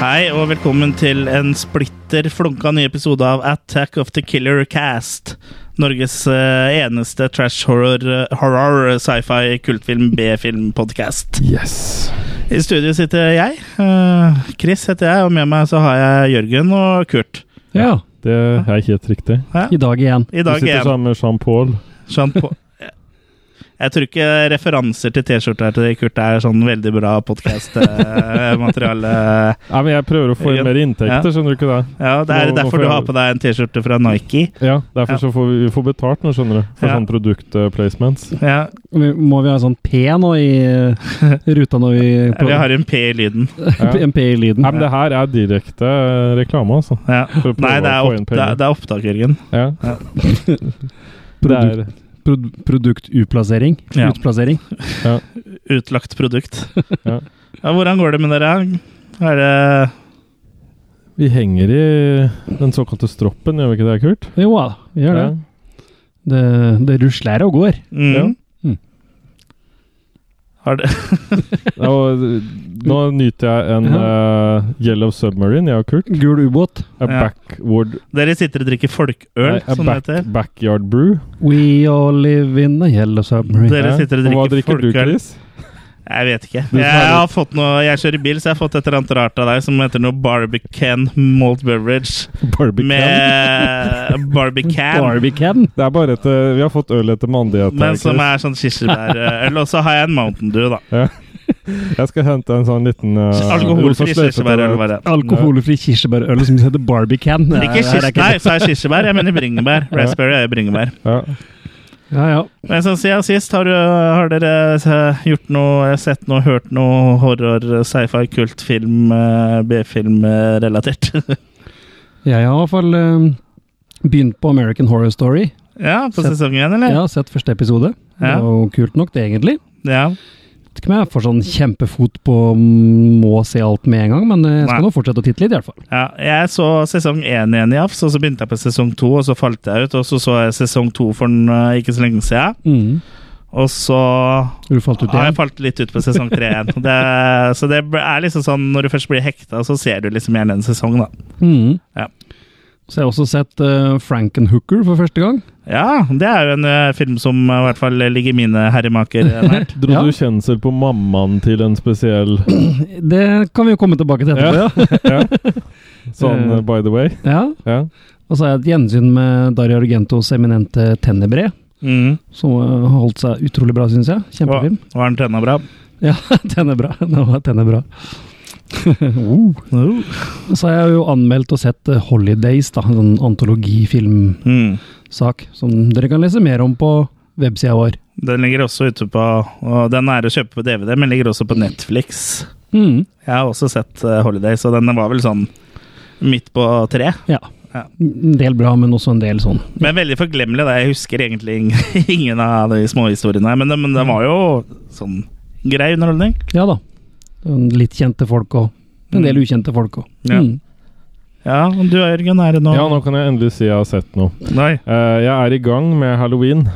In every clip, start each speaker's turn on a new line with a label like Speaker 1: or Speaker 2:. Speaker 1: Hei og velkommen til en splitter flunka ny episode av Attack of the Killer Cast. Norges eh, eneste trash horror, eh, horror sci-fi, kultfilm, B-film-podkast.
Speaker 2: Yes.
Speaker 1: I studio sitter jeg. eh, Chris heter jeg, og med meg så har jeg Jørgen og Kurt.
Speaker 3: Ja,
Speaker 2: Det er helt riktig.
Speaker 1: Ja,
Speaker 3: i dag igjen.
Speaker 1: I
Speaker 2: Du
Speaker 1: dag
Speaker 2: sitter
Speaker 1: er jeg
Speaker 2: sammen med Jean-Paul.
Speaker 1: sånn på Jeg tror ikke referanser til T-skjorta til Kurt er sånn veldig bra eh, podkast-materiale.
Speaker 2: Nei, men jeg prøver å få inn
Speaker 1: Ja.
Speaker 2: mer inntekter,
Speaker 1: Ja.
Speaker 2: skjønner du ikke det?
Speaker 1: Ja, det er
Speaker 2: Nå- nå får
Speaker 1: derfor du
Speaker 2: jeg-
Speaker 1: har på deg en T-skjorte fra Nike.
Speaker 2: Ja, derfor
Speaker 1: Ja.
Speaker 2: så får vi, vi får betalt nå, skjønner du. For
Speaker 1: Ja.
Speaker 2: sånne produktplacements.
Speaker 1: Ja,
Speaker 3: Vi- Må vi ha en sånn P nå i eh, ruta når vi
Speaker 1: vi har en P i lyden.
Speaker 2: Ja.
Speaker 3: En P i lyden.
Speaker 2: Nei, men det her er direkte eh, reklame, altså.
Speaker 1: Ja.
Speaker 2: For å prøve
Speaker 1: Nei, det er,
Speaker 2: å få inn
Speaker 1: opp, det, er, det er opptak, Jørgen.
Speaker 2: Ja.
Speaker 1: Ja.
Speaker 2: Det er,
Speaker 3: Prod Produktuplassering.
Speaker 1: Ja.
Speaker 3: Utplassering.
Speaker 1: Utlagt produkt. ja.
Speaker 2: Ja.
Speaker 1: hvordan går det med dere? Er det
Speaker 2: vi henger i den såkalte stroppen, gjør vi ikke det, Kurt?
Speaker 3: Jo da, vi gjør det. Det, det rusler og går.
Speaker 1: mm.
Speaker 2: Ja.
Speaker 3: Mm.
Speaker 1: Har det
Speaker 2: Ja, Og eh, nå nyter jeg en eh, Yellow Submarine, jeg og Kurt.
Speaker 3: Gul ubåt.
Speaker 2: A
Speaker 1: Ja.
Speaker 2: backward
Speaker 1: Dere sitter og drikker folkøl,
Speaker 2: nei, a
Speaker 1: som
Speaker 2: back,
Speaker 1: det heter.
Speaker 2: Backyard brew.
Speaker 3: We all live in a yellow submarine.
Speaker 1: Dere
Speaker 2: Ja.
Speaker 1: sitter og
Speaker 2: Hva
Speaker 1: drikker
Speaker 2: drikker du,
Speaker 1: folkøl.
Speaker 2: Chris?
Speaker 1: Jeg vet ikke.
Speaker 2: Du
Speaker 1: Jeg
Speaker 2: smaker-
Speaker 1: har fått noe Jeg kjører bil, så jeg har fått et eller annet rart av deg som heter noe Barbican malt beverage.
Speaker 2: Barbecue.
Speaker 1: Med eh, Barbican.
Speaker 3: Barbican.
Speaker 2: Det er bare et eh, Vi har fått øl etter mandighet. her,
Speaker 1: Men som
Speaker 2: Chris.
Speaker 1: er sånn kirsebærøl. Og så har jeg en Mountain Dew, da.
Speaker 2: Jeg skal hente en sånn liten eh, rosa
Speaker 1: Alkoholfri
Speaker 2: sløyfe til
Speaker 1: kirsebærøl.
Speaker 2: deg.
Speaker 1: var det.
Speaker 3: Alkoholfri kirsebærøl som heter Barbican. Det
Speaker 1: Ikke
Speaker 3: er-
Speaker 1: kirsebær, nei, sa jeg kirsebær? Jeg mener bringebær.
Speaker 2: Ja.
Speaker 1: Raspberry er jo bringebær.
Speaker 2: Ja.
Speaker 3: Ja, ja.
Speaker 1: Men sånn siden sist, har, du, har dere eh, gjort noe, sett noe, hørt noe horror, sci-fi, kult film, eh, B-film eh, relatert?
Speaker 3: Jeg har i hvert fall eh, begynt på American Horror Story.
Speaker 1: ja, på
Speaker 3: Sett-
Speaker 1: sesongen,
Speaker 3: Jeg
Speaker 1: eller?
Speaker 3: har sett første episode. Det
Speaker 1: Ja.
Speaker 3: var jo kult nok, det, egentlig.
Speaker 1: Ja.
Speaker 3: vet ikke om jeg får sånn kjempefot på må se alt med en gang, men eh, jeg skal
Speaker 1: Nei.
Speaker 3: nå fortsette å titte litt, i hvert fall.
Speaker 1: ja. Jeg så sesong én igjen i AFS, og så begynte jeg på sesong to, og så falt jeg ut. Og så så jeg sesong to for den, eh, ikke så lenge siden, og så
Speaker 3: Du falt ut
Speaker 1: Mm. Ja, jeg
Speaker 3: igjen?
Speaker 1: falt litt ut på sesong tre igjen. Det, så det er liksom sånn når du først blir hekta, så ser du liksom gjerne en sesong, da.
Speaker 3: Mhm.
Speaker 1: Ja.
Speaker 3: Så jeg har også sett eh, Frankenhooker for første gang.
Speaker 1: Ja, det er jo en eh, film som eh, i hvert fall ligger mine herremaker eh, nært.
Speaker 2: Dro
Speaker 3: Ja.
Speaker 2: du kjensel på mammaen til en spesiell
Speaker 3: Det kan vi jo komme tilbake til etterpå, ja.
Speaker 2: ja. Sånn eh, by the way?
Speaker 3: ja.
Speaker 2: Ja.
Speaker 3: Og så har jeg et gjensyn med Dario Argentos eminente Tenebre,
Speaker 1: Mm.
Speaker 3: som eh, holdt seg utrolig bra, syns jeg. Kjempefilm.
Speaker 1: Var den tenna bra?
Speaker 3: Ja, Tenebra. Nå var Tenebra. oh. Og Så har jeg jo anmeldt og sett eh, Holidays, da, en sånn antologifilm
Speaker 1: Mm.
Speaker 3: sak, som dere kan lese mer om på websida vår.
Speaker 1: Den ligger også ute på og Den er å kjøpe på DVD, men ligger også på Netflix. Jeg har også sett eh, Holiday, så den var vel sånn midt på tre.
Speaker 3: Ja.
Speaker 1: Ja.
Speaker 3: En del bra, men også en del sånn.
Speaker 1: Men veldig forglemmelig. Da. Jeg husker egentlig ing- ingen av de småhistoriene, men den, men den var jo sånn grei underholdning.
Speaker 3: Ja da. Litt kjente folk og en del ukjente folk Mm. òg.
Speaker 1: Ja. Ja, og du Jørgen, er det nå?
Speaker 2: ja, nå kan jeg endelig si jeg har sett noe.
Speaker 1: Nei.
Speaker 2: Eh, jeg er i gang med halloween.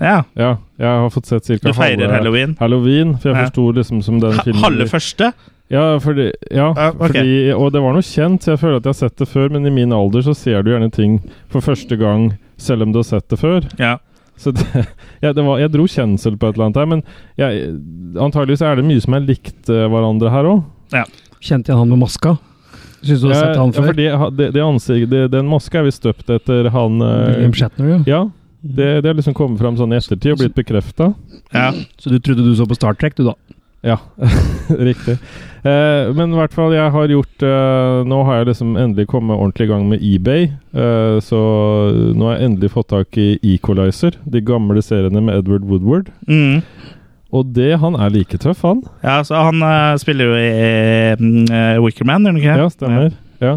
Speaker 1: Ja,
Speaker 2: Ja, jeg har fått sett ca.
Speaker 1: du feirer halloween.
Speaker 2: Halloween, for jeg
Speaker 1: Ja.
Speaker 2: forsto liksom som den
Speaker 1: Ha-
Speaker 2: filmen
Speaker 1: Halve første?
Speaker 2: Ja, fordi, ja
Speaker 1: Ja, ok.
Speaker 2: fordi Og det var noe kjent, så jeg føler at jeg har sett det før, men i min alder så ser du gjerne ting for første gang selv om du har sett det før.
Speaker 1: Ja.
Speaker 2: Så det, ja, det var, jeg dro kjensel på et eller annet her, men jeg, antagelig så er det mye som er likt eh, hverandre her òg.
Speaker 3: Kjente jeg han med maska? Syns du du har sett han før?
Speaker 2: det, det, det ansikt, det, den maska er visst støpt etter han eh,
Speaker 3: William Shatner, ja.
Speaker 2: Ja. Det, det har liksom kommet fram sånn i ettertid og blitt bekrefta.
Speaker 1: ja.
Speaker 3: Mm. Så du trodde du så på Star Trek, du da?
Speaker 2: Ja, riktig. Eh, men i hvert fall, jeg har gjort eh, Nå har jeg liksom endelig kommet ordentlig i gang med eBay. Eh, så nå har jeg endelig fått tak i Equalizer, de gamle seriene med Edward Woodward.
Speaker 1: Mm.
Speaker 2: Og det, han er like tøff, han.
Speaker 1: ja, så han eh, spiller jo i uh, Wickerman, gjør han ikke?
Speaker 2: Ja, stemmer. Ja.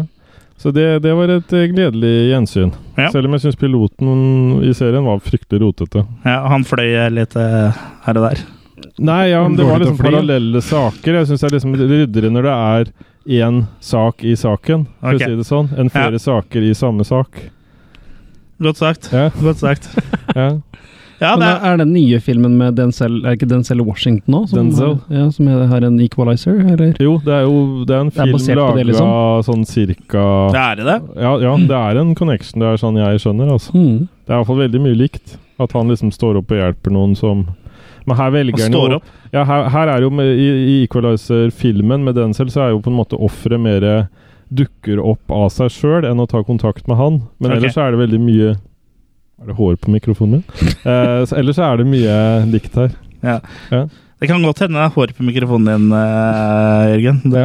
Speaker 2: Så det, det var et eh, gledelig gjensyn.
Speaker 1: Ja.
Speaker 2: Selv om jeg syns piloten i serien var fryktelig rotete.
Speaker 1: Ja, han fløy eh, litt eh, her og der.
Speaker 2: Nei, ja, men det
Speaker 3: Går
Speaker 2: var
Speaker 3: det til å
Speaker 2: liksom
Speaker 3: fly?
Speaker 2: parallelle saker. Jeg syns det er liksom ryddere når det er én sak i saken, for
Speaker 1: Ok.
Speaker 2: å si det sånn, enn flere saker i samme sak.
Speaker 1: Godt sagt.
Speaker 2: Ja,
Speaker 1: Godt sagt.
Speaker 2: ja.
Speaker 1: Ja,
Speaker 3: Men
Speaker 1: det
Speaker 3: er,
Speaker 1: er,
Speaker 3: er den nye filmen med Denzel Er det ikke Denzel Washington nå? Som,
Speaker 2: Denzel.
Speaker 3: Ja, som er, har en equalizer, eller?
Speaker 2: Jo, det er jo det er en
Speaker 3: Det er
Speaker 2: film
Speaker 3: basert på
Speaker 2: laga
Speaker 3: det, liksom.
Speaker 2: sånn cirka
Speaker 1: det er det.
Speaker 2: ja, ja, det er en connection. Det er sånn jeg skjønner, altså.
Speaker 3: Hmm.
Speaker 2: Det er iallfall veldig mye likt. At han liksom står opp og hjelper noen som Men her
Speaker 1: Han
Speaker 2: velger han
Speaker 1: står
Speaker 2: jo
Speaker 1: opp.
Speaker 2: ja, her, her er jo med, I, i Equalizer-filmen med Denzel så er jo på en måte offeret mer dukker opp av seg sjøl enn å ta kontakt med han. Men
Speaker 1: Ok.
Speaker 2: ellers så er det veldig mye Er det hår på mikrofonen min? Eh, så ellers så er det mye likt her.
Speaker 1: Det kan godt hende det er hår på mikrofonen din, eh, Jørgen. Det,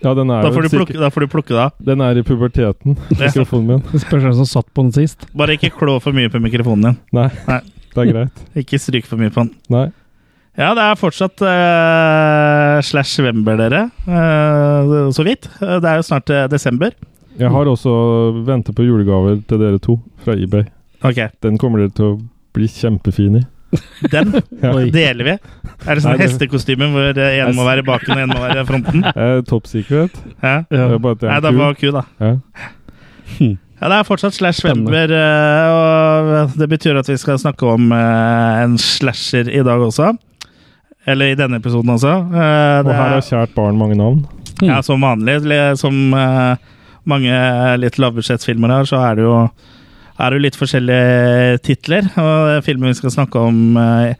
Speaker 2: Ja, den er
Speaker 1: da, får
Speaker 2: jo
Speaker 1: du plukke,
Speaker 2: sikkert
Speaker 1: da får du plukke det av.
Speaker 2: Den er i puberteten,
Speaker 1: Ja.
Speaker 2: mikrofonen min.
Speaker 3: Det spørs hvem som satt på den sist.
Speaker 1: Bare ikke klå for mye på mikrofonen din.
Speaker 2: Det er greit.
Speaker 1: Ikke stryk for mye på den.
Speaker 2: Nei.
Speaker 1: Ja, det er fortsatt eh, slash Wember, dere. Eh, så vidt. Eh, Det er jo snart eh, desember.
Speaker 2: Jeg har også ventet på julegaver til dere to fra eBay.
Speaker 1: Ok,
Speaker 2: Den kommer dere til å bli kjempefin i.
Speaker 1: den
Speaker 2: Ja.
Speaker 1: deler vi. Er det
Speaker 2: Nei,
Speaker 1: sånn
Speaker 2: det-
Speaker 1: hestekostyme hvor eh, en må være baken og en må være fronten?
Speaker 2: Eh, top secret.
Speaker 1: Ja.
Speaker 2: Det er bare at det
Speaker 1: Nei,
Speaker 2: er
Speaker 1: det
Speaker 2: kul.
Speaker 1: var ku, da.
Speaker 2: Ja.
Speaker 1: Ja, det er fortsatt slash
Speaker 3: Spennende.
Speaker 1: Wember, eh, og det betyr at vi skal snakke om eh, en slasher i dag også. Eller i denne episoden også. Eh,
Speaker 2: Og
Speaker 1: Det
Speaker 2: her
Speaker 1: er,
Speaker 2: har kjært barn mange navn.
Speaker 3: Mm.
Speaker 1: ja, som vanlig, le- som eh, mange litt lavbudsjettfilmer har, så er det jo er det jo litt forskjellige titler. Og filmen vi skal snakke om eh,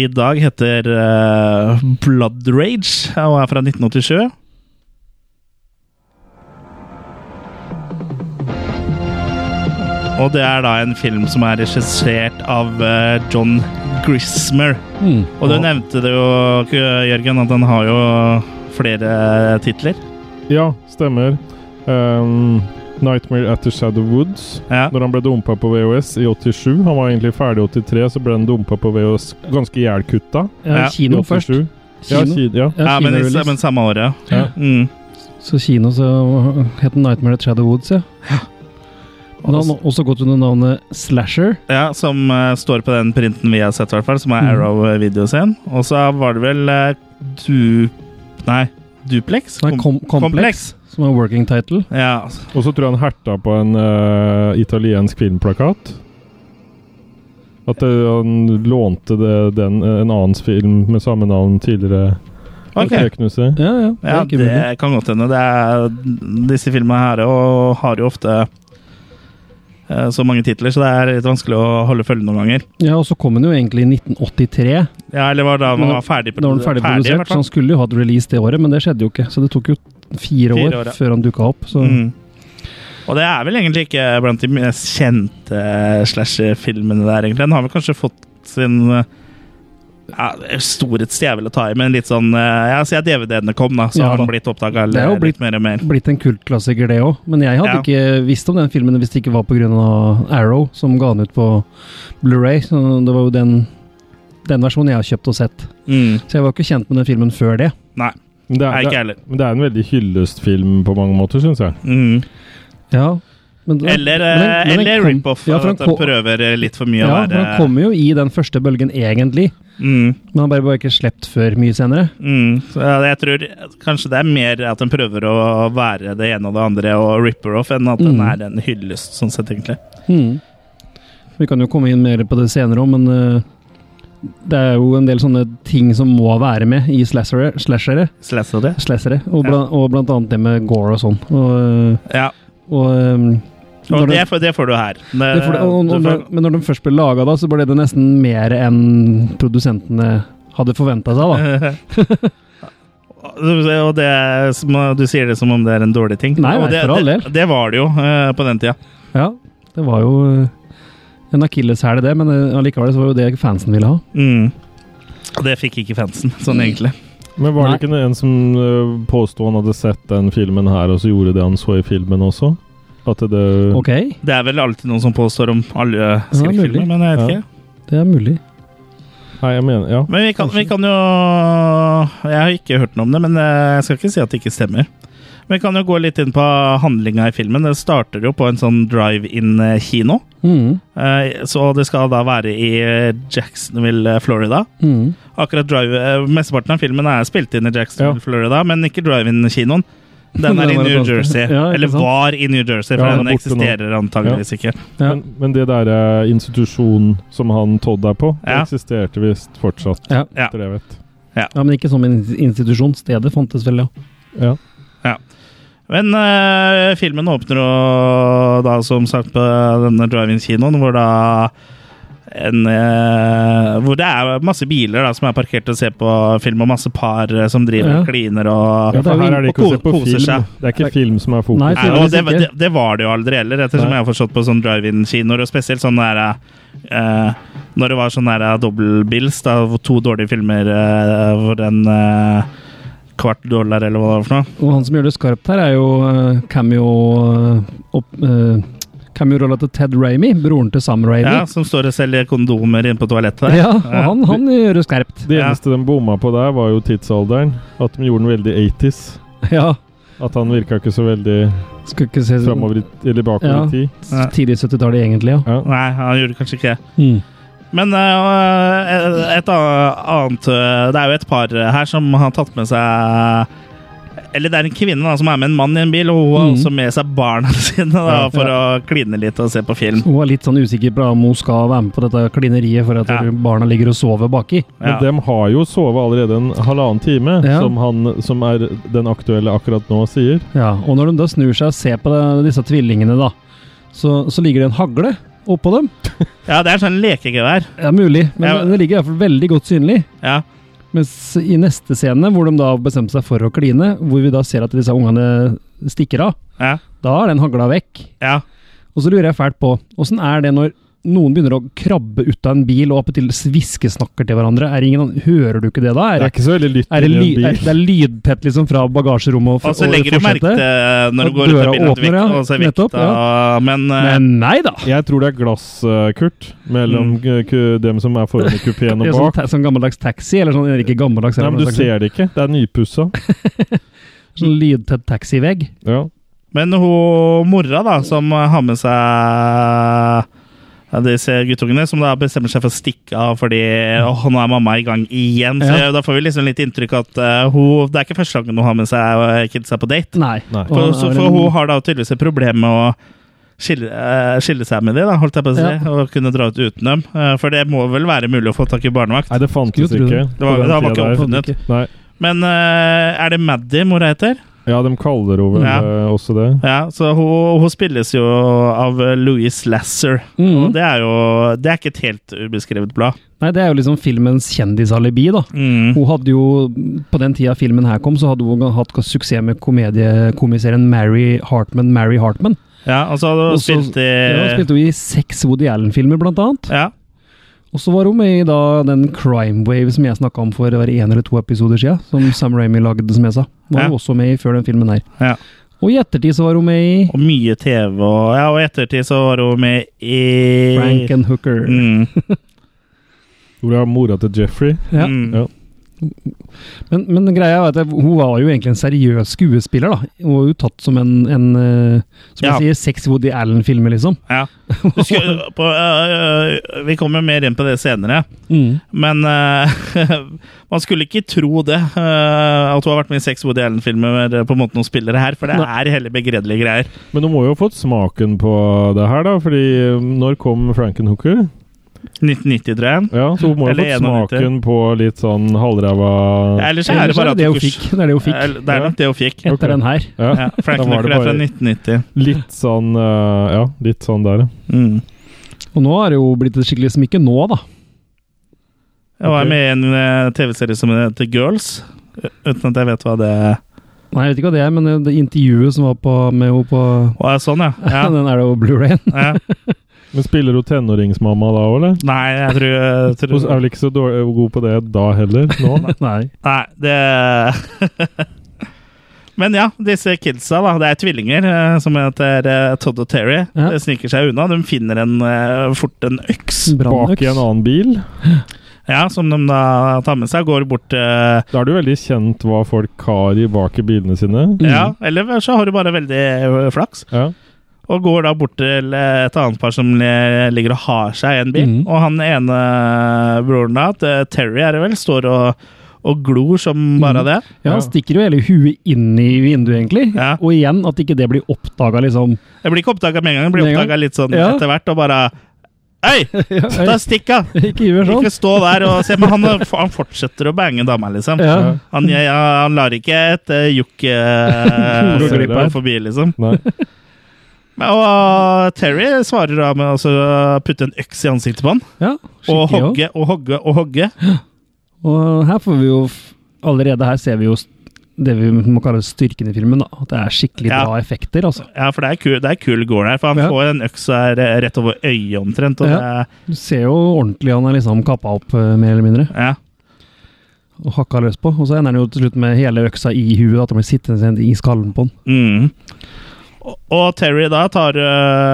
Speaker 1: i dag, heter eh, Blood Rage og er fra 1987. Og det er da en film som er regissert av eh, John Grismer.
Speaker 3: Hmm.
Speaker 1: Og du nevnte det jo, Jørgen, at den har jo flere titler.
Speaker 2: Ja, stemmer. Ehm, 'Nightmare at the Shadow Woods'.
Speaker 1: Ja.
Speaker 2: Når han ble dumpa på VHS i 87. Han var egentlig ferdig i 83, så ble han dumpa på VHS ganske jævlkutta.
Speaker 3: Ja,
Speaker 1: Ja,
Speaker 2: i
Speaker 3: kino først.
Speaker 2: 87. Ja,
Speaker 3: Kino.
Speaker 2: Kid, ja.
Speaker 1: Ja, men, i,
Speaker 3: kinorelease.
Speaker 1: men samme året.
Speaker 2: Ja.
Speaker 1: Mm.
Speaker 3: Så kino så het den Nightmare at Shadow Woods, ja. Den har nå også gått under navnet Slasher.
Speaker 1: Ja, som eh, står på den printen vi har sett, i hvert fall, som er
Speaker 3: Mm.
Speaker 1: Arrow-video sin. Og så var det vel eh, du... Nei, Duplex?
Speaker 3: Som er kom kompleks, som er working title.
Speaker 1: Ja. altså.
Speaker 2: Og så tror jeg han herta på en eh, italiensk filmplakat. At eh, han lånte det, den, eh, en annens film med samme navn tidligere.
Speaker 1: Ok.
Speaker 2: Det knuste.
Speaker 3: Ja, ja. Det
Speaker 1: Ja,
Speaker 3: er ikke mulig.
Speaker 1: det kan godt hende. Det er, disse filmene her og har jo ofte eh, så mange titler, så det er litt vanskelig å holde følge noen ganger.
Speaker 3: Ja, og så kom den jo egentlig i 1983.
Speaker 1: Ja, eller var det da
Speaker 3: Men
Speaker 1: man
Speaker 3: da-
Speaker 1: var ferdig?
Speaker 3: Da var den ferdig
Speaker 1: i hvert
Speaker 3: produsert,
Speaker 1: fall.
Speaker 3: så han skulle jo hatt release det året, men det skjedde jo ikke. Så det tok jo fire år,
Speaker 1: Fire år, ja.
Speaker 3: før han dukka opp. Så
Speaker 1: Mm. Og det er vel egentlig ikke blant de mest kjente slasher-filmene der, egentlig. Den har vel kanskje fått sin eh, ja, storhetstid er vel å ta i, men litt sånn eh, Ja, siden DVD-ene kom, da, så
Speaker 3: Ja,
Speaker 1: har
Speaker 3: da.
Speaker 1: den blitt oppdaga
Speaker 3: Det er jo
Speaker 1: litt
Speaker 3: blitt-
Speaker 1: mer og mer.
Speaker 3: blitt en kultklassiker, det òg. Men jeg hadde
Speaker 1: Ja.
Speaker 3: ikke visst om den filmen hvis det ikke var pga. Arrow, som ga den ut på Blu-ray. Så Det var jo den, den versjonen jeg har kjøpt og sett.
Speaker 1: Mm.
Speaker 3: Så jeg var ikke kjent med den filmen før det.
Speaker 2: Men det
Speaker 1: Nei,
Speaker 2: er,
Speaker 1: ikke
Speaker 2: det,
Speaker 1: jeg heller.
Speaker 2: men det er en veldig hyllestfilm på mange måter, syns jeg.
Speaker 1: Mm.
Speaker 3: Ja, men den-
Speaker 1: Eller,
Speaker 3: men den-
Speaker 1: eh,
Speaker 3: men den
Speaker 1: eller
Speaker 3: kom-
Speaker 1: rip-off.
Speaker 3: Ja, for
Speaker 1: at
Speaker 3: den
Speaker 1: den
Speaker 3: kom,
Speaker 1: prøver eh, litt for mye
Speaker 3: ja,
Speaker 1: å
Speaker 3: for den
Speaker 1: være
Speaker 3: kommer jo i den første bølgen, egentlig.
Speaker 1: mm,
Speaker 3: Men han ble bare ikke sluppet før mye senere.
Speaker 1: mm. Så jeg tror kanskje det er mer at den prøver å være det ene og det andre og ripper-off, enn at den
Speaker 3: Mm.
Speaker 1: er en hyllest, sånn sett, egentlig.
Speaker 3: Hmm. Vi kan jo komme inn mer på det senere òg, men eh, det er jo en del sånne ting som må være med i slashere, slashere,
Speaker 1: Slasher det?
Speaker 3: slashere og, blant, og blant annet det med gore og sånn. Og, eh,
Speaker 1: Ja.
Speaker 3: og, eh, når
Speaker 1: Og
Speaker 3: den-
Speaker 1: det, får- det får du her. Det,
Speaker 3: det får- og- og-
Speaker 1: du får,
Speaker 3: men når den først ble laga, da, så ble det nesten mer enn produsentene hadde forventa seg, da. Ah.
Speaker 1: og det, er som- du sier det som om det er en dårlig ting.
Speaker 3: Nei, nei,
Speaker 1: og det,
Speaker 3: for all
Speaker 1: Det, det var det jo eh, på den tida.
Speaker 3: Ja, det var jo eh, en akilleshæl, i det, men eh, allikevel så var det jo det fansen ville ha.
Speaker 1: Mm. Og det fikk ikke fansen, sånn
Speaker 3: Mm.
Speaker 1: egentlig.
Speaker 2: Men var
Speaker 3: Nei.
Speaker 2: det ikke en som øh, påsto han hadde sett den filmen her, og så gjorde det han så i filmen også? At det
Speaker 3: Ok,
Speaker 1: Det er vel alltid noen som påstår om alle
Speaker 3: mulig.
Speaker 1: skrekkfilmer, men jeg vet
Speaker 2: Ja.
Speaker 1: ikke.
Speaker 3: det er mulig.
Speaker 2: Nei, jeg mener Ja.
Speaker 1: Men vi kan, vi kan jo Jeg har ikke hørt noe om det, men eh, jeg skal ikke si at det ikke stemmer. Men vi kan jo gå litt inn på handlinga i filmen. Det starter jo på en sånn drive-in-kino.
Speaker 3: Mm,
Speaker 1: Eh, Så det skal da være i eh, Jacksonville, eh, Florida.
Speaker 3: mm,
Speaker 1: Akkurat drive, eh, Mesteparten av filmen er spilt inn i Jacksonville,
Speaker 2: Ja.
Speaker 1: Florida, men ikke drive-in-kinoen. Den er i
Speaker 3: Den er
Speaker 1: New
Speaker 3: franske.
Speaker 1: Jersey.
Speaker 3: Ja, ikke
Speaker 1: Eller
Speaker 3: sant?
Speaker 1: var i New Jersey, for
Speaker 2: Ja, den
Speaker 1: den
Speaker 2: er borte nå.
Speaker 1: eksisterer antageligvis ikke.
Speaker 3: Ja.
Speaker 2: Men, men det der eh, institusjonen som han Todd er på, det
Speaker 1: Ja.
Speaker 2: eksisterte visst fortsatt,
Speaker 3: Ja.
Speaker 1: Ja.
Speaker 2: etter det jeg vet.
Speaker 3: ja, men ikke som en institusjon. Stedet fantes vel, ja.
Speaker 2: Ja.
Speaker 1: Men eh, filmen åpner jo da som sagt på denne drive-in-kinoen, hvor da en, eh, hvor det er masse biler da, som er parkert og ser på film, og masse par eh, som driver
Speaker 3: Ja.
Speaker 1: og kliner og
Speaker 2: ja,
Speaker 3: det er
Speaker 2: for
Speaker 3: jo
Speaker 2: her er det ikke å se
Speaker 1: ko-
Speaker 2: på
Speaker 1: koser
Speaker 2: film.
Speaker 1: seg.
Speaker 2: Det er ikke film som er fokus.
Speaker 3: Nei,
Speaker 1: Nei,
Speaker 3: film.
Speaker 1: og det,
Speaker 3: tydeligvis
Speaker 1: det,
Speaker 3: ikke.
Speaker 1: det var det jo aldri heller, ettersom
Speaker 2: Nei.
Speaker 1: jeg har forstått på sånn drive-in-kinoer, og spesielt sånn der eh, Når det var sånn der eh, dobbeltbills, da, hvor to dårlige filmer eh, hvor en eh, kvart dollar eller hva det var for noe.
Speaker 3: Og han som gjør det skarpt her, er jo eh, cameo eh, opp, eh, Cameo-rolla til Ted Ramy, broren til Sam Ramy.
Speaker 1: Ja, som står og selger kondomer inne på toalettet der.
Speaker 3: Ja, og han, han gjør det skarpt.
Speaker 2: Det
Speaker 1: Ja.
Speaker 2: eneste de bomma på der, var jo tidsalderen. At de gjorde den veldig 80s.
Speaker 3: Ja.
Speaker 2: At han virka ikke så veldig
Speaker 3: Skulle ikke se
Speaker 2: framover i, eller bakover
Speaker 3: Ja.
Speaker 2: i tid.
Speaker 1: Ja.
Speaker 3: tidlig 70-tallet, egentlig. ja.
Speaker 2: Ja.
Speaker 1: Nei, han gjorde kanskje ikke det.
Speaker 3: Mm.
Speaker 1: Men eh, et annet annet, eh, Det er jo et par her som har tatt med seg Eller det er en kvinne da, som er med en mann i en bil, og hun har
Speaker 3: Mm.
Speaker 1: også med seg barna sine da,
Speaker 2: Ja,
Speaker 1: for å kline litt og se på film.
Speaker 3: Hun er litt sånn usikker på om hun skal være med på dette klineriet for at
Speaker 1: Ja.
Speaker 3: barna ligger og sover baki.
Speaker 2: Men
Speaker 1: Ja.
Speaker 2: de har jo sovet allerede en halvannen time,
Speaker 3: Ja.
Speaker 2: som han som er den aktuelle akkurat nå, sier.
Speaker 3: Ja, og når de da snur seg og ser på det, disse tvillingene, da, så, så ligger det en hagle oppå dem.
Speaker 1: Ja, det er sånn lekegevær.
Speaker 3: Ja, mulig, men
Speaker 1: Ja.
Speaker 3: det ligger i hvert fall veldig godt synlig.
Speaker 1: Ja.
Speaker 3: Mens i neste scene, hvor de da bestemte seg for å kline, hvor vi da ser at disse ungene stikker av,
Speaker 1: Ja.
Speaker 3: da er den hagla vekk.
Speaker 1: ja.
Speaker 3: Og så lurer jeg fælt på, åssen er det når noen begynner å krabbe ut av en bil og appetill sviskesnakker til hverandre? Er det ingen, hører du ikke det da?
Speaker 2: Det
Speaker 3: Er
Speaker 2: er
Speaker 3: det,
Speaker 2: ikke så veldig lytt
Speaker 3: er det,
Speaker 2: inni
Speaker 3: ly,
Speaker 2: en
Speaker 3: er,
Speaker 2: bil.
Speaker 3: det er lydtett liksom fra bagasjerommet og,
Speaker 1: Og så
Speaker 3: og
Speaker 1: Altså, legger du merke til eh, når
Speaker 3: At
Speaker 1: du går ut av
Speaker 3: døra
Speaker 1: bilen at
Speaker 3: åpner,
Speaker 1: vekta,
Speaker 3: ja.
Speaker 1: og så er vekta
Speaker 3: Nettopp,
Speaker 1: Men, eh,
Speaker 3: Men nei da!
Speaker 2: Jeg tror det er glass, eh, Kurt, mellom
Speaker 1: Mm.
Speaker 2: eh, ku- dem som er foran i kupeen og
Speaker 3: Det er sånn,
Speaker 2: bak.
Speaker 3: ta- sånn gammeldags taxi, eller sånn eller ikke gammeldags
Speaker 2: Nei,
Speaker 3: eller
Speaker 2: men
Speaker 3: hva
Speaker 2: du
Speaker 3: slags-
Speaker 2: ser det ikke. Det er nypussa.
Speaker 3: Sånn lydtett taxivegg.
Speaker 2: Ja.
Speaker 1: men hun mora, da, som har med seg ja, disse guttungene, som da bestemmer seg for å stikke av fordi åh, nå er mamma i gang igjen. Så
Speaker 3: Ja.
Speaker 1: Da får vi liksom litt inntrykk at eh, hun, det er ikke første gangen hun har med seg eh, kidsa på date.
Speaker 3: Nei.
Speaker 2: Nei.
Speaker 3: Og
Speaker 1: For,
Speaker 3: han
Speaker 1: så,
Speaker 3: er
Speaker 1: for
Speaker 3: en-
Speaker 1: hun har da tydeligvis et problem med å skille, eh, skille seg med de, da, holdt jeg på å si,
Speaker 3: Ja.
Speaker 1: og kunne dra ut uten dem. Eh, for det må vel være mulig å få tak i barnevakt?
Speaker 2: Nei, det fantes
Speaker 3: Skulle tro
Speaker 2: ikke.
Speaker 3: det.
Speaker 1: Det var,
Speaker 2: på
Speaker 1: det
Speaker 2: den
Speaker 1: var ikke
Speaker 2: tida der.
Speaker 1: oppfunnet.
Speaker 2: Nei.
Speaker 1: Men eh, er det Maddy mora heter?
Speaker 2: Ja, de kaller henne vel
Speaker 1: Ja.
Speaker 2: eh, også det.
Speaker 1: Ja, så hun, hun spilles jo av eh, Louis Lasser. Og
Speaker 3: Mhm.
Speaker 1: det er jo Det er ikke et helt ubeskrevet blad.
Speaker 3: Nei, det er jo liksom filmens kjendisalibi, da.
Speaker 1: Mm.
Speaker 3: Hun hadde jo, På den tida filmen her kom, så hadde hun hatt suksess med komediekomiserien Mary Hartman. Mary Hartman.
Speaker 1: Ja, og så hadde
Speaker 3: Og
Speaker 1: hun
Speaker 3: så-
Speaker 1: spilt i
Speaker 3: Ja, hun spilte jo i seks Woody Allen-filmer, blant annet.
Speaker 1: Eh. Ja.
Speaker 3: Og så var hun med i da den Crime Wave som jeg snakka om for hver en eller to episoder siden, som Sam Ramy lagde, som jeg sa. Var
Speaker 1: Ja.
Speaker 3: hun også med i før den filmen her.
Speaker 1: Ja.
Speaker 3: Og i ettertid så var hun med i
Speaker 1: Og mye TV, og ja, og i ettertid så var hun med i
Speaker 3: Frank and Hooker.
Speaker 1: Mm.
Speaker 2: Hvor er mora til Jeffrey?
Speaker 3: Ja.
Speaker 1: Mm.
Speaker 2: Ja.
Speaker 3: Men, men greia er at jeg- hun var jo egentlig en seriøs skuespiller, da. Hun var jo tatt som en, en eh, Som
Speaker 1: Ja.
Speaker 3: jeg sier, seks Woody Allen-filmer, liksom.
Speaker 1: ja. Du skulle- på, øh, øh, vi kommer mer inn på det senere,
Speaker 3: Mm.
Speaker 1: men øh, man skulle ikke tro det. øh, at hun har vært med i seks Woody Allen-filmer eh, på en måte hun spiller her, for det
Speaker 3: Nei.
Speaker 1: er heller begredelige greier.
Speaker 2: Men hun må jo ha fått smaken på det her, da. Fordi eh, når kom Frankenhooker?
Speaker 1: 1990, tror jeg.
Speaker 2: Ja, så hun må jo ha
Speaker 1: Eller 91.
Speaker 2: fått smaken på litt sånn halvræva
Speaker 1: Ellers så er det
Speaker 3: Ellers
Speaker 1: bare at
Speaker 3: det
Speaker 1: hun
Speaker 3: hun
Speaker 1: kurs-
Speaker 3: fikk. Det er det hun fikk
Speaker 1: Eller, Det er nok det hun fikk.
Speaker 3: etter
Speaker 2: ok.
Speaker 3: den her.
Speaker 2: ja.
Speaker 1: Ja, Frank
Speaker 2: Da var det
Speaker 1: Knuckle er fra
Speaker 2: bare-
Speaker 1: 1990.
Speaker 2: Litt sånn eh, Ja, litt sånn der, ja.
Speaker 1: Mm.
Speaker 3: Og nå har det jo blitt et skikkelig smykke nå, da.
Speaker 1: Jeg var
Speaker 2: Ok.
Speaker 1: med i en eh, TV-serie som heter Girls, u- uten at jeg vet hva det
Speaker 3: Nei, jeg vet ikke hva det er, men det, det intervjuet som var på, med henne på
Speaker 1: Å, ja, sånn, ja. ja.
Speaker 3: Den er det jo Blu-rayen.
Speaker 1: ja.
Speaker 2: Men spiller hun tenåringsmamma da òg, eller?
Speaker 1: Nei, jeg tror, jeg tror
Speaker 2: Hun er vel ikke så dårlig, eh, god på det da heller, nå?
Speaker 3: Nei.
Speaker 1: Nei, det Men ja, disse kidsa, da. Det er tvillinger eh, som heter eh, Todd og Terry.
Speaker 3: Ja.
Speaker 1: De sniker seg unna. De finner en, eh, fort en øks,
Speaker 2: Bak i en annen bil.
Speaker 1: ja, som de da tar med seg. Går bort eh,
Speaker 2: Da er det jo veldig kjent hva folk har i bak i bilene sine.
Speaker 3: Mm.
Speaker 1: Ja, eller så har du bare veldig eh, flaks.
Speaker 2: Ja.
Speaker 1: Og går da bort til eh, et annet par som le- ligger og har seg i en bil.
Speaker 3: Mhm.
Speaker 1: Og han ene broren da, til Terry er det vel, står og, og glor som
Speaker 3: Mm.
Speaker 1: bare det.
Speaker 3: Ja,
Speaker 2: Ja.
Speaker 3: Han stikker jo hele huet inn i vinduet, egentlig.
Speaker 1: Ja.
Speaker 3: Og igjen, at ikke det blir oppdaga, liksom.
Speaker 1: Jeg blir ikke oppdaga med en gang, jeg blir
Speaker 3: Med en gang.
Speaker 1: oppdaga litt sånn
Speaker 3: Ja.
Speaker 1: etter hvert, og bare Hei,
Speaker 3: Ja,
Speaker 1: da stikker jeg!
Speaker 3: ikke gjør sånn.
Speaker 1: Ikke stå der og se, men han, han fortsetter å bange dama, liksom.
Speaker 3: Ja.
Speaker 2: Ja.
Speaker 1: Han, jeg, han lar ikke et uh, jukk eh,
Speaker 2: Gå glipp
Speaker 1: gå
Speaker 2: av.
Speaker 1: forbi, liksom.
Speaker 2: Nei.
Speaker 1: Men, og eh, Terry svarer da med å altså, putte en øks i ansiktet på han,
Speaker 3: Ja,
Speaker 1: og
Speaker 3: skikkelig også.
Speaker 1: hogge og hogge og hogge.
Speaker 3: Og her får vi jo f- Allerede her ser vi jo s- det vi må kalle styrken i filmen. da. At det er skikkelig
Speaker 1: Ja.
Speaker 3: bra effekter, altså.
Speaker 1: Ja, for det er kul, det er kul gård der, for han
Speaker 3: Ja.
Speaker 1: får en øks her eh, rett over øyet omtrent. Og
Speaker 3: Ja.
Speaker 1: det,
Speaker 3: Du ser jo ordentlig han er liksom kappa opp, eh, mer eller mindre.
Speaker 1: ja.
Speaker 3: Og hakka løs på. Og så ender han jo til slutt med hele øksa i huet. At han blir sittende i skallen på den.
Speaker 1: Mm. Og, og Terry da tar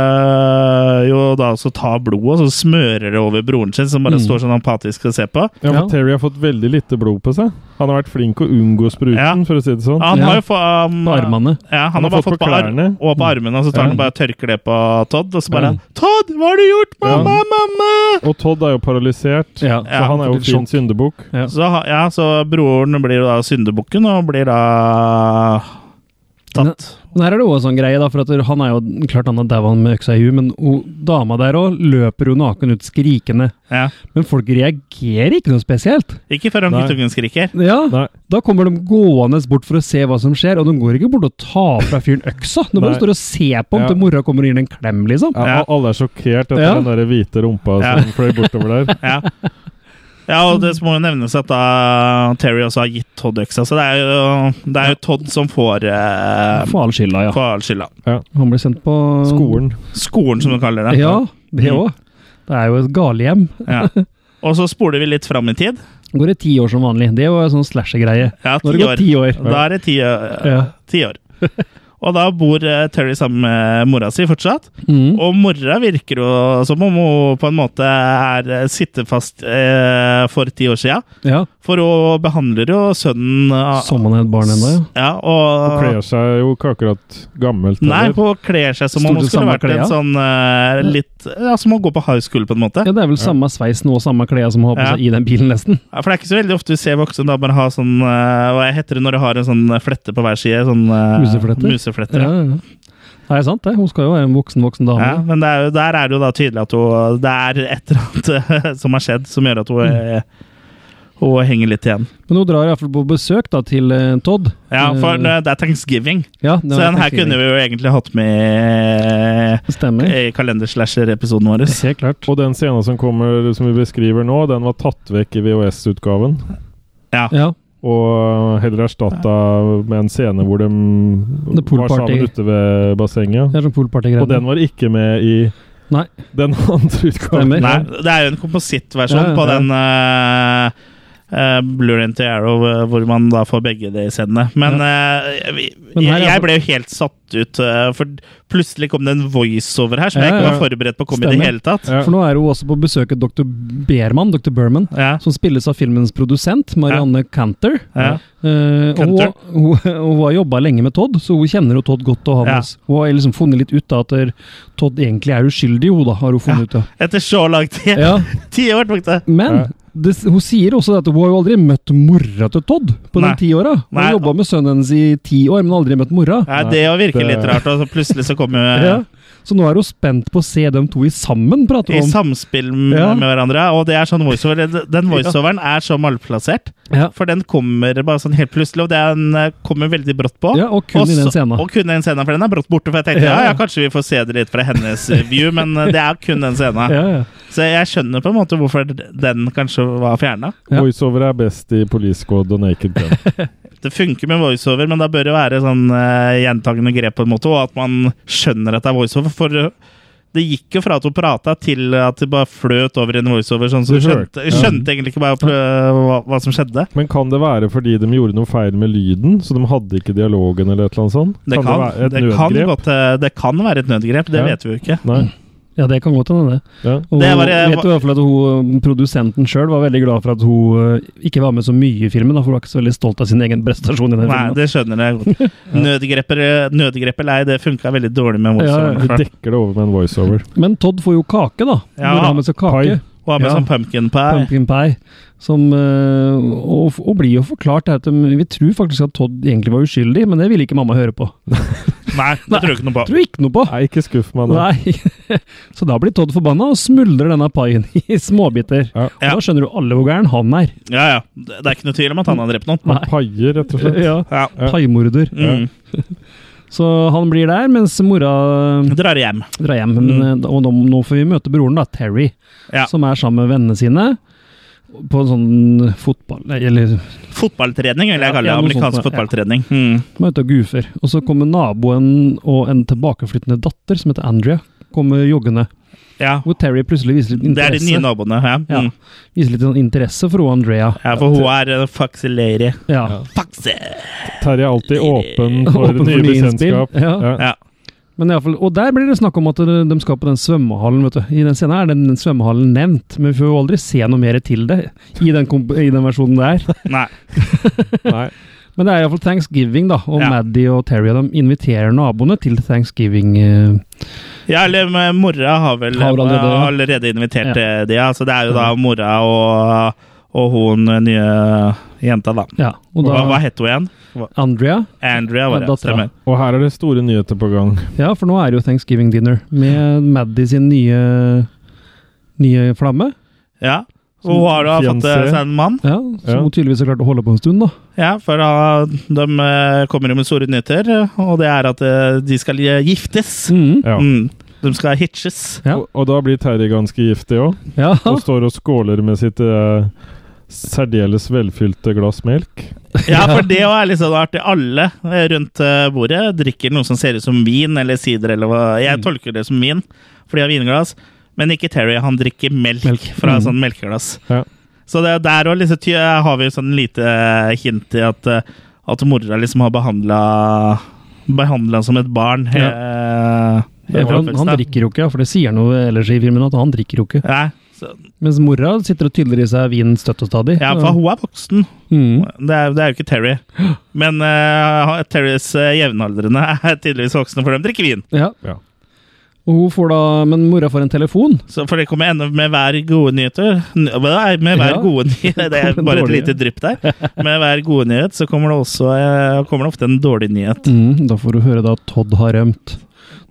Speaker 1: øh, jo da også tar blodet og så smører det over broren sin, som bare
Speaker 3: Mm.
Speaker 1: står sånn apatisk og ser på.
Speaker 2: Ja,
Speaker 3: Ja.
Speaker 2: for Terry har fått veldig lite blod på seg. Han har vært flink å unngå spruten,
Speaker 1: Ja.
Speaker 2: for å si det sånn.
Speaker 1: Han
Speaker 3: Ja.
Speaker 1: har jo fått um,
Speaker 3: På armene.
Speaker 1: Ja, han, har bare fått på, ar
Speaker 2: klærne.
Speaker 1: og på armene, og så tar
Speaker 2: Ja.
Speaker 1: han bare og tørker det på Todd, og så
Speaker 2: Ja.
Speaker 1: bare 'Todd, hva har du gjort? Mamma, mamma!'
Speaker 2: Og Todd er jo paralysert,
Speaker 3: Ja.
Speaker 2: så han er jo
Speaker 3: litt
Speaker 2: fin syndebukk.
Speaker 3: Ja.
Speaker 1: Så, ha- ja, så broren blir jo da syndebukken, og blir da tatt.
Speaker 3: Men her er det også en sånn greie, da, for at han er jo klart han har daua med øksa i huet, men o- dama der òg løper jo naken ut skrikende.
Speaker 1: Ja.
Speaker 3: Men folk reagerer ikke noe spesielt.
Speaker 1: Ikke før han
Speaker 2: Nei.
Speaker 1: guttungen skriker.
Speaker 3: Ja,
Speaker 2: Nei.
Speaker 3: Da kommer de gående bort for å se hva som skjer, og de går ikke bort og tar fra fyren øksa. De bare
Speaker 2: Nei.
Speaker 3: står og ser på ham
Speaker 2: Ja.
Speaker 3: til mora kommer og gir den en klem, liksom.
Speaker 2: Ja,
Speaker 1: Ja.
Speaker 2: og Alle er sjokkert etter
Speaker 3: Ja.
Speaker 2: den der hvite rumpa
Speaker 1: Ja.
Speaker 2: som fløy bortover der.
Speaker 1: Ja. ja, og det må jo nevnes at da Terry også har gitt Todd øksa, så det er jo, det er jo Todd som får, eh,
Speaker 3: For all skylda, ja.
Speaker 1: får all skylda.
Speaker 3: Han blir sendt på
Speaker 2: Skolen.
Speaker 1: Skolen, som du kaller det.
Speaker 3: Ja, det
Speaker 1: Mm.
Speaker 3: òg. Det er jo et galehjem.
Speaker 1: Ja. Og så spoler vi litt fram i tid.
Speaker 3: Går i ti år som vanlig. Det er jo en sånn slasher-greie.
Speaker 1: Ja,
Speaker 3: Nå
Speaker 1: ti
Speaker 3: har det gått
Speaker 1: år.
Speaker 3: ti år.
Speaker 1: Da er det ti, eh,
Speaker 3: Ja.
Speaker 1: ti år. Og da bor eh, Terry sammen med mora si fortsatt.
Speaker 3: Mm.
Speaker 1: Og mora virker jo som om hun på en måte er eh, sitter fast eh, for ti år sia.
Speaker 3: ja.
Speaker 1: For hun behandler jo sønnen eh,
Speaker 3: Som han er et barn ennå, ja.
Speaker 1: ja, og,
Speaker 2: Og kler seg jo ikke akkurat gammelt.
Speaker 1: Nei,
Speaker 2: heller.
Speaker 1: hun kler seg som om
Speaker 3: Stort
Speaker 1: hun
Speaker 3: sett
Speaker 1: skulle
Speaker 3: samme
Speaker 1: vært en
Speaker 3: klær.
Speaker 1: sånn eh, litt Ja, som å gå på high school, på en måte.
Speaker 3: Ja, Det er vel samme sveisen og samme klær som har på
Speaker 1: Ja.
Speaker 3: seg i den bilen, nesten.
Speaker 1: Ja, For det er ikke så veldig ofte du ser voksne damer ha sånn eh, Hva heter det når du har en sånn flette på hver side? Sånn eh,
Speaker 3: Musefletter?
Speaker 1: musefletter,
Speaker 3: Ja,
Speaker 1: ja.
Speaker 3: ja. Det er sant, det. Hun skal jo være en voksen, voksen dame.
Speaker 1: Ja, men det er jo, der er det jo da tydelig at hun, det er et eller annet eh, som har skjedd som gjør at hun,
Speaker 3: Mm.
Speaker 1: eh, hun henger litt igjen.
Speaker 3: Men hun drar iallfall på besøk da, til eh, Todd.
Speaker 1: Ja, for
Speaker 3: Eh,
Speaker 1: eh, det er thanksgiving,
Speaker 3: ja,
Speaker 1: så den her kunne vi jo egentlig hatt med
Speaker 3: Stemmer.
Speaker 1: eh, i kalender-slasher-episoden vår.
Speaker 3: Helt klart.
Speaker 2: Og den scenen som kommer, som vi beskriver nå, den var tatt vekk i VHS-utgaven.
Speaker 1: Ja.
Speaker 3: Ja,
Speaker 2: Og heller erstatta med en scene hvor de
Speaker 3: The pool
Speaker 2: var sammen
Speaker 3: party.
Speaker 2: ute ved bassenget.
Speaker 3: det
Speaker 2: Og
Speaker 3: er sånn
Speaker 2: den
Speaker 3: poolpartygreie.
Speaker 2: var ikke med i
Speaker 3: Nei.
Speaker 2: den andre utgaven.
Speaker 3: Stemmer.
Speaker 1: Nei, det er jo en komposittversjon
Speaker 3: Ja, ja,
Speaker 1: på
Speaker 3: ja.
Speaker 1: den uh, uh, Blurren til Arrow, eh, hvor man da får begge de scenene. Men, eh, vi,
Speaker 3: Men her
Speaker 1: jeg,
Speaker 3: er-
Speaker 1: jeg ble jo helt satt ut, eh, for plutselig kom det en voiceover her som jeg
Speaker 3: Ja,
Speaker 1: ikke
Speaker 2: ja.
Speaker 1: var forberedt på å komme i
Speaker 3: Stemmer.
Speaker 1: det hele tatt.
Speaker 2: Ja.
Speaker 3: For nå er hun også på besøk hos dr. Berman, dr. Berman,
Speaker 1: Ja,
Speaker 3: som spilles av filmens produsent, Marianne Cantor.
Speaker 1: ja.
Speaker 3: Eh, og hun,
Speaker 1: Cantor.
Speaker 3: hun, hun har jobba lenge med Todd, så hun kjenner jo Todd godt. Og
Speaker 1: Ja.
Speaker 3: hans. Hun har liksom funnet litt ut av at der- Todd egentlig er uskyldig, hun da, har hun funnet ut av.
Speaker 1: Etter så lang tid.
Speaker 3: Ja.
Speaker 1: Ti år tok det.
Speaker 2: Ja.
Speaker 3: Men det, hun sier også at hun har jo aldri møtt mora til Todd på
Speaker 1: Nei.
Speaker 3: de ti åra. Hun
Speaker 1: Nei.
Speaker 3: har jobba med sønnen hennes i ti år, men aldri møtt mora.
Speaker 1: Ja, det jo virker
Speaker 2: det-
Speaker 1: litt rart, og så plutselig så kommer jo eh,
Speaker 3: Ja. Så nå er hun spent på å se dem to i sammen, prater
Speaker 1: I
Speaker 3: hun om.
Speaker 1: samspill m-
Speaker 3: Ja.
Speaker 1: med hverandre, og det er sånn voiceover. Den voiceoveren er så malplassert,
Speaker 3: Ja.
Speaker 1: for den kommer bare sånn helt plutselig, og den eh, kommer veldig brått på.
Speaker 3: ja, og kun
Speaker 1: Og
Speaker 3: i den
Speaker 1: så-
Speaker 3: scenen.
Speaker 1: Og kun den scenen, for den er brått borte. For jeg tenkte ja,
Speaker 3: Ja.
Speaker 1: ja, kanskje vi får se det litt fra hennes eh, view, men eh, det er kun den scenen.
Speaker 3: Ja, ja.
Speaker 1: Så jeg skjønner på en måte hvorfor den kanskje var fjerna.
Speaker 3: Ja.
Speaker 2: Voiceover er best i Police Squad og Naked Gun.
Speaker 1: Det funker med voiceover, men da bør det være sånn eh, gjentagende grep, på en måte, og at man skjønner at det er voiceover. For eh, det gikk jo fra at hun prata, til at det bare fløt over i en voiceover. Sånn, så
Speaker 2: Det
Speaker 1: du
Speaker 2: hørte-
Speaker 1: skjønte, skjønte egentlig ikke bare eh, hva, hva som skjedde.
Speaker 2: Men kan det være fordi de gjorde noe feil med lyden? Så de hadde ikke dialogen eller et eller annet sånt?
Speaker 1: Det kan,
Speaker 2: være et
Speaker 1: det kan,
Speaker 2: nødgrep?
Speaker 1: godt, eh, det kan være et nødgrep, det
Speaker 2: Ja.
Speaker 1: vet vi jo ikke.
Speaker 2: Nei.
Speaker 3: ja, det kan godt hende, det.
Speaker 2: Ja.
Speaker 3: Og
Speaker 1: Det var-
Speaker 3: vet du i hvert fall at hun, um, Produsenten sjøl var veldig glad for at hun eh, ikke var med så mye i filmen. Da, for hun var ikke så veldig stolt av sin egen prestasjon i den
Speaker 1: Nei,
Speaker 3: filmen.
Speaker 1: det skjønner jeg godt. Nødgrepper, nødgrep eller ei, det funka veldig dårlig med
Speaker 3: Ja,
Speaker 2: Du
Speaker 1: voiceover. Ja,
Speaker 2: dekker det over med en voiceover.
Speaker 3: Men Todd får jo kake, da.
Speaker 1: Ja.
Speaker 3: Burde ha med seg kake.
Speaker 2: Pai.
Speaker 1: Hun har med
Speaker 3: Ja.
Speaker 1: sånn pumpkin pie.
Speaker 3: Pumpkin pie. Som, eh, og, og blir jo forklart at de, Vi tror faktisk at Todd egentlig var uskyldig, men det ville ikke mamma høre på.
Speaker 1: Nei, det tror jeg ikke noe på.
Speaker 3: Tror ikke noe på!
Speaker 2: Nei, ikke skuff meg nå.
Speaker 3: Nei. Så da blir Todd forbanna og smuldrer denne paien i småbiter.
Speaker 2: Ja.
Speaker 3: Og da skjønner du alle hvor gæren han er.
Speaker 1: Ja, ja. Det det er ikke noe tvil om at han har drept noen.
Speaker 3: Nei.
Speaker 2: Paier, rett og slett.
Speaker 3: Ja,
Speaker 1: Ja.
Speaker 2: Ja.
Speaker 3: paimorder.
Speaker 1: Mm.
Speaker 3: Så han blir der, mens mora eh,
Speaker 1: Drar hjem.
Speaker 3: drar hjem. Men,
Speaker 2: Mm.
Speaker 3: eh, Og nå, nå får vi møte broren, da, Terry,
Speaker 1: Ja.
Speaker 3: som er sammen med vennene sine. På en sånn fotball... nei, Eller
Speaker 1: Fotballtrening, vil
Speaker 3: Ja,
Speaker 1: jeg kalle det.
Speaker 3: ja, noe sånt,
Speaker 1: Amerikansk
Speaker 3: ja.
Speaker 1: fotballtrening. Mm.
Speaker 3: som er ute og goofer. Og så kommer naboen og en tilbakeflyttende datter som heter Andrea, kommer joggende.
Speaker 1: Ja.
Speaker 3: Hvor Terry plutselig viser litt
Speaker 1: Det er de nye
Speaker 3: interesse,
Speaker 1: naboene. Ja.
Speaker 3: Ja.
Speaker 1: Mm.
Speaker 3: viser litt sånn interesse for hun Andrea.
Speaker 1: ja, for hun er eh, en faxe lady.
Speaker 3: Ja.
Speaker 2: Ja.
Speaker 1: Faxe!
Speaker 2: Terje er alltid åpen for
Speaker 3: Åpen for
Speaker 2: nye
Speaker 3: nye innspill.
Speaker 2: bekjentskap.
Speaker 3: Ja.
Speaker 1: Ja.
Speaker 3: Men i alle fall, og der blir det snakk om at de de skal på den svømmehallen. vet du. I den scenen er den, den svømmehallen nevnt, men vi får jo aldri se noe mer til det i den, komp i den versjonen der.
Speaker 1: Nei.
Speaker 2: Nei.
Speaker 3: Men det er iallfall thanksgiving, da, og
Speaker 1: Ja.
Speaker 3: Maddie og Terry og dem inviterer naboene til thanksgiving. eh,
Speaker 1: Ja, eller men mora har vel
Speaker 3: Har allerede-
Speaker 1: har allerede invitert eh, de, ja. Så det er jo da
Speaker 3: Ja.
Speaker 1: mora og, og hun eh, nye jenta, da.
Speaker 3: Ja, og
Speaker 1: hva, hva
Speaker 3: da
Speaker 1: het hun igjen?
Speaker 3: Andrea.
Speaker 1: Andrea, var
Speaker 3: Ja,
Speaker 1: det.
Speaker 3: dattera.
Speaker 1: Stemmer.
Speaker 2: Og her er det store nyheter på gang.
Speaker 3: Ja, for nå er det jo thanksgiving dinner med Maddie sin nye nye flamme.
Speaker 1: Ja. Og hun har da fått eh,
Speaker 2: Sånn Fiancé.
Speaker 1: seg en mann,
Speaker 3: Ja, Som
Speaker 2: Ja.
Speaker 3: hun tydeligvis har klart å holde på en stund, da.
Speaker 1: ja, for da, de eh, kommer jo med store nyheter, eh, og det er at eh, de skal eh, giftes.
Speaker 3: Mhm.
Speaker 2: Ja.
Speaker 1: Mm. De skal hitches.
Speaker 3: Ja.
Speaker 2: Og, og da blir Terje ganske giftig òg,
Speaker 3: Ja.
Speaker 2: og står og skåler med sitt eh, særdeles velfylte glass melk.
Speaker 1: Ja, for det er liksom artig. Alle eh, rundt eh, bordet drikker noe som ser ut som vin eller sider eller hva. Jeg
Speaker 3: Mm.
Speaker 1: tolker det som vin, for de har vinglass. Men ikke Terry. Han drikker melk,
Speaker 3: Melk.
Speaker 1: fra
Speaker 3: Mm.
Speaker 1: sånn melkeglass.
Speaker 2: Ja.
Speaker 1: Så det, der òg liksom, ty- har vi jo sånn lite hint i at, eh, at mora liksom har behandla Behandla som et barn.
Speaker 3: Ja.
Speaker 1: eh,
Speaker 3: Ja,
Speaker 1: hele
Speaker 3: for han,
Speaker 1: oppveksten.
Speaker 3: han drikker jo ikke, for det sier noe ellers i filmen at han drikker jo ikke.
Speaker 1: Nei, så,
Speaker 3: Mens mora sitter og tyller i seg vin støtt og stadig.
Speaker 1: ja, for hun er voksen.
Speaker 3: Mm.
Speaker 1: Det er, det er jo ikke Terry. Men eh, Terrys eh, jevnaldrende er tydeligvis voksne, for de drikker vin.
Speaker 3: Ja.
Speaker 2: Ja.
Speaker 3: Og hun får da, men mora får en telefon.
Speaker 1: Så for det kommer enda med hver gode nyheter N- Nei, Med hver
Speaker 3: Ja.
Speaker 1: gode nyhet Det er
Speaker 3: Kommer
Speaker 1: bare et
Speaker 3: dårlige.
Speaker 1: lite drypp der. Med hver gode nyhet så kommer det også eh, kommer det ofte en dårlig nyhet.
Speaker 3: Mm, da får hun høre da at Todd har rømt.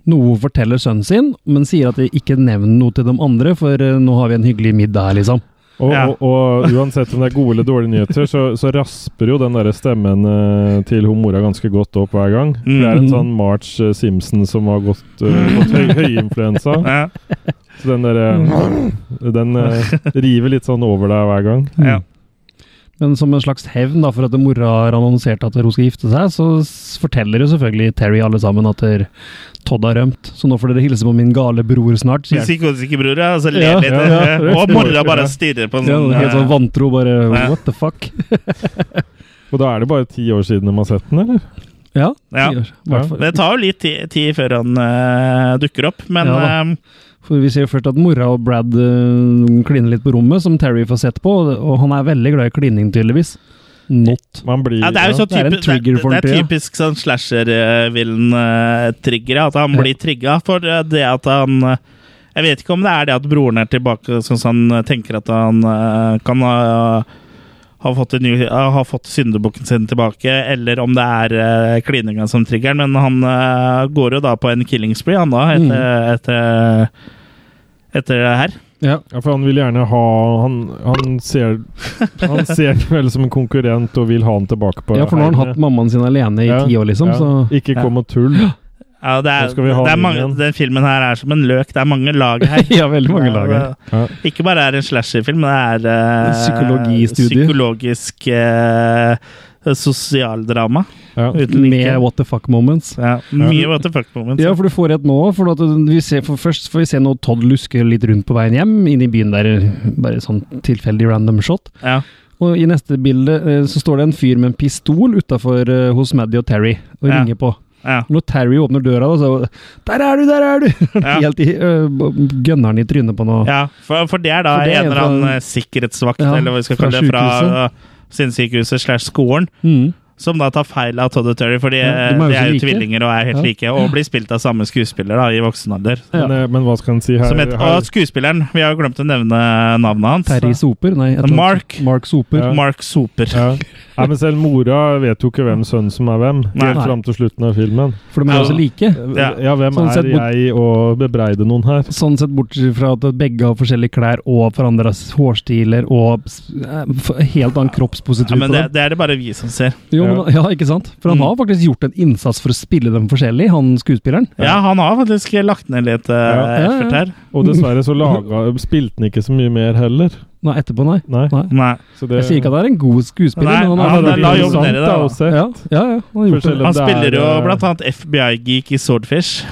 Speaker 3: Noe hun forteller sønnen sin, men sier at de ikke nevner noe til de andre, for eh, nå har vi en hyggelig middag her, liksom.
Speaker 2: Og,
Speaker 1: Ja.
Speaker 2: og, og uansett om det er gode eller dårlige nyheter, så, så rasper jo den der stemmen eh, til hun mora ganske godt opp hver gang. For Det er
Speaker 3: Mm.
Speaker 2: en sånn March eh, Simpson som har gått, eh, fått høy, høyinfluensa.
Speaker 1: Mm. Ja,
Speaker 2: Så den der
Speaker 3: Mm.
Speaker 2: eh, Den eh, river litt sånn over deg hver gang.
Speaker 1: ja.
Speaker 3: Men som en slags hevn da, for at mora har annonsert at hun skal gifte seg, så s- forteller jo selvfølgelig Terry alle sammen at der Todd har rømt. Så nå får dere hilse på min gale bror snart, sier han.
Speaker 1: Psykotiske bror, ja. Så ler
Speaker 3: Ja,
Speaker 1: litt.
Speaker 2: ja, ja.
Speaker 1: Og mora bare stirrer på en
Speaker 3: Ja,
Speaker 1: sånn,
Speaker 3: helt sånn
Speaker 1: eh,
Speaker 3: vantro, bare
Speaker 1: Ja.
Speaker 3: what the fuck?
Speaker 2: Og da er det bare ti år siden de har sett den, eller?
Speaker 3: Ja,
Speaker 1: ja.
Speaker 3: sier- i hvert fall.
Speaker 1: Det tar jo litt ti- tid før han eh, dukker opp, men
Speaker 3: Ja da.
Speaker 1: eh,
Speaker 3: For vi ser jo først at mora og Brad eh, kliner litt på rommet, som Terry får sett på, og- og han er veldig glad i klining, tydeligvis. Not.
Speaker 2: Man blir
Speaker 1: ja, det er jo
Speaker 2: ja.
Speaker 1: så
Speaker 3: det er en
Speaker 1: typisk, det,
Speaker 3: trigger for
Speaker 1: det,
Speaker 3: en
Speaker 1: er
Speaker 3: tre, ja.
Speaker 1: typisk sånn slasher-villen-trigger, at han
Speaker 3: Ja.
Speaker 1: blir trigga for eh, det at han eh, Jeg vet ikke om det er det at broren er tilbake, sånn at han eh, tenker at han eh, kan ha ha fått, en ny, eh, ha fått syndebukken sin tilbake, eller om det er eh, klininga som trigger den. Men han eh, går jo da på en killing spree, han da,
Speaker 3: Mm.
Speaker 1: etter, etter, etter det her.
Speaker 3: Ja.
Speaker 2: Ja, for han vil gjerne ha Han, han ser Han ser den vel som en konkurrent og vil ha han tilbake på
Speaker 3: for nå har han hatt
Speaker 2: heiene.
Speaker 3: mammaen sin alene i
Speaker 2: Ja,
Speaker 3: ti år, liksom,
Speaker 2: ja.
Speaker 3: så
Speaker 2: Ikke kom og tull.
Speaker 1: Ja, det
Speaker 2: Nå
Speaker 1: er,
Speaker 2: skal vi
Speaker 1: det
Speaker 2: ha
Speaker 1: er
Speaker 2: den
Speaker 1: mange,
Speaker 2: igjen.
Speaker 1: den filmen her er som en løk. Det er mange lag her.
Speaker 3: Ja, veldig mange lag her.
Speaker 2: Ja.
Speaker 1: Ikke bare er det en slasherfilm, men det er eh,
Speaker 3: Psykologistudie.
Speaker 1: Psykologisk eh, sosialdrama.
Speaker 2: Ja.
Speaker 1: Uten
Speaker 3: med
Speaker 1: like.
Speaker 3: what the fuck moments.
Speaker 1: Ja, mye what the fuck moments.
Speaker 3: Ja, for du får et nå, for, at vi ser, for først får vi se når Todd lusker litt rundt på veien hjem, inn i byen der, bare sånn tilfeldig random shot.
Speaker 1: Ja.
Speaker 3: Og i neste bilde eh, så står det en fyr med en pistol utafor hos Maddie og Terry, og
Speaker 1: Ja.
Speaker 3: ringer på.
Speaker 1: Ja.
Speaker 3: Når Terry åpner døra, da, så Der er du, der er du!
Speaker 1: Ja.
Speaker 3: Helt i øh, Gønner han i trynet på noe.
Speaker 1: ja, for, for det er da
Speaker 3: For det er
Speaker 1: en eller
Speaker 3: fra-
Speaker 1: annen eh, sikkerhetsvakt,
Speaker 3: Ja,
Speaker 1: eller hva vi skal
Speaker 3: fra
Speaker 1: kalle det, fra eh, sinnssykehuset slash skolen,
Speaker 3: Mm.
Speaker 1: Som da tar feil av Todd og Terry, for de,
Speaker 3: Ja, de er jo
Speaker 1: de er jo
Speaker 3: så like.
Speaker 1: tvillinger og er helt
Speaker 3: Ja.
Speaker 1: like. Og blir spilt av samme skuespiller da, i voksen alder.
Speaker 3: Ja.
Speaker 2: Men, eh, men hva skal en si her?
Speaker 1: Som heter,
Speaker 2: her?
Speaker 1: og skuespilleren, vi har jo glemt å nevne navnet hans.
Speaker 3: Terry Soper? Nei, et eller annet.
Speaker 1: Mark.
Speaker 3: Mark Soper.
Speaker 2: Ja.
Speaker 1: Mark Soper.
Speaker 2: Ja. Nei, men selv mora vet jo ikke hvem sønnen som er hvem,
Speaker 1: Nei.
Speaker 2: helt fram til slutten av filmen.
Speaker 3: For de er jo
Speaker 1: Ja.
Speaker 3: så like.
Speaker 2: Ja,
Speaker 1: Ja.
Speaker 2: hvem
Speaker 3: Sånn sett
Speaker 2: er
Speaker 3: bort-
Speaker 2: jeg å bebreide noen her?
Speaker 3: Sånn sett bortsett fra at begge har forskjellige klær og forandres hårstiler og s- eh, f- helt annen kroppspositur.
Speaker 1: Ja, men
Speaker 3: på
Speaker 1: det,
Speaker 3: dem.
Speaker 1: det er det bare vi som ser.
Speaker 3: Jo, men, ja, ikke sant? For han
Speaker 1: Mm.
Speaker 3: har faktisk gjort en innsats for å spille dem forskjellig, han skuespilleren.
Speaker 1: Ja, han har faktisk lagt ned litt eh,
Speaker 2: Ja.
Speaker 3: Ja, ja.
Speaker 1: effort her.
Speaker 2: Og dessverre så laga, spilte han ikke så mye mer heller.
Speaker 3: Nei, etterpå, nei.
Speaker 2: Nei.
Speaker 3: nei.
Speaker 1: Nei.
Speaker 2: Så det,
Speaker 3: Jeg sier ikke at det er en god skuespiller,
Speaker 1: Nei,
Speaker 3: men
Speaker 1: ja,
Speaker 3: han
Speaker 1: men
Speaker 3: har sånn-
Speaker 1: det la
Speaker 2: er
Speaker 1: jobben
Speaker 2: interessant,
Speaker 1: nede, da.
Speaker 2: å se.
Speaker 3: Ja, ja, ja, han har gjort
Speaker 2: Forskjellig.
Speaker 3: det.
Speaker 1: Han
Speaker 2: det er,
Speaker 1: spiller jo
Speaker 2: eh,
Speaker 1: blant annet FBI-geek i Swordfish.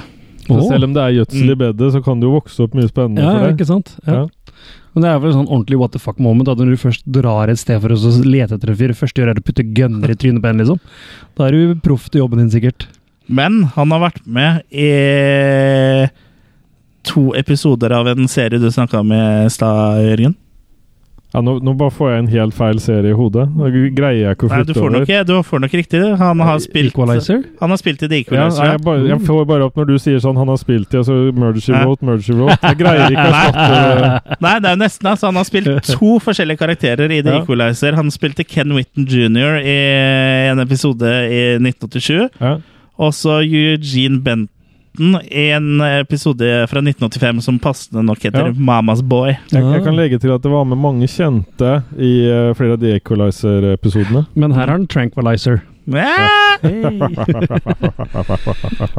Speaker 2: Så
Speaker 3: Åh.
Speaker 2: selv om det er gjødsel i
Speaker 1: Mm.
Speaker 2: bedet, så kan det jo vokse opp mye spennende
Speaker 3: Ja, ja,
Speaker 2: for deg.
Speaker 3: ikke sant? Ja.
Speaker 2: Ja.
Speaker 3: Men det er vel sånn ordentlig what the fuck moment, at når du først drar et sted for å så lete etter en fyr, det første du gjør er å putte gunner i trynet på en, liksom. Da er du proff til jobben din, sikkert.
Speaker 1: Men han har vært med i to episoder av en serie du snakka om i stad, Jørgen.
Speaker 2: Ja, nå, nå bare får jeg en helt feil serie i hodet. Nå greier jeg ikke å
Speaker 1: Nei, du
Speaker 2: flytte
Speaker 1: får
Speaker 2: over.
Speaker 1: nok, du får nok riktig. du. Han har spilt eh,
Speaker 3: Equalizer?
Speaker 1: Han har spilt i The
Speaker 2: Ja,
Speaker 1: Equalizer.
Speaker 2: nei, jeg, bare, jeg får bare opp når du sier sånn 'han har spilt i', altså 'murder she
Speaker 1: Ja.
Speaker 2: wrote', 'murder she wrote'. Jeg greier ikke å fatte
Speaker 1: Nei. Nei, det er jo nesten. Altså, han har spilt to forskjellige karakterer i The
Speaker 2: Ja.
Speaker 1: Equalizer. Han spilte Ken Whitten jr. i en episode i 1987.
Speaker 2: ja.
Speaker 1: Og så Eugene Benton i en episode fra 1985 som passende nok heter
Speaker 2: Ja.
Speaker 1: Mamas Boy.
Speaker 2: jeg, jeg kan legge til at det var med mange kjente i eh, flere av de Equalizer-episodene.
Speaker 3: Men her er den Tranquilizer.
Speaker 1: Ja.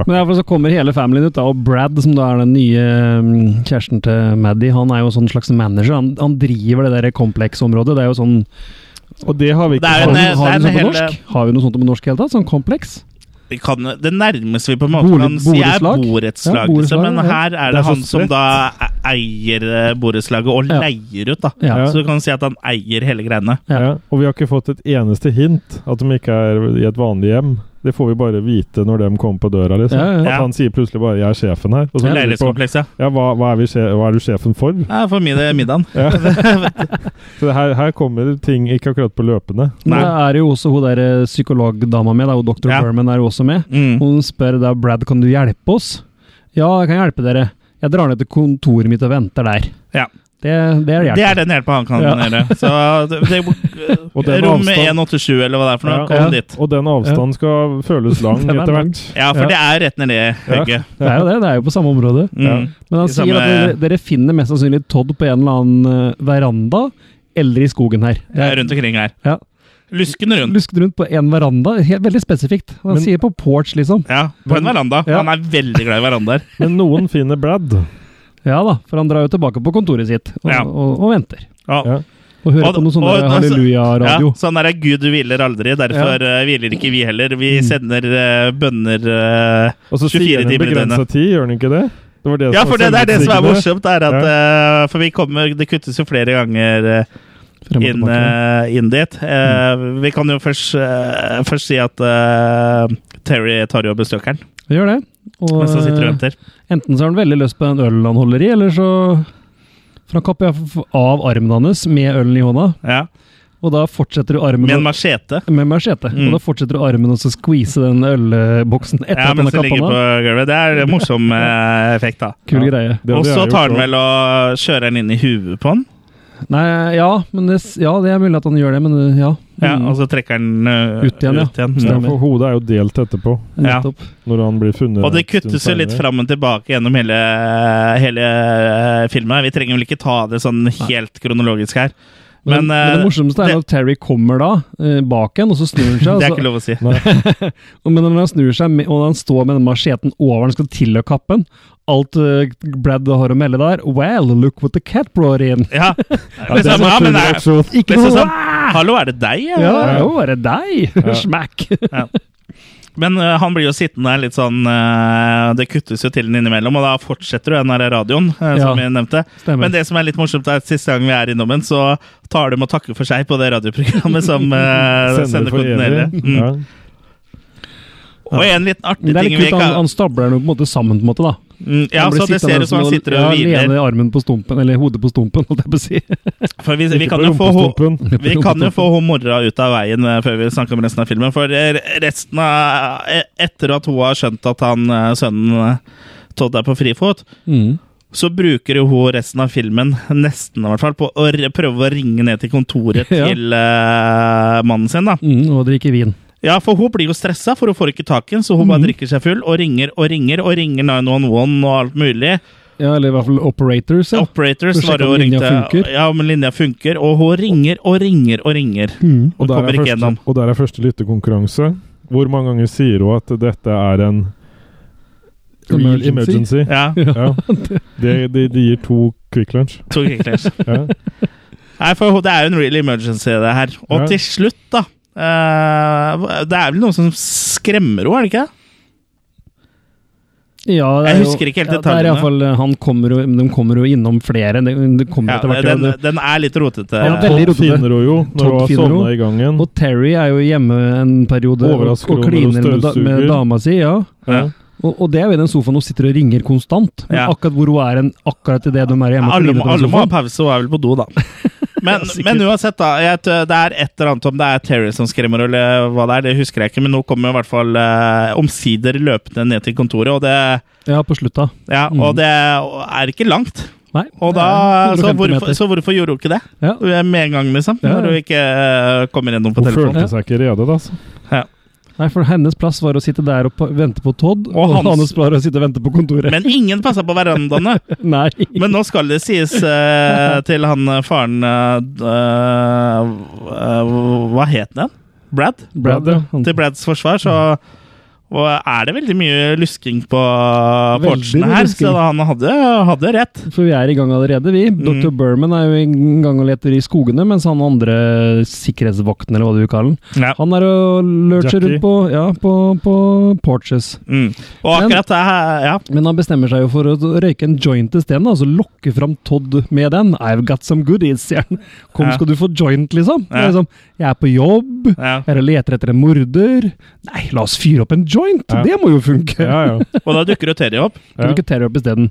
Speaker 3: Men derfor så kommer hele familien ut, da, og Brad, som da er den nye mm, kjæresten til Maddy, han er jo en sånn slags manager. Han, han driver det der kompleksområdet. Det er jo sånn
Speaker 2: Og det har vi ikke
Speaker 1: Det er jo
Speaker 3: Har
Speaker 1: en-
Speaker 3: vi,
Speaker 1: det er hele-
Speaker 2: fått.
Speaker 3: har vi noe sånt på norsk? Har vi noe sånt på norsk i det hele tatt? Sånn kompleks?
Speaker 1: Vi kan, det nærmeste vi på en måte
Speaker 3: Bolig-
Speaker 1: kan si, er
Speaker 3: borettslag? Ja,
Speaker 1: borettslag.
Speaker 3: borettslag,
Speaker 1: liksom, men
Speaker 3: ja.
Speaker 1: her er det,
Speaker 2: Det er så
Speaker 1: han som
Speaker 2: spredt.
Speaker 1: da e- eier eh, borettslaget, og
Speaker 3: Ja.
Speaker 1: leier ut, da.
Speaker 3: Ja.
Speaker 2: Ja.
Speaker 1: Så du kan si at han eier hele greiene.
Speaker 2: Ja. Og vi har ikke fått et eneste hint at de ikke er i et vanlig hjem. Det får vi bare vite når de kommer på døra. liksom.
Speaker 3: Ja, ja, ja.
Speaker 2: At han sier plutselig bare 'jeg er sjefen her'. Og så lurer vi på
Speaker 1: Leilighetskomplekset.
Speaker 2: ja, hva, hva, er vi sje, 'hva er du sjefen for'?
Speaker 1: Ja, for mye det er middagen.
Speaker 2: Ja. Så det her, her kommer ting ikke akkurat på løpende.
Speaker 1: Nei.
Speaker 3: Da er jo også hun der eh, psykologdama med, da, hun dr.
Speaker 1: Ja.
Speaker 3: Berman er jo også med.
Speaker 1: Mm.
Speaker 3: Hun spør da Brad kan du hjelpe oss. Ja, jeg kan hjelpe dere. Jeg drar ned til kontoret mitt og venter der.
Speaker 1: Ja.
Speaker 3: Det, det er hjelp.
Speaker 1: Det er den hjelpa han kan
Speaker 3: Ja.
Speaker 1: gjøre. Så det, det,
Speaker 2: Og den
Speaker 1: rom
Speaker 2: avstand-
Speaker 1: 187, eller hva det er for noe,
Speaker 2: Ja.
Speaker 1: kom
Speaker 3: Ja.
Speaker 1: dit.
Speaker 2: Og den avstanden skal føles lang
Speaker 3: Den er
Speaker 2: etter
Speaker 3: lang.
Speaker 2: hvert.
Speaker 1: Ja, for
Speaker 3: Ja.
Speaker 1: det er rett nedi høyet.
Speaker 3: Det er jo det, det er jo på samme område.
Speaker 2: Ja.
Speaker 1: Mm.
Speaker 3: Men han
Speaker 1: I
Speaker 3: sier
Speaker 1: samme-
Speaker 3: at dere, dere finner mest sannsynlig Todd på en eller annen eh, veranda eller i skogen her.
Speaker 1: Det er rundt omkring her.
Speaker 3: Ja.
Speaker 1: Lusken rundt.
Speaker 3: Lusket rundt på en veranda, helt, veldig spesifikt. Han
Speaker 2: Men-
Speaker 3: sier på porch, liksom.
Speaker 1: Ja, på en
Speaker 2: Men-
Speaker 1: veranda.
Speaker 3: Ja.
Speaker 1: Han er veldig glad i verandaer.
Speaker 2: Men noen finner Brad.
Speaker 3: Ja da, for han drar jo tilbake på kontoret sitt og,
Speaker 1: Ja.
Speaker 3: og, og venter.
Speaker 1: Ja.
Speaker 2: Ja.
Speaker 3: Og hører
Speaker 1: Og-
Speaker 3: på noen sånne
Speaker 1: og- altså- Ja,
Speaker 3: halleluja-radio.
Speaker 1: sånn der er Gud du hviler aldri, derfor eh, hviler ikke vi heller. Vi sender eh, bønner eh,
Speaker 2: Og
Speaker 1: 24
Speaker 2: så sier han en
Speaker 1: timer i
Speaker 2: begrensa
Speaker 1: døgnet.
Speaker 2: tid, gjør han ikke det? Det var det
Speaker 1: Ja,
Speaker 2: som
Speaker 1: for
Speaker 2: var
Speaker 1: det, det er det som er
Speaker 2: selvutviklet.
Speaker 1: morsomt. Er at, eh, for vi kommer, det kuttes jo flere ganger eh,
Speaker 3: Frem og
Speaker 1: inn,
Speaker 3: tilbake.
Speaker 1: eh, inn dit. Eh, Vi kan jo først, eh, først si at eh, Terry tar jo besøkeren,
Speaker 3: Vi gjør det. Og,
Speaker 1: eh, mens han sitter og
Speaker 3: eh,
Speaker 1: venter.
Speaker 3: Enten så har han veldig lyst på den ølen han holder i, eller så For han kapper jeg f- av armen hans med ølen i hånda,
Speaker 1: Ja.
Speaker 3: og da fortsetter du armen
Speaker 1: Med en
Speaker 3: å-
Speaker 1: machete.
Speaker 3: med machete.
Speaker 1: Mm.
Speaker 3: Og da fortsetter du armen og så skvise den ølboksen etter
Speaker 1: Ja,
Speaker 3: at den
Speaker 1: mens
Speaker 3: har
Speaker 1: det ligger
Speaker 3: kappa den
Speaker 1: på
Speaker 3: av.
Speaker 1: gulvet. Det er en morsom eh, effekt, da.
Speaker 3: Kul
Speaker 2: Ja.
Speaker 3: greie.
Speaker 2: Det hadde
Speaker 1: Og så
Speaker 2: jeg
Speaker 1: tar
Speaker 2: gjort
Speaker 1: han vel og kjører den inn i huet på han.
Speaker 3: Nei, ja, men det, s- ja, det er mulig at han gjør det, men uh, ja.
Speaker 1: Ja, altså,
Speaker 3: Mm,
Speaker 1: og så trekker han eh,
Speaker 3: Ut igjen, ja.
Speaker 2: også. Ja,
Speaker 1: Mm.
Speaker 2: for hodet er jo delt etterpå,
Speaker 1: ja.
Speaker 3: nettopp.
Speaker 2: når han blir funnet.
Speaker 1: Mm. Og det
Speaker 2: en stund
Speaker 1: kuttes jo litt
Speaker 2: senere.
Speaker 1: fram og tilbake gjennom hele, hele eh, filmen. Vi trenger vel ikke ta det sånn helt kronologisk her. Men,
Speaker 3: Men, men
Speaker 1: eh,
Speaker 3: det morsomste er
Speaker 1: det-
Speaker 3: når Terry kommer da, eh, bak igjen, og så snur han seg.
Speaker 1: Det er
Speaker 2: altså-
Speaker 3: og så-
Speaker 1: ikke lov å si.
Speaker 3: Og Men når han snur seg, med- og han står med den macheten over han skal til å kappe den Alt eh, Brad har å melde der Well, look what the cat brought in.
Speaker 1: Ja,
Speaker 2: Ja, det er
Speaker 1: liksom, ja men
Speaker 2: naturlig
Speaker 1: det er
Speaker 2: reaksjon.
Speaker 3: Ikke
Speaker 1: liksom
Speaker 3: noe
Speaker 1: sånn Hallo, er det deg?
Speaker 3: Ja,
Speaker 1: eller?
Speaker 3: ja. jo, er det deg?
Speaker 2: Ja.
Speaker 3: Smack!
Speaker 1: Men eh, han blir jo sittende der litt sånn eh, Det kuttes jo til den innimellom, og da fortsetter jo den der radioen, eh, som
Speaker 3: Ja.
Speaker 1: vi nevnte.
Speaker 3: Stemmer.
Speaker 1: Men det som er litt morsomt, er at siste gang vi er innom den, så tar de og takker for seg på det radioprogrammet som eh, sender
Speaker 2: for
Speaker 1: kontinuerlig.
Speaker 2: evig.
Speaker 1: Mm.
Speaker 2: Ja.
Speaker 1: Og en liten artig
Speaker 3: Men det er
Speaker 1: ting
Speaker 3: litt
Speaker 1: vi
Speaker 3: kult, han,
Speaker 1: kan
Speaker 3: han stabler den jo på en måte sammen, på en måte, da.
Speaker 1: Mm, ja,
Speaker 3: Han blir
Speaker 1: så det ser
Speaker 3: sittende
Speaker 1: ut som han
Speaker 3: og-
Speaker 1: sitter og
Speaker 3: Ja,
Speaker 1: hviler.
Speaker 3: lene armen på stumpen, eller hodet på stumpen, holdt jeg på å si.
Speaker 1: For vi, vi
Speaker 2: Ikke
Speaker 1: kan
Speaker 2: på
Speaker 1: jo få ho-
Speaker 2: rumpestumpen.
Speaker 1: Vi kan jo få hun morra ut av veien eh, før vi snakker om resten av filmen. For eh, resten av eh, Etter at hun har skjønt at han eh, sønnen eh, Todd er på frifot,
Speaker 3: Mm.
Speaker 1: så bruker jo hun resten av filmen, nesten i hvert fall, på å r- prøve å ringe ned til kontoret
Speaker 3: Ja.
Speaker 1: til eh, mannen sin. da
Speaker 3: Mm, og drikke vin.
Speaker 1: Ja, for hun blir jo stressa, for hun får ikke tak i den, så hun bare
Speaker 3: Mhm.
Speaker 1: drikker seg full og ringer og ringer og ringer 911 og alt mulig.
Speaker 3: Ja, eller i hvert fall operators. Ja.
Speaker 1: Operators
Speaker 3: For å sjekke
Speaker 1: var jo
Speaker 3: om linja
Speaker 1: ringte
Speaker 3: funker.
Speaker 1: Ja, om linja funker, og hun ringer og ringer og ringer. Hun
Speaker 3: Mm.
Speaker 2: Og der,
Speaker 1: kommer
Speaker 2: er
Speaker 1: ikke
Speaker 2: første,
Speaker 1: gjennom.
Speaker 2: og der er første lyttekonkurranse. Hvor mange ganger sier hun at dette er en real
Speaker 3: Emergency.
Speaker 2: emergency?
Speaker 1: Ja,
Speaker 2: Ja. De, de, de gir to Quick Lunch.
Speaker 1: to kickflips.
Speaker 2: Ja.
Speaker 1: Nei, for det er jo en real emergency, det her. Og
Speaker 2: Ja.
Speaker 1: til slutt, da eh, Det er vel noe som skremmer henne, er det ikke?
Speaker 3: Ja, det er
Speaker 1: Jeg
Speaker 3: jo-
Speaker 1: husker ikke helt
Speaker 3: ja, det er i
Speaker 1: detaljene.
Speaker 3: hvert fall, eh, han kommer jo, de kommer jo innom flere. Det, det kommer
Speaker 1: Ja,
Speaker 3: etter hvert.
Speaker 1: den,
Speaker 3: ja, det-
Speaker 1: den er litt rotete.
Speaker 3: Ja,
Speaker 1: Ja,
Speaker 3: veldig
Speaker 2: Todd
Speaker 3: rotete.
Speaker 2: finner hun jo når hun
Speaker 3: Todd
Speaker 2: har
Speaker 3: finner hun.
Speaker 2: sovna i gangen.
Speaker 3: Og Terry er jo hjemme en periode og,
Speaker 2: Overrasker
Speaker 3: og
Speaker 2: hun når hun
Speaker 3: kliner med, da, med
Speaker 2: støvsuger.
Speaker 3: dama si. ja.
Speaker 2: Ja.
Speaker 3: Og, og det er jo i den sofaen hun sitter og ringer konstant. Men
Speaker 1: Ja.
Speaker 3: akkurat hvor hun er en, akkurat idet de er hjemme og
Speaker 1: alle,
Speaker 3: kliner
Speaker 1: må-
Speaker 3: på den
Speaker 1: alle må ha
Speaker 3: sofaen.
Speaker 1: pause og er vel på do, da. Men,
Speaker 3: sikkert.
Speaker 1: men uansett, da. Jeg, t- det er et eller annet om det er Terry som skremmer, eller hva det er. Det husker jeg ikke, men nå kommer i hvert fall eh, omsider løpende ned til kontoret, og det,
Speaker 3: Ja, på slutta.
Speaker 1: ja,
Speaker 3: Mm.
Speaker 1: og det er ikke langt.
Speaker 3: Nei.
Speaker 1: Og
Speaker 3: det
Speaker 1: da,
Speaker 3: er
Speaker 1: så,
Speaker 3: 150
Speaker 1: hvorfor, altså-
Speaker 3: meter.
Speaker 1: så hvorfor gjorde hun ikke det?
Speaker 3: Ja.
Speaker 1: Med en gang, liksom?
Speaker 3: Ja.
Speaker 1: Når hun ikke eh, kommer gjennom på
Speaker 2: Hun
Speaker 1: telefonen.
Speaker 2: følte seg ikke rede, da. Altså.
Speaker 3: Nei, for hennes plass var å sitte der og pa- vente på Todd,
Speaker 1: Og
Speaker 3: og, hans.
Speaker 1: hans.
Speaker 3: plass var å sitte og vente på kontoret.
Speaker 1: Men ingen passa på verandaene.
Speaker 3: Nei.
Speaker 1: Men nå skal det sies eh, til han eh, faren eh, d- eh, Hva het han? Brad?
Speaker 3: Brad, ja. Han-
Speaker 1: Til Brads forsvar så og er det veldig mye lusking på porchene
Speaker 3: mye
Speaker 1: her,
Speaker 3: lusking.
Speaker 1: så han hadde, hadde rett.
Speaker 3: For vi er i gang allerede, vi.
Speaker 1: Mm.
Speaker 3: Dr. Berman er jo i gang og leter i skogene, mens han andre sikkerhetsvakten, eller hva du vil kalle den,
Speaker 1: Ja.
Speaker 3: han er og lurcher
Speaker 2: Jackie.
Speaker 3: rundt på, ja, på, på porches.
Speaker 1: Mm. Og akkurat det her Ja.
Speaker 3: Men han bestemmer seg jo for å røyke en joint isteden, altså lokke fram Todd med den. I've got some goodies, sier han. Kom,
Speaker 1: Ja.
Speaker 3: skal du få joint, liksom? Det
Speaker 1: Ja.
Speaker 3: er liksom jeg er på jobb,
Speaker 1: ja.
Speaker 3: jeg er og leter etter en morder. Nei, la oss fyre opp en joint!
Speaker 2: Ja.
Speaker 3: Det må jo funke!
Speaker 2: Ja, ja.
Speaker 1: Og da dukker jo Terje opp.
Speaker 3: Kan du ikke terre opp isteden?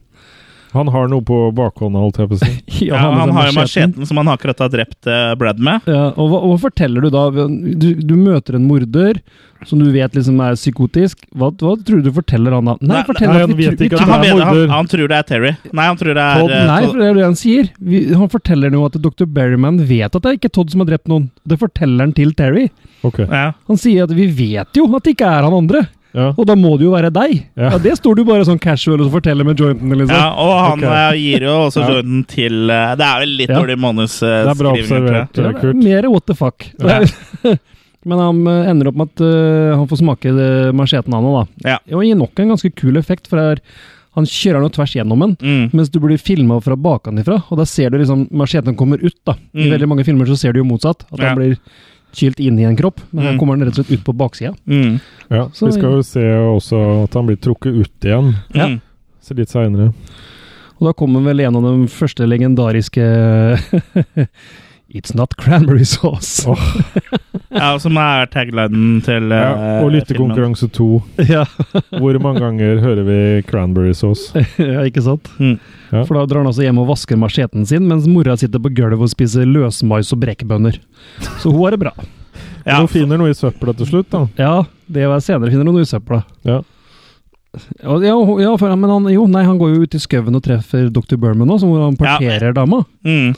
Speaker 2: Han har noe på bakhånda, holdt jeg på å si.
Speaker 1: Ja,
Speaker 3: med
Speaker 1: han
Speaker 3: seg
Speaker 1: har jo
Speaker 3: liksom macheten.
Speaker 1: macheten som han akkurat har drept eh, Brad med.
Speaker 3: Ja, og hva, hva forteller du da? Du, du møter en morder som du vet liksom er psykotisk. Hva, hva tror du du forteller han da? Nei,
Speaker 1: Nei,
Speaker 3: fortell
Speaker 2: nei,
Speaker 3: at
Speaker 2: han
Speaker 3: vi
Speaker 2: vet
Speaker 3: tror-
Speaker 1: Nei,
Speaker 2: ikke at
Speaker 3: vi
Speaker 1: han,
Speaker 2: det er
Speaker 1: mener, han,
Speaker 2: morder.
Speaker 1: han tror det er Terry. Nei, han tror det er
Speaker 3: tror-
Speaker 1: eh,
Speaker 3: Nei,
Speaker 1: Todd.
Speaker 3: for det er det han sier. Vi, han forteller nå at dr. Berryman vet at det er ikke Todd som har drept noen. Det forteller han til Terry.
Speaker 2: Ok.
Speaker 1: Ja.
Speaker 3: Han sier at vi vet jo at det ikke er han andre,
Speaker 2: Ja.
Speaker 3: og da må det jo være deg. Ja,
Speaker 2: Ja.
Speaker 3: Det står du bare sånn casual og så forteller med jointene, liksom.
Speaker 1: Ja, og han
Speaker 2: Ok.
Speaker 1: eh, gir jo også
Speaker 2: Ja.
Speaker 1: jointen til eh, Det er vel litt
Speaker 3: Ja.
Speaker 1: dårlig eh,
Speaker 2: Det er bra
Speaker 1: manusskriving.
Speaker 2: observert,
Speaker 3: Ja,
Speaker 2: eh,
Speaker 3: det er
Speaker 2: Kurt.
Speaker 3: Mer what the fuck.
Speaker 1: Ja.
Speaker 3: Men han eh, ender opp med at eh, han får smake eh, macheten han òg, da.
Speaker 1: Ja.
Speaker 3: Og gir nok en ganske kul effekt, for det er, han kjører den jo tvers gjennom den.
Speaker 1: Mm.
Speaker 3: Mens du blir filma fra bakenfra, og da ser du liksom macheten kommer ut. da. I
Speaker 1: Mm.
Speaker 3: veldig mange filmer så ser du jo motsatt, at
Speaker 1: Ja.
Speaker 3: han blir kylt inn i en kropp. Men
Speaker 1: Mm.
Speaker 3: her kommer han rett og slett ut på baksida.
Speaker 1: Mm.
Speaker 2: Ja.
Speaker 3: Så-
Speaker 2: Vi skal jo se også at han blir trukket ut igjen.
Speaker 3: Ja.
Speaker 1: Mm.
Speaker 2: Så litt seinere.
Speaker 3: Og da kommer vel en av de første legendariske It's not cranberry sauce.
Speaker 2: Åh.
Speaker 1: ja, og som er taglinen til eh,
Speaker 2: Ja, og
Speaker 1: filmen.
Speaker 2: lyttekonkurranse to.
Speaker 3: Ja,
Speaker 2: Hvor mange ganger hører vi cranberry sauce?
Speaker 3: ja, ikke sant?
Speaker 1: Mm.
Speaker 2: Ja.
Speaker 3: For da drar han altså hjem og vasker macheten sin, mens mora sitter på gulvet og spiser løsmais og brekebønner. Så hun har det bra.
Speaker 1: Ja.
Speaker 2: Hun finner noe i søpla til slutt, da.
Speaker 3: Ja, det var senere finner hun noe i søpla.
Speaker 2: Ja.
Speaker 3: Ja, ja, hun- ja, for- men han, jo, nei, han går jo ut i skauen og treffer Dr. Berman nå, som hvor han parterer dama.
Speaker 1: Mm.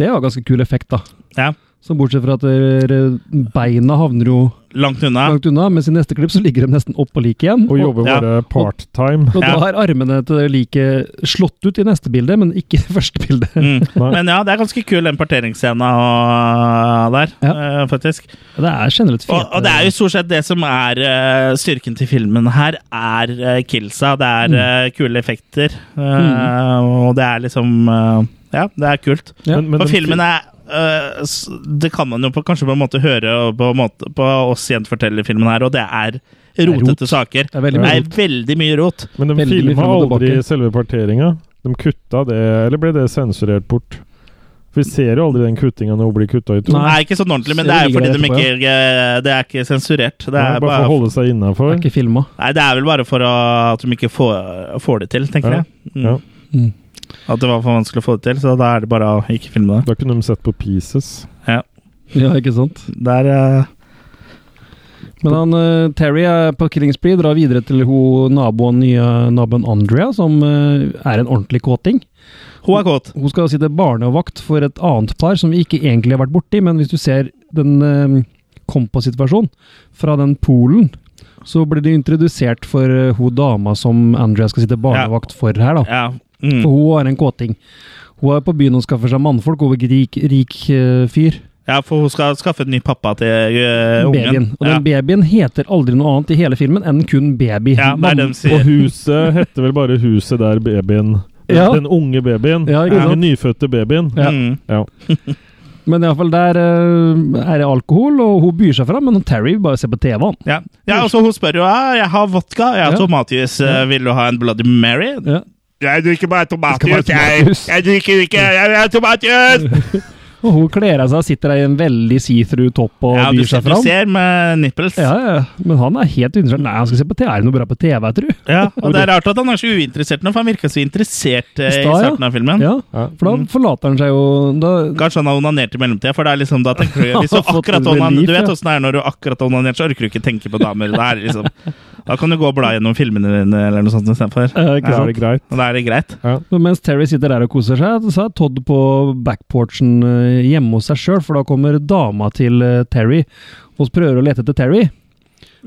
Speaker 3: Det har ganske kul effekt, da.
Speaker 1: Ja.
Speaker 3: Så bortsett fra at eh, beina havner jo
Speaker 1: Langt unna.
Speaker 3: langt unna, mens i neste klipp så ligger de nesten oppå liket igjen.
Speaker 2: Og jobber
Speaker 1: Ja.
Speaker 2: bare part-time.
Speaker 3: og
Speaker 1: Ja.
Speaker 3: da er armene til liket slått ut i neste bilde, men ikke i første bilde.
Speaker 1: Mm.
Speaker 2: Nei.
Speaker 1: Men ja, det er ganske kul den parteringsscena og- der, eh, faktisk.
Speaker 3: Det er generelt fete
Speaker 1: Og, og det er jo stort sett det som er eh, styrken til filmen her, er eh, killsa. Det er eh, kule effekter, eh, og det er liksom eh, Ja, det er kult.
Speaker 3: Ja.
Speaker 2: Men, men
Speaker 1: For
Speaker 2: den fi-
Speaker 1: filmen er øh, s- Det kan man jo på, kanskje på en måte høre og på, en måte, på oss gjenfortelle filmen her, og det er
Speaker 3: er rot.
Speaker 1: rotete saker.
Speaker 3: Det er veldig
Speaker 1: Det
Speaker 3: mye
Speaker 1: er veldig mye rot.
Speaker 2: Men de
Speaker 3: Veldig mye
Speaker 2: filma
Speaker 3: frem og
Speaker 2: aldri
Speaker 3: tilbake.
Speaker 2: selve parteringa. De kutta det, eller ble det sensurert bort? For vi ser jo aldri den kuttinga når hun blir kutta i to.
Speaker 1: Nei,
Speaker 3: Nei.
Speaker 1: ikke sånn ordentlig, men det
Speaker 3: Så
Speaker 1: er jo
Speaker 3: ligger
Speaker 1: fordi
Speaker 3: det
Speaker 1: de
Speaker 3: etterpå,
Speaker 1: ikke øh, Det er ikke sensurert. Det
Speaker 2: Nei,
Speaker 1: er,
Speaker 2: bare for å
Speaker 1: bare,
Speaker 2: holde seg
Speaker 3: Det
Speaker 2: innafor.
Speaker 3: er ikke filma.
Speaker 1: nei, det er vel bare for å, at de ikke får, får det til, tenker
Speaker 2: Ja.
Speaker 1: jeg. Mm. At det var for vanskelig å få det til, så da er det bare å ikke filme det.
Speaker 2: Da kunne de sett på Pieces.
Speaker 3: Ja, ikke sant?
Speaker 1: Der, eh,
Speaker 3: Men han, eh, Terry er på killing spree, drar videre til hun naboen, nye naboen Andrea, som eh, er en ordentlig kåting.
Speaker 1: hun er kåt.
Speaker 3: Hun skal altså sitte barnevakt for et annet par som vi ikke egentlig har vært borti, men hvis du ser den eh, komposituasjonen fra den polen, så blir det introdusert for eh, hun dama som Andrea skal sitte barnevakt for her, da.
Speaker 1: Ja. Mm.
Speaker 3: For hun er en kåting. Hun er på byen og skaffer seg mannfolk, hun er ikke rik, rik eh, fyr.
Speaker 1: ja, for hun skal skaffe en ny pappa til eh,
Speaker 3: Babyen.
Speaker 1: ungen.
Speaker 3: Og den babyen heter aldri noe annet i hele filmen enn kun baby.
Speaker 1: ja. ja, det er det de
Speaker 2: Og
Speaker 1: sier.
Speaker 2: huset heter vel bare huset der babyen
Speaker 3: Ja.
Speaker 2: Den unge babyen.
Speaker 3: Ja, ikke
Speaker 2: den
Speaker 3: sant?
Speaker 2: nyfødte babyen.
Speaker 3: Ja.
Speaker 1: Mm.
Speaker 2: Ja.
Speaker 3: Men iallfall der eh, er det alkohol, og hun byr seg fram, men Terry bare ser på TV. han.
Speaker 1: Ja. ja, og så hun spør jo ja, jeg har vodka, jeg har
Speaker 3: Ja.
Speaker 1: tomatjus, eh, vil du ha en Bloody Mary?
Speaker 3: Ja.
Speaker 1: Jeg drikker bare
Speaker 3: Jeg
Speaker 1: tomatjus,
Speaker 3: skal bare ha
Speaker 1: jeg.
Speaker 3: tomatjus.
Speaker 1: Jeg drikker ikke, jeg vil ha tomatjus!
Speaker 3: Og hun kler av seg, sitter der i en veldig see-through topp og
Speaker 1: Ja, du,
Speaker 3: byr
Speaker 1: ser-
Speaker 3: seg
Speaker 1: du
Speaker 3: fram.
Speaker 1: ser med nipples.
Speaker 3: Ja, ja, ja. Men han er helt uinteressert. Nei, han skal se på TV. Er det noe bra på TV, tru?
Speaker 1: Ja, og det er rart at han er så uinteressert nå, for han virka så interessert eh,
Speaker 3: I
Speaker 1: i
Speaker 3: stad, ja.
Speaker 1: starten av filmen.
Speaker 3: Ja,
Speaker 2: Ja.
Speaker 3: for da
Speaker 1: Mm.
Speaker 3: forlater han seg jo da,
Speaker 1: Kanskje han har onanert i mellomtida, for det er liksom da tenker du hvis du,
Speaker 3: Han har fått
Speaker 1: akkurat
Speaker 3: et
Speaker 1: onan,
Speaker 3: relief,
Speaker 1: du vet
Speaker 3: ja.
Speaker 1: åssen det er når du akkurat har onanert, så orker du ikke tenke på damer. Det er liksom, da kan du gå og bla gjennom filmene dine eller noe sånt istedenfor.
Speaker 3: eh,
Speaker 2: Ja,
Speaker 3: Ikke
Speaker 2: er
Speaker 3: sant?
Speaker 2: det greit?
Speaker 1: Og da er det greit.
Speaker 3: Men mens Terry sitter der og koser seg, så er Todd på backporchen eh, hjemme hos seg sjøl, for da kommer dama til eh, Terry og prøver å lete etter Terry.
Speaker 1: Ja,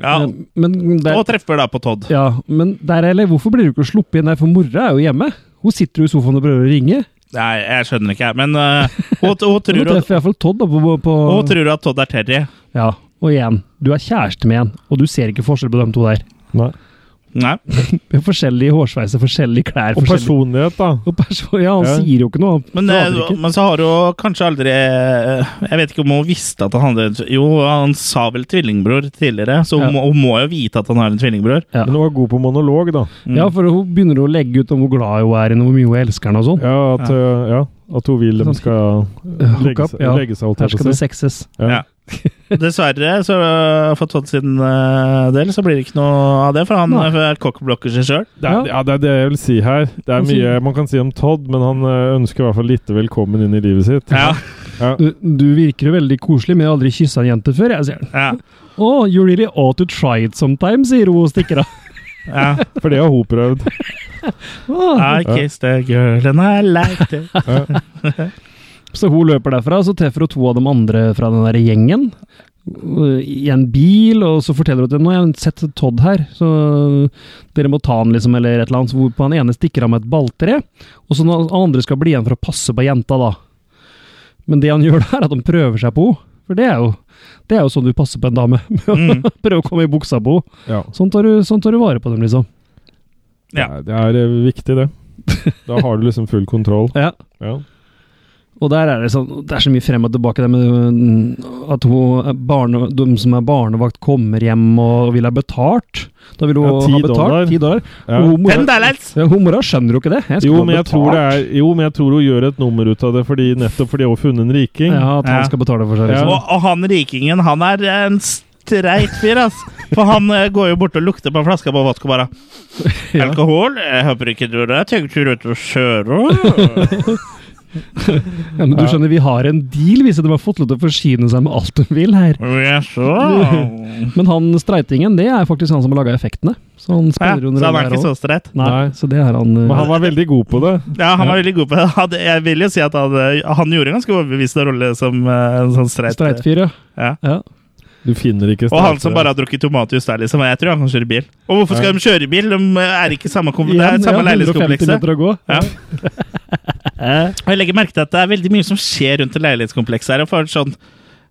Speaker 3: Eh, Men der,
Speaker 1: og treffer da på Todd.
Speaker 3: ja, men der eller, hvorfor blir du ikke sluppet inn der? For mora er jo hjemme. Hun sitter jo i sofaen og prøver å ringe.
Speaker 1: Nei, jeg skjønner ikke, jeg. Men eh, hun, hun,
Speaker 3: Og Nå
Speaker 1: tror,
Speaker 3: treffer jeg iallfall Todd da på, på
Speaker 1: hun tror at Todd er Terry.
Speaker 3: Ja, og igjen, du er kjæreste med en, og du ser ikke forskjell på dem to der.
Speaker 2: Nei.
Speaker 1: Nei.
Speaker 3: Vi har forskjellige hårsveiser, forskjellige klær
Speaker 2: Og
Speaker 3: forskjellige...
Speaker 2: personlighet, da.
Speaker 3: Og person... Ja, han
Speaker 2: Ja.
Speaker 3: sier jo ikke noe.
Speaker 1: Men,
Speaker 3: han
Speaker 1: eh,
Speaker 3: prater ikke.
Speaker 1: men så har hun kanskje aldri eh, Jeg vet ikke om hun visste at han hadde Jo, han sa vel tvillingbror tidligere, så hun,
Speaker 3: Ja.
Speaker 1: må, hun må jo vite at han har en tvillingbror.
Speaker 3: Ja.
Speaker 2: Men hun var god på monolog, da.
Speaker 1: Mm.
Speaker 3: Ja, for hun begynner å legge ut om hvor glad hun er, og hvor mye hun elsker henne og sånn.
Speaker 2: Ja, at, øh, ja, at hun vil dem skal
Speaker 3: hook
Speaker 2: legge,
Speaker 3: up,
Speaker 2: seg-
Speaker 3: Sånn. ja.
Speaker 2: legge seg, holdt
Speaker 3: Her
Speaker 2: jeg
Speaker 3: skal
Speaker 2: på å
Speaker 3: det
Speaker 2: si.
Speaker 3: sexes.
Speaker 1: Ja. Dessverre, så eh, for Todd sin eh, del, så blir det ikke noe av det, for han
Speaker 3: Nei.
Speaker 1: eh, kokkblokker seg sjøl.
Speaker 2: Det er, ja, det er det jeg vil si her. Det er
Speaker 3: Han sier-
Speaker 2: mye man kan si om Todd, men han øh, ønsker i hvert fall lite velkommen inn i livet sitt.
Speaker 1: Ja,
Speaker 2: Ja.
Speaker 3: Du, du virker jo veldig koselig, men jeg har aldri kyssa en jente før, jeg, sier han.
Speaker 1: ja,
Speaker 3: Oh, you really ought to try it sometime, sier hun og stikker av.
Speaker 1: ja.
Speaker 2: For det har hun prøvd.
Speaker 3: Ah.
Speaker 1: I kissed a girl and I liked it.
Speaker 2: Ja.
Speaker 3: Så hun løper derfra, så treffer hun to av de andre fra den der gjengen øh, i en bil, og så forteller hun at nå har jeg sett Todd her, så dere må ta han liksom, eller et eller annet. Så hvorpå han ene stikker av med et balltre, og så når han andre skal bli igjen for å passe på jenta, da. Men det han gjør da, er at han prøver seg på henne. For det er, jo, det er jo sånn du passer på en dame.
Speaker 1: Mm.
Speaker 3: Prøv å komme i buksa på henne.
Speaker 2: Ja.
Speaker 3: Sånn tar du, sånn tar du vare på dem, liksom.
Speaker 1: Ja.
Speaker 2: Nei, Det er øh, viktig, det. Da har du liksom full kontroll.
Speaker 3: Ja.
Speaker 2: Ja.
Speaker 3: Og der er det, sånn, det er så mye frem og tilbake der med øh, at hun, er barne, de som er barnevakt, kommer hjem og vil ha betalt. Da vil hun
Speaker 2: Ja, 10
Speaker 3: ha betalt
Speaker 2: dollar.
Speaker 3: ti dollar.
Speaker 2: Ja.
Speaker 3: Og hun mora-
Speaker 1: Ten dollars!
Speaker 3: Ja, hun mora skjønner jo ikke det. Jeg
Speaker 2: Jo men, jeg tror det er, jo, men jeg tror hun gjør et nummer ut av det fordi, nettopp fordi hun har funnet en riking.
Speaker 3: Ja, at han
Speaker 1: Ja.
Speaker 3: skal betale for seg.
Speaker 2: Ja.
Speaker 1: Og,
Speaker 3: Liksom.
Speaker 1: og han rikingen, han er en streit fyr, ass. For han eh, går jo bort og lukter på en flaske på vodka, bare.
Speaker 3: Ja.
Speaker 1: Alkohol? Jeg håper ikke du det. Tenker du ut og kjører?
Speaker 3: Ja, men du skjønner, vi har en deal hvis de har fått lov til å forsyne seg med alt de vil her.
Speaker 1: Jaså?
Speaker 3: Men han streitingen, det er faktisk han som har laga effektene. Så han
Speaker 1: Ja,
Speaker 3: spiller
Speaker 1: så
Speaker 3: under
Speaker 1: han er
Speaker 3: der
Speaker 1: ikke
Speaker 3: også.
Speaker 1: så streit.
Speaker 3: Nei,
Speaker 2: Nei.
Speaker 3: så det er han. øh,
Speaker 2: Men han var veldig god på det.
Speaker 1: Ja, han var veldig god på det. Han- Jeg vil jo si at han, eh, han gjorde en ganske overbevisende rolle som eh, en sånn streit.
Speaker 3: Streitfyr, ja.
Speaker 1: Ja.
Speaker 3: ja.
Speaker 2: Du finner ikke
Speaker 1: Og han som
Speaker 2: streitere.
Speaker 1: bare har drukket tomatjus der, liksom. Jeg tror han kan kjøre bil. Og hvorfor skal
Speaker 2: Ja.
Speaker 1: de kjøre bil? De er ikke i samme, kom- det er
Speaker 3: Igjen, ja,
Speaker 1: samme
Speaker 3: 150
Speaker 1: leilighetskomplekset.
Speaker 3: meter å gå.
Speaker 1: Ja. Og jeg legger merke til at det er veldig mye som skjer rundt det leilighetskomplekset her. og for sånn,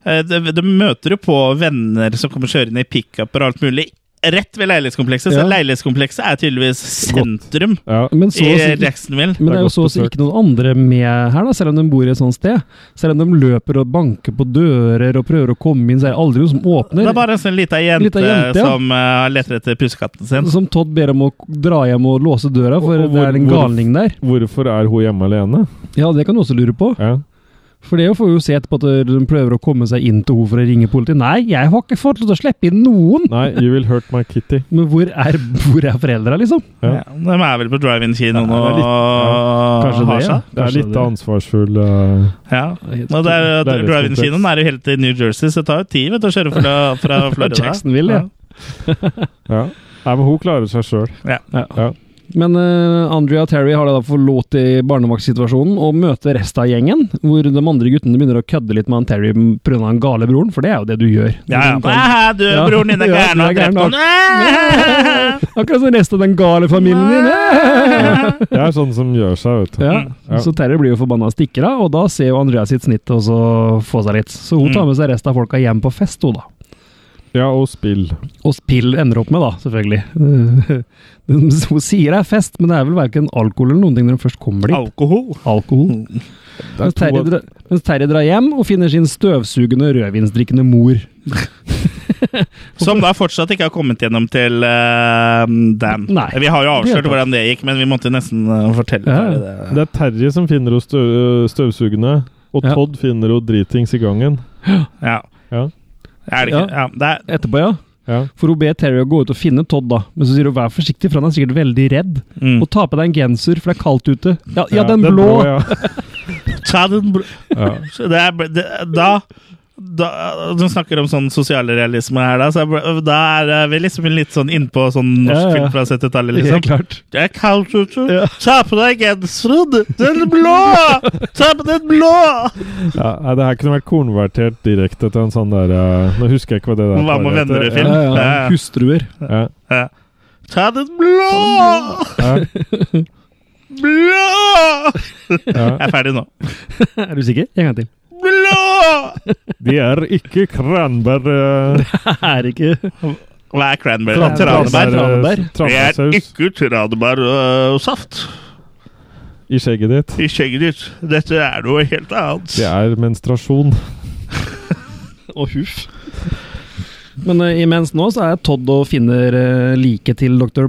Speaker 1: eh, det- det møter du på venner som kommer kjørende i pickuper og alt mulig rett ved leilighetskomplekset. Så
Speaker 3: Ja.
Speaker 1: leilighetskomplekset er tydeligvis sentrum
Speaker 2: Ja.
Speaker 3: Men så å
Speaker 1: i
Speaker 3: si
Speaker 1: Jacksonville.
Speaker 3: Men
Speaker 2: Det
Speaker 3: det
Speaker 2: er
Speaker 3: er jo
Speaker 2: godt
Speaker 3: så å si
Speaker 2: besøkt.
Speaker 3: ikke noen andre med her, da, selv om de bor i et sånt sted. Selv om de løper og banker på dører og prøver å komme inn, så er det aldri noen som
Speaker 1: Det
Speaker 3: åpner.
Speaker 1: er bare en sånn lita jente,
Speaker 3: Lita jente, ja.
Speaker 1: som eh, leter etter pussekatten sin.
Speaker 3: Som Todd ber om å k- dra hjem og låse døra, for
Speaker 2: Og- og
Speaker 3: det
Speaker 2: hvor-
Speaker 3: er en
Speaker 2: hvor-
Speaker 3: galning der.
Speaker 2: Hvorfor er hun hjemme alene?
Speaker 3: Ja, det kan du også lure på.
Speaker 2: Ja.
Speaker 3: For det får vi jo se etterpå at de prøver å komme seg inn til henne for å ringe politiet. Nei, jeg har ikke fått lov til å slippe inn noen!
Speaker 2: Nei, you will hurt my kitty.
Speaker 3: Men hvor er, hvor er foreldra, liksom?
Speaker 2: Ja.
Speaker 1: Ja, de er vel på drive-in-kinoen
Speaker 2: Ja, det er
Speaker 1: og
Speaker 2: litt- ja,
Speaker 1: og
Speaker 3: kanskje
Speaker 1: har
Speaker 3: det,
Speaker 1: seg.
Speaker 2: Det er
Speaker 3: Kanskje
Speaker 2: litt
Speaker 3: det.
Speaker 2: ansvarsfull eh,
Speaker 1: Ja. Og det er, jo-
Speaker 2: Det er litt
Speaker 1: Drive-in-kinoen er jo helt i New Jersey, så det tar jo tid vet du, å kjøre fra, fra Florida.
Speaker 3: Jacksonville, ja.
Speaker 2: Ja. Nei, men hun klarer seg sjøl.
Speaker 3: Men eh, Andrea og Terry har da forlått i barnevaktsituasjonen og møter resten av gjengen, hvor de andre guttene begynner å kødde litt med han Terry pga. den gale broren, for det er jo det du gjør.
Speaker 1: Ja, ja.
Speaker 3: Sånn-
Speaker 1: Æ, du,
Speaker 3: Ja.
Speaker 1: broren din er
Speaker 3: Ja,
Speaker 1: gæren og har
Speaker 3: du er
Speaker 1: drept
Speaker 3: gæren.
Speaker 1: noen. Æ!
Speaker 3: Akkurat som resten av den gale familien din!
Speaker 2: Jeg er sånn som gjør seg, vet du.
Speaker 3: Ja.
Speaker 2: Ja.
Speaker 3: Så Terry blir jo forbanna og stikker av, og da ser jo Andrea sitt snitt og så få seg litt. Så
Speaker 1: Mm.
Speaker 3: hun tar med seg resten av folka hjem på fest, hun da.
Speaker 2: Ja, og spill.
Speaker 3: Og spill ender opp med, da, selvfølgelig. Hun sier det er fest, men det er vel verken alkohol eller noen ting når hun først kommer dit.
Speaker 1: Alkohol.
Speaker 3: Alkohol.
Speaker 2: Det er
Speaker 3: Mens Terje,
Speaker 2: to-
Speaker 3: dra, mens Terje drar hjem og finner sin støvsugende rødvinsdrikkende mor.
Speaker 1: Som da fortsatt ikke har kommet gjennom til eh, Dan.
Speaker 3: Nei.
Speaker 1: Vi har jo
Speaker 3: Det er
Speaker 1: avslørt
Speaker 3: sant.
Speaker 1: hvordan det gikk, men vi måtte nesten eh, fortelle
Speaker 3: Ja, ja.
Speaker 1: det.
Speaker 2: Det er Terje som finner henne støv, eh, støvsugende, og
Speaker 3: Ja.
Speaker 2: Todd finner henne dritings i gangen.
Speaker 1: Ja.
Speaker 2: Ja.
Speaker 1: Er det ikke? Ja. det er,
Speaker 3: Etterpå, ja.
Speaker 2: Ja.
Speaker 3: For hun ber Terry å gå ut og finne Todd, da. Men så sier hun vær forsiktig, for han er sikkert veldig redd.
Speaker 1: mm.
Speaker 3: Og ta på deg en genser, for det er kaldt ute. Ja, ja den blå!
Speaker 2: ja.
Speaker 1: Ta den bl-
Speaker 2: Ja.
Speaker 1: Så det er, det, da da, Du snakker om sånn sosialrealisme her, da. Så er, da er vi liksom litt sånn innpå sånn norsk
Speaker 3: Ja, ja.
Speaker 1: film fra 70-tallet,
Speaker 3: Helt
Speaker 1: liksom.
Speaker 3: klart.
Speaker 1: Det er kaldt ute.
Speaker 3: Ja.
Speaker 1: Ta på deg genseren! Den blå! Ta på den blå!
Speaker 2: Ja, nei, det her kunne vært konvertert direkte til en sånn derre Nå husker jeg ikke hva det der
Speaker 1: Hva med venner
Speaker 2: heter.
Speaker 1: i
Speaker 3: Ja,
Speaker 1: film?
Speaker 3: ja, ja.
Speaker 1: Ja.
Speaker 3: Hustruer.
Speaker 2: Ja,
Speaker 1: Ja. Ta den blå!
Speaker 2: ja,
Speaker 1: Blå!
Speaker 2: ja,
Speaker 1: Jeg er ferdig nå.
Speaker 3: er du sikker? En gang til.
Speaker 1: Blå!
Speaker 2: De er ikke kranbær... eh,
Speaker 3: er ikke
Speaker 1: Hva er cranberry?
Speaker 3: Tran-
Speaker 1: Tranebær?
Speaker 3: tranebær.
Speaker 1: Det
Speaker 2: eh,
Speaker 1: er
Speaker 2: Tranbærsaus
Speaker 1: ikke tranebærsaft
Speaker 2: i skjegget ditt.
Speaker 1: i skjegget ditt. Dette er noe helt annet.
Speaker 2: Det er menstruasjon.
Speaker 3: Og huff. Men eh, imens nå så er Todd og finner uh, liket til dr.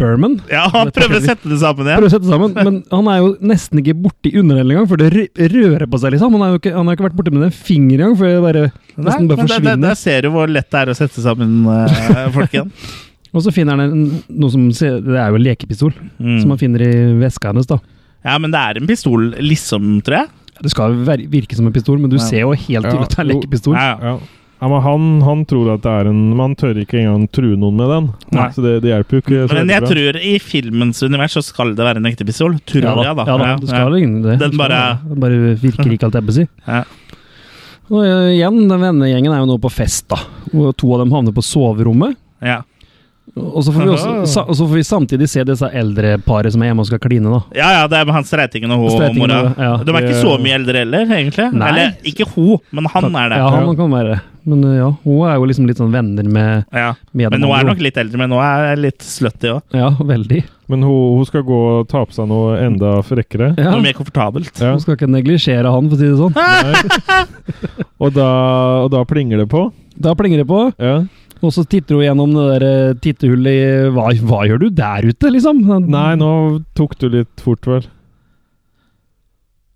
Speaker 3: Berman.
Speaker 1: Ja, han prøver å sette det sammen igjen.
Speaker 3: Prøver å sette sammen, men han er jo nesten ikke borti underdelen engang, for det rø- rører på seg, liksom. Han har jo ikke, han har ikke vært borti med en finger engang, for det bare
Speaker 1: Nei,
Speaker 3: nesten
Speaker 1: men
Speaker 3: bare
Speaker 1: der, der,
Speaker 3: forsvinner.
Speaker 1: der ser du hvor lett det er å sette sammen eh, folk igjen.
Speaker 3: Og så finner han en, noe som ser Det er jo en lekepistol, som
Speaker 1: Mm.
Speaker 3: han finner i veska hennes, da.
Speaker 1: Ja, men det er en pistol, liksom, tror jeg.
Speaker 3: Det skal jo ver- virke som en pistol, men du
Speaker 1: Ja.
Speaker 3: ser jo helt
Speaker 2: Ja,
Speaker 3: tydelig at det er en
Speaker 2: jo.
Speaker 3: lekepistol.
Speaker 1: Ja, ja.
Speaker 2: Ja. Ja, men han, han tror at det er en Man tør ikke engang true noen med den.
Speaker 1: Nei.
Speaker 2: Så det, det hjelper jo ikke. så
Speaker 1: Men jeg
Speaker 2: veldig bra.
Speaker 1: tror i filmens univers så skal det være en ekte pistol. Tror
Speaker 3: Ja da,
Speaker 1: jeg, da.
Speaker 3: ja da,
Speaker 1: Ja,
Speaker 3: det skal
Speaker 1: ja.
Speaker 3: ligne
Speaker 1: Den
Speaker 3: det. Det skal-
Speaker 1: bare-
Speaker 3: den bare virker ikke, alt jeg på å si.
Speaker 1: Ja.
Speaker 3: Og eh, igjen, den vennegjengen er jo nå på fest, da. Og to av dem havner på soverommet.
Speaker 1: Ja.
Speaker 3: Og så får vi, også,
Speaker 1: Aha.
Speaker 3: sa, og så får vi samtidig se disse eldre paret som er hjemme og skal kline, da.
Speaker 1: ja, ja, det er med han streitingen og hun og
Speaker 3: Streitingen
Speaker 1: mora.
Speaker 3: og- ja.
Speaker 1: De er ikke så mye eldre heller, egentlig.
Speaker 3: Nei.
Speaker 1: Eller ikke hun, men han er det.
Speaker 3: Ja, han kan være det. Men eh, ja, hun er jo liksom litt sånn venner med,
Speaker 1: Ja.
Speaker 3: med
Speaker 1: Men
Speaker 3: dem
Speaker 1: nå er
Speaker 3: andre.
Speaker 1: jeg nok litt eldre, men nå er jeg litt slutty òg.
Speaker 3: Ja, veldig.
Speaker 2: Men hun, hun skal gå og ta på seg noe enda frekkere.
Speaker 3: Ja.
Speaker 1: Noe mer komfortabelt.
Speaker 2: Ja.
Speaker 3: Hun skal ikke neglisjere han, for å si det sånn.
Speaker 2: Og, da, og da plinger det på.
Speaker 3: Da plinger det på,
Speaker 2: Ja.
Speaker 3: og så titter hun gjennom det der eh, tittehullet i hva, hva gjør du der ute, liksom?
Speaker 2: Nei, nå tok du litt fort, vel.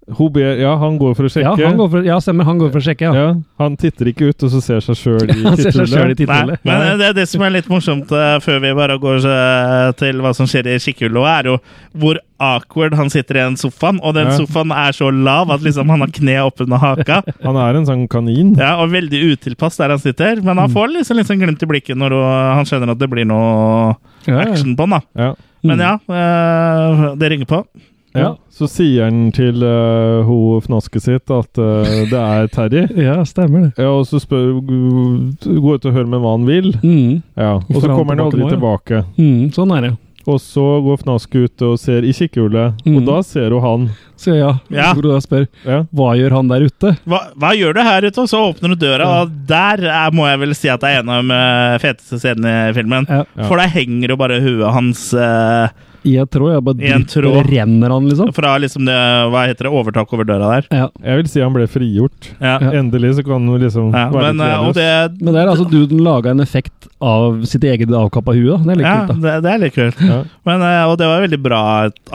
Speaker 2: Hun ber Ja, han går for å
Speaker 3: Ja,
Speaker 2: sjekke.
Speaker 3: han går for, ja, stemmer. Han går for å sjekke, ja.
Speaker 2: Ja, han titter ikke ut, og så ser seg sjøl i
Speaker 3: Han ser seg
Speaker 1: Nei,
Speaker 2: titthullet.
Speaker 3: sjøl i tittehullet.
Speaker 1: men det er det som er litt morsomt, eh, før vi bare går eh, til hva som skjer i kikkhullet, også, er jo hvor awkward han sitter i den sofaen. Og den
Speaker 2: Ja.
Speaker 1: sofaen er så lav at liksom han har kne oppunder haka.
Speaker 2: Han er en sånn kanin.
Speaker 1: Ja, og veldig utilpass der han sitter. Men
Speaker 3: Mm.
Speaker 1: han får liksom litt sånn glimt i blikket når eh, han skjønner at det blir noe
Speaker 3: Ja, Mm. ja.
Speaker 1: action på han. da
Speaker 2: Ja.
Speaker 1: sånn, Men ja, eh, det ringer på.
Speaker 2: ja.
Speaker 3: Ja.
Speaker 2: Så sier han til uh, hun fnasket sitt at eh, det er Terje.
Speaker 3: Mm. Ja, stemmer det.
Speaker 2: Ja, og så spør Gå ut og hør med hva han vil.
Speaker 3: Mm.
Speaker 2: Ja, Og
Speaker 3: Hvorfor
Speaker 2: så
Speaker 3: er han
Speaker 2: kommer han aldri
Speaker 3: tilbake
Speaker 2: tilbake.
Speaker 3: Mm, sånn er det.
Speaker 2: Og så går Fnask ut og ser i kikkehullet,
Speaker 3: Mm.
Speaker 2: og da ser hun han.
Speaker 3: Så ja,
Speaker 1: Ja.
Speaker 3: hvor du da spør
Speaker 2: Ja.
Speaker 3: hva gjør han der ute?
Speaker 1: Hva, hva gjør du her ute? Og så åpner du døra, og der er, må jeg vel si at det er en av de eh, feteste scenene i filmen.
Speaker 3: Ja.
Speaker 2: Ja.
Speaker 1: For der henger jo bare huet hans eh,
Speaker 3: i en tråd. Jeg bare
Speaker 1: I en
Speaker 3: driter-
Speaker 1: tråd.
Speaker 3: renner han, liksom.
Speaker 1: Fra liksom det Hva heter det? Overtak over døra der.
Speaker 3: Ja.
Speaker 2: Jeg vil si han ble frigjort.
Speaker 1: Ja.
Speaker 3: Ja.
Speaker 2: Endelig så kan han liksom
Speaker 1: Ja,
Speaker 2: være
Speaker 1: men,
Speaker 2: litt
Speaker 1: eh, og
Speaker 2: redløs.
Speaker 1: det
Speaker 3: Men det er altså duden laga en effekt av sitt eget avkappa hue, da. Det er litt
Speaker 1: ja,
Speaker 3: kult, da.
Speaker 1: det, det er litt kult.
Speaker 2: Ja.
Speaker 1: Men, eh, og det var veldig bra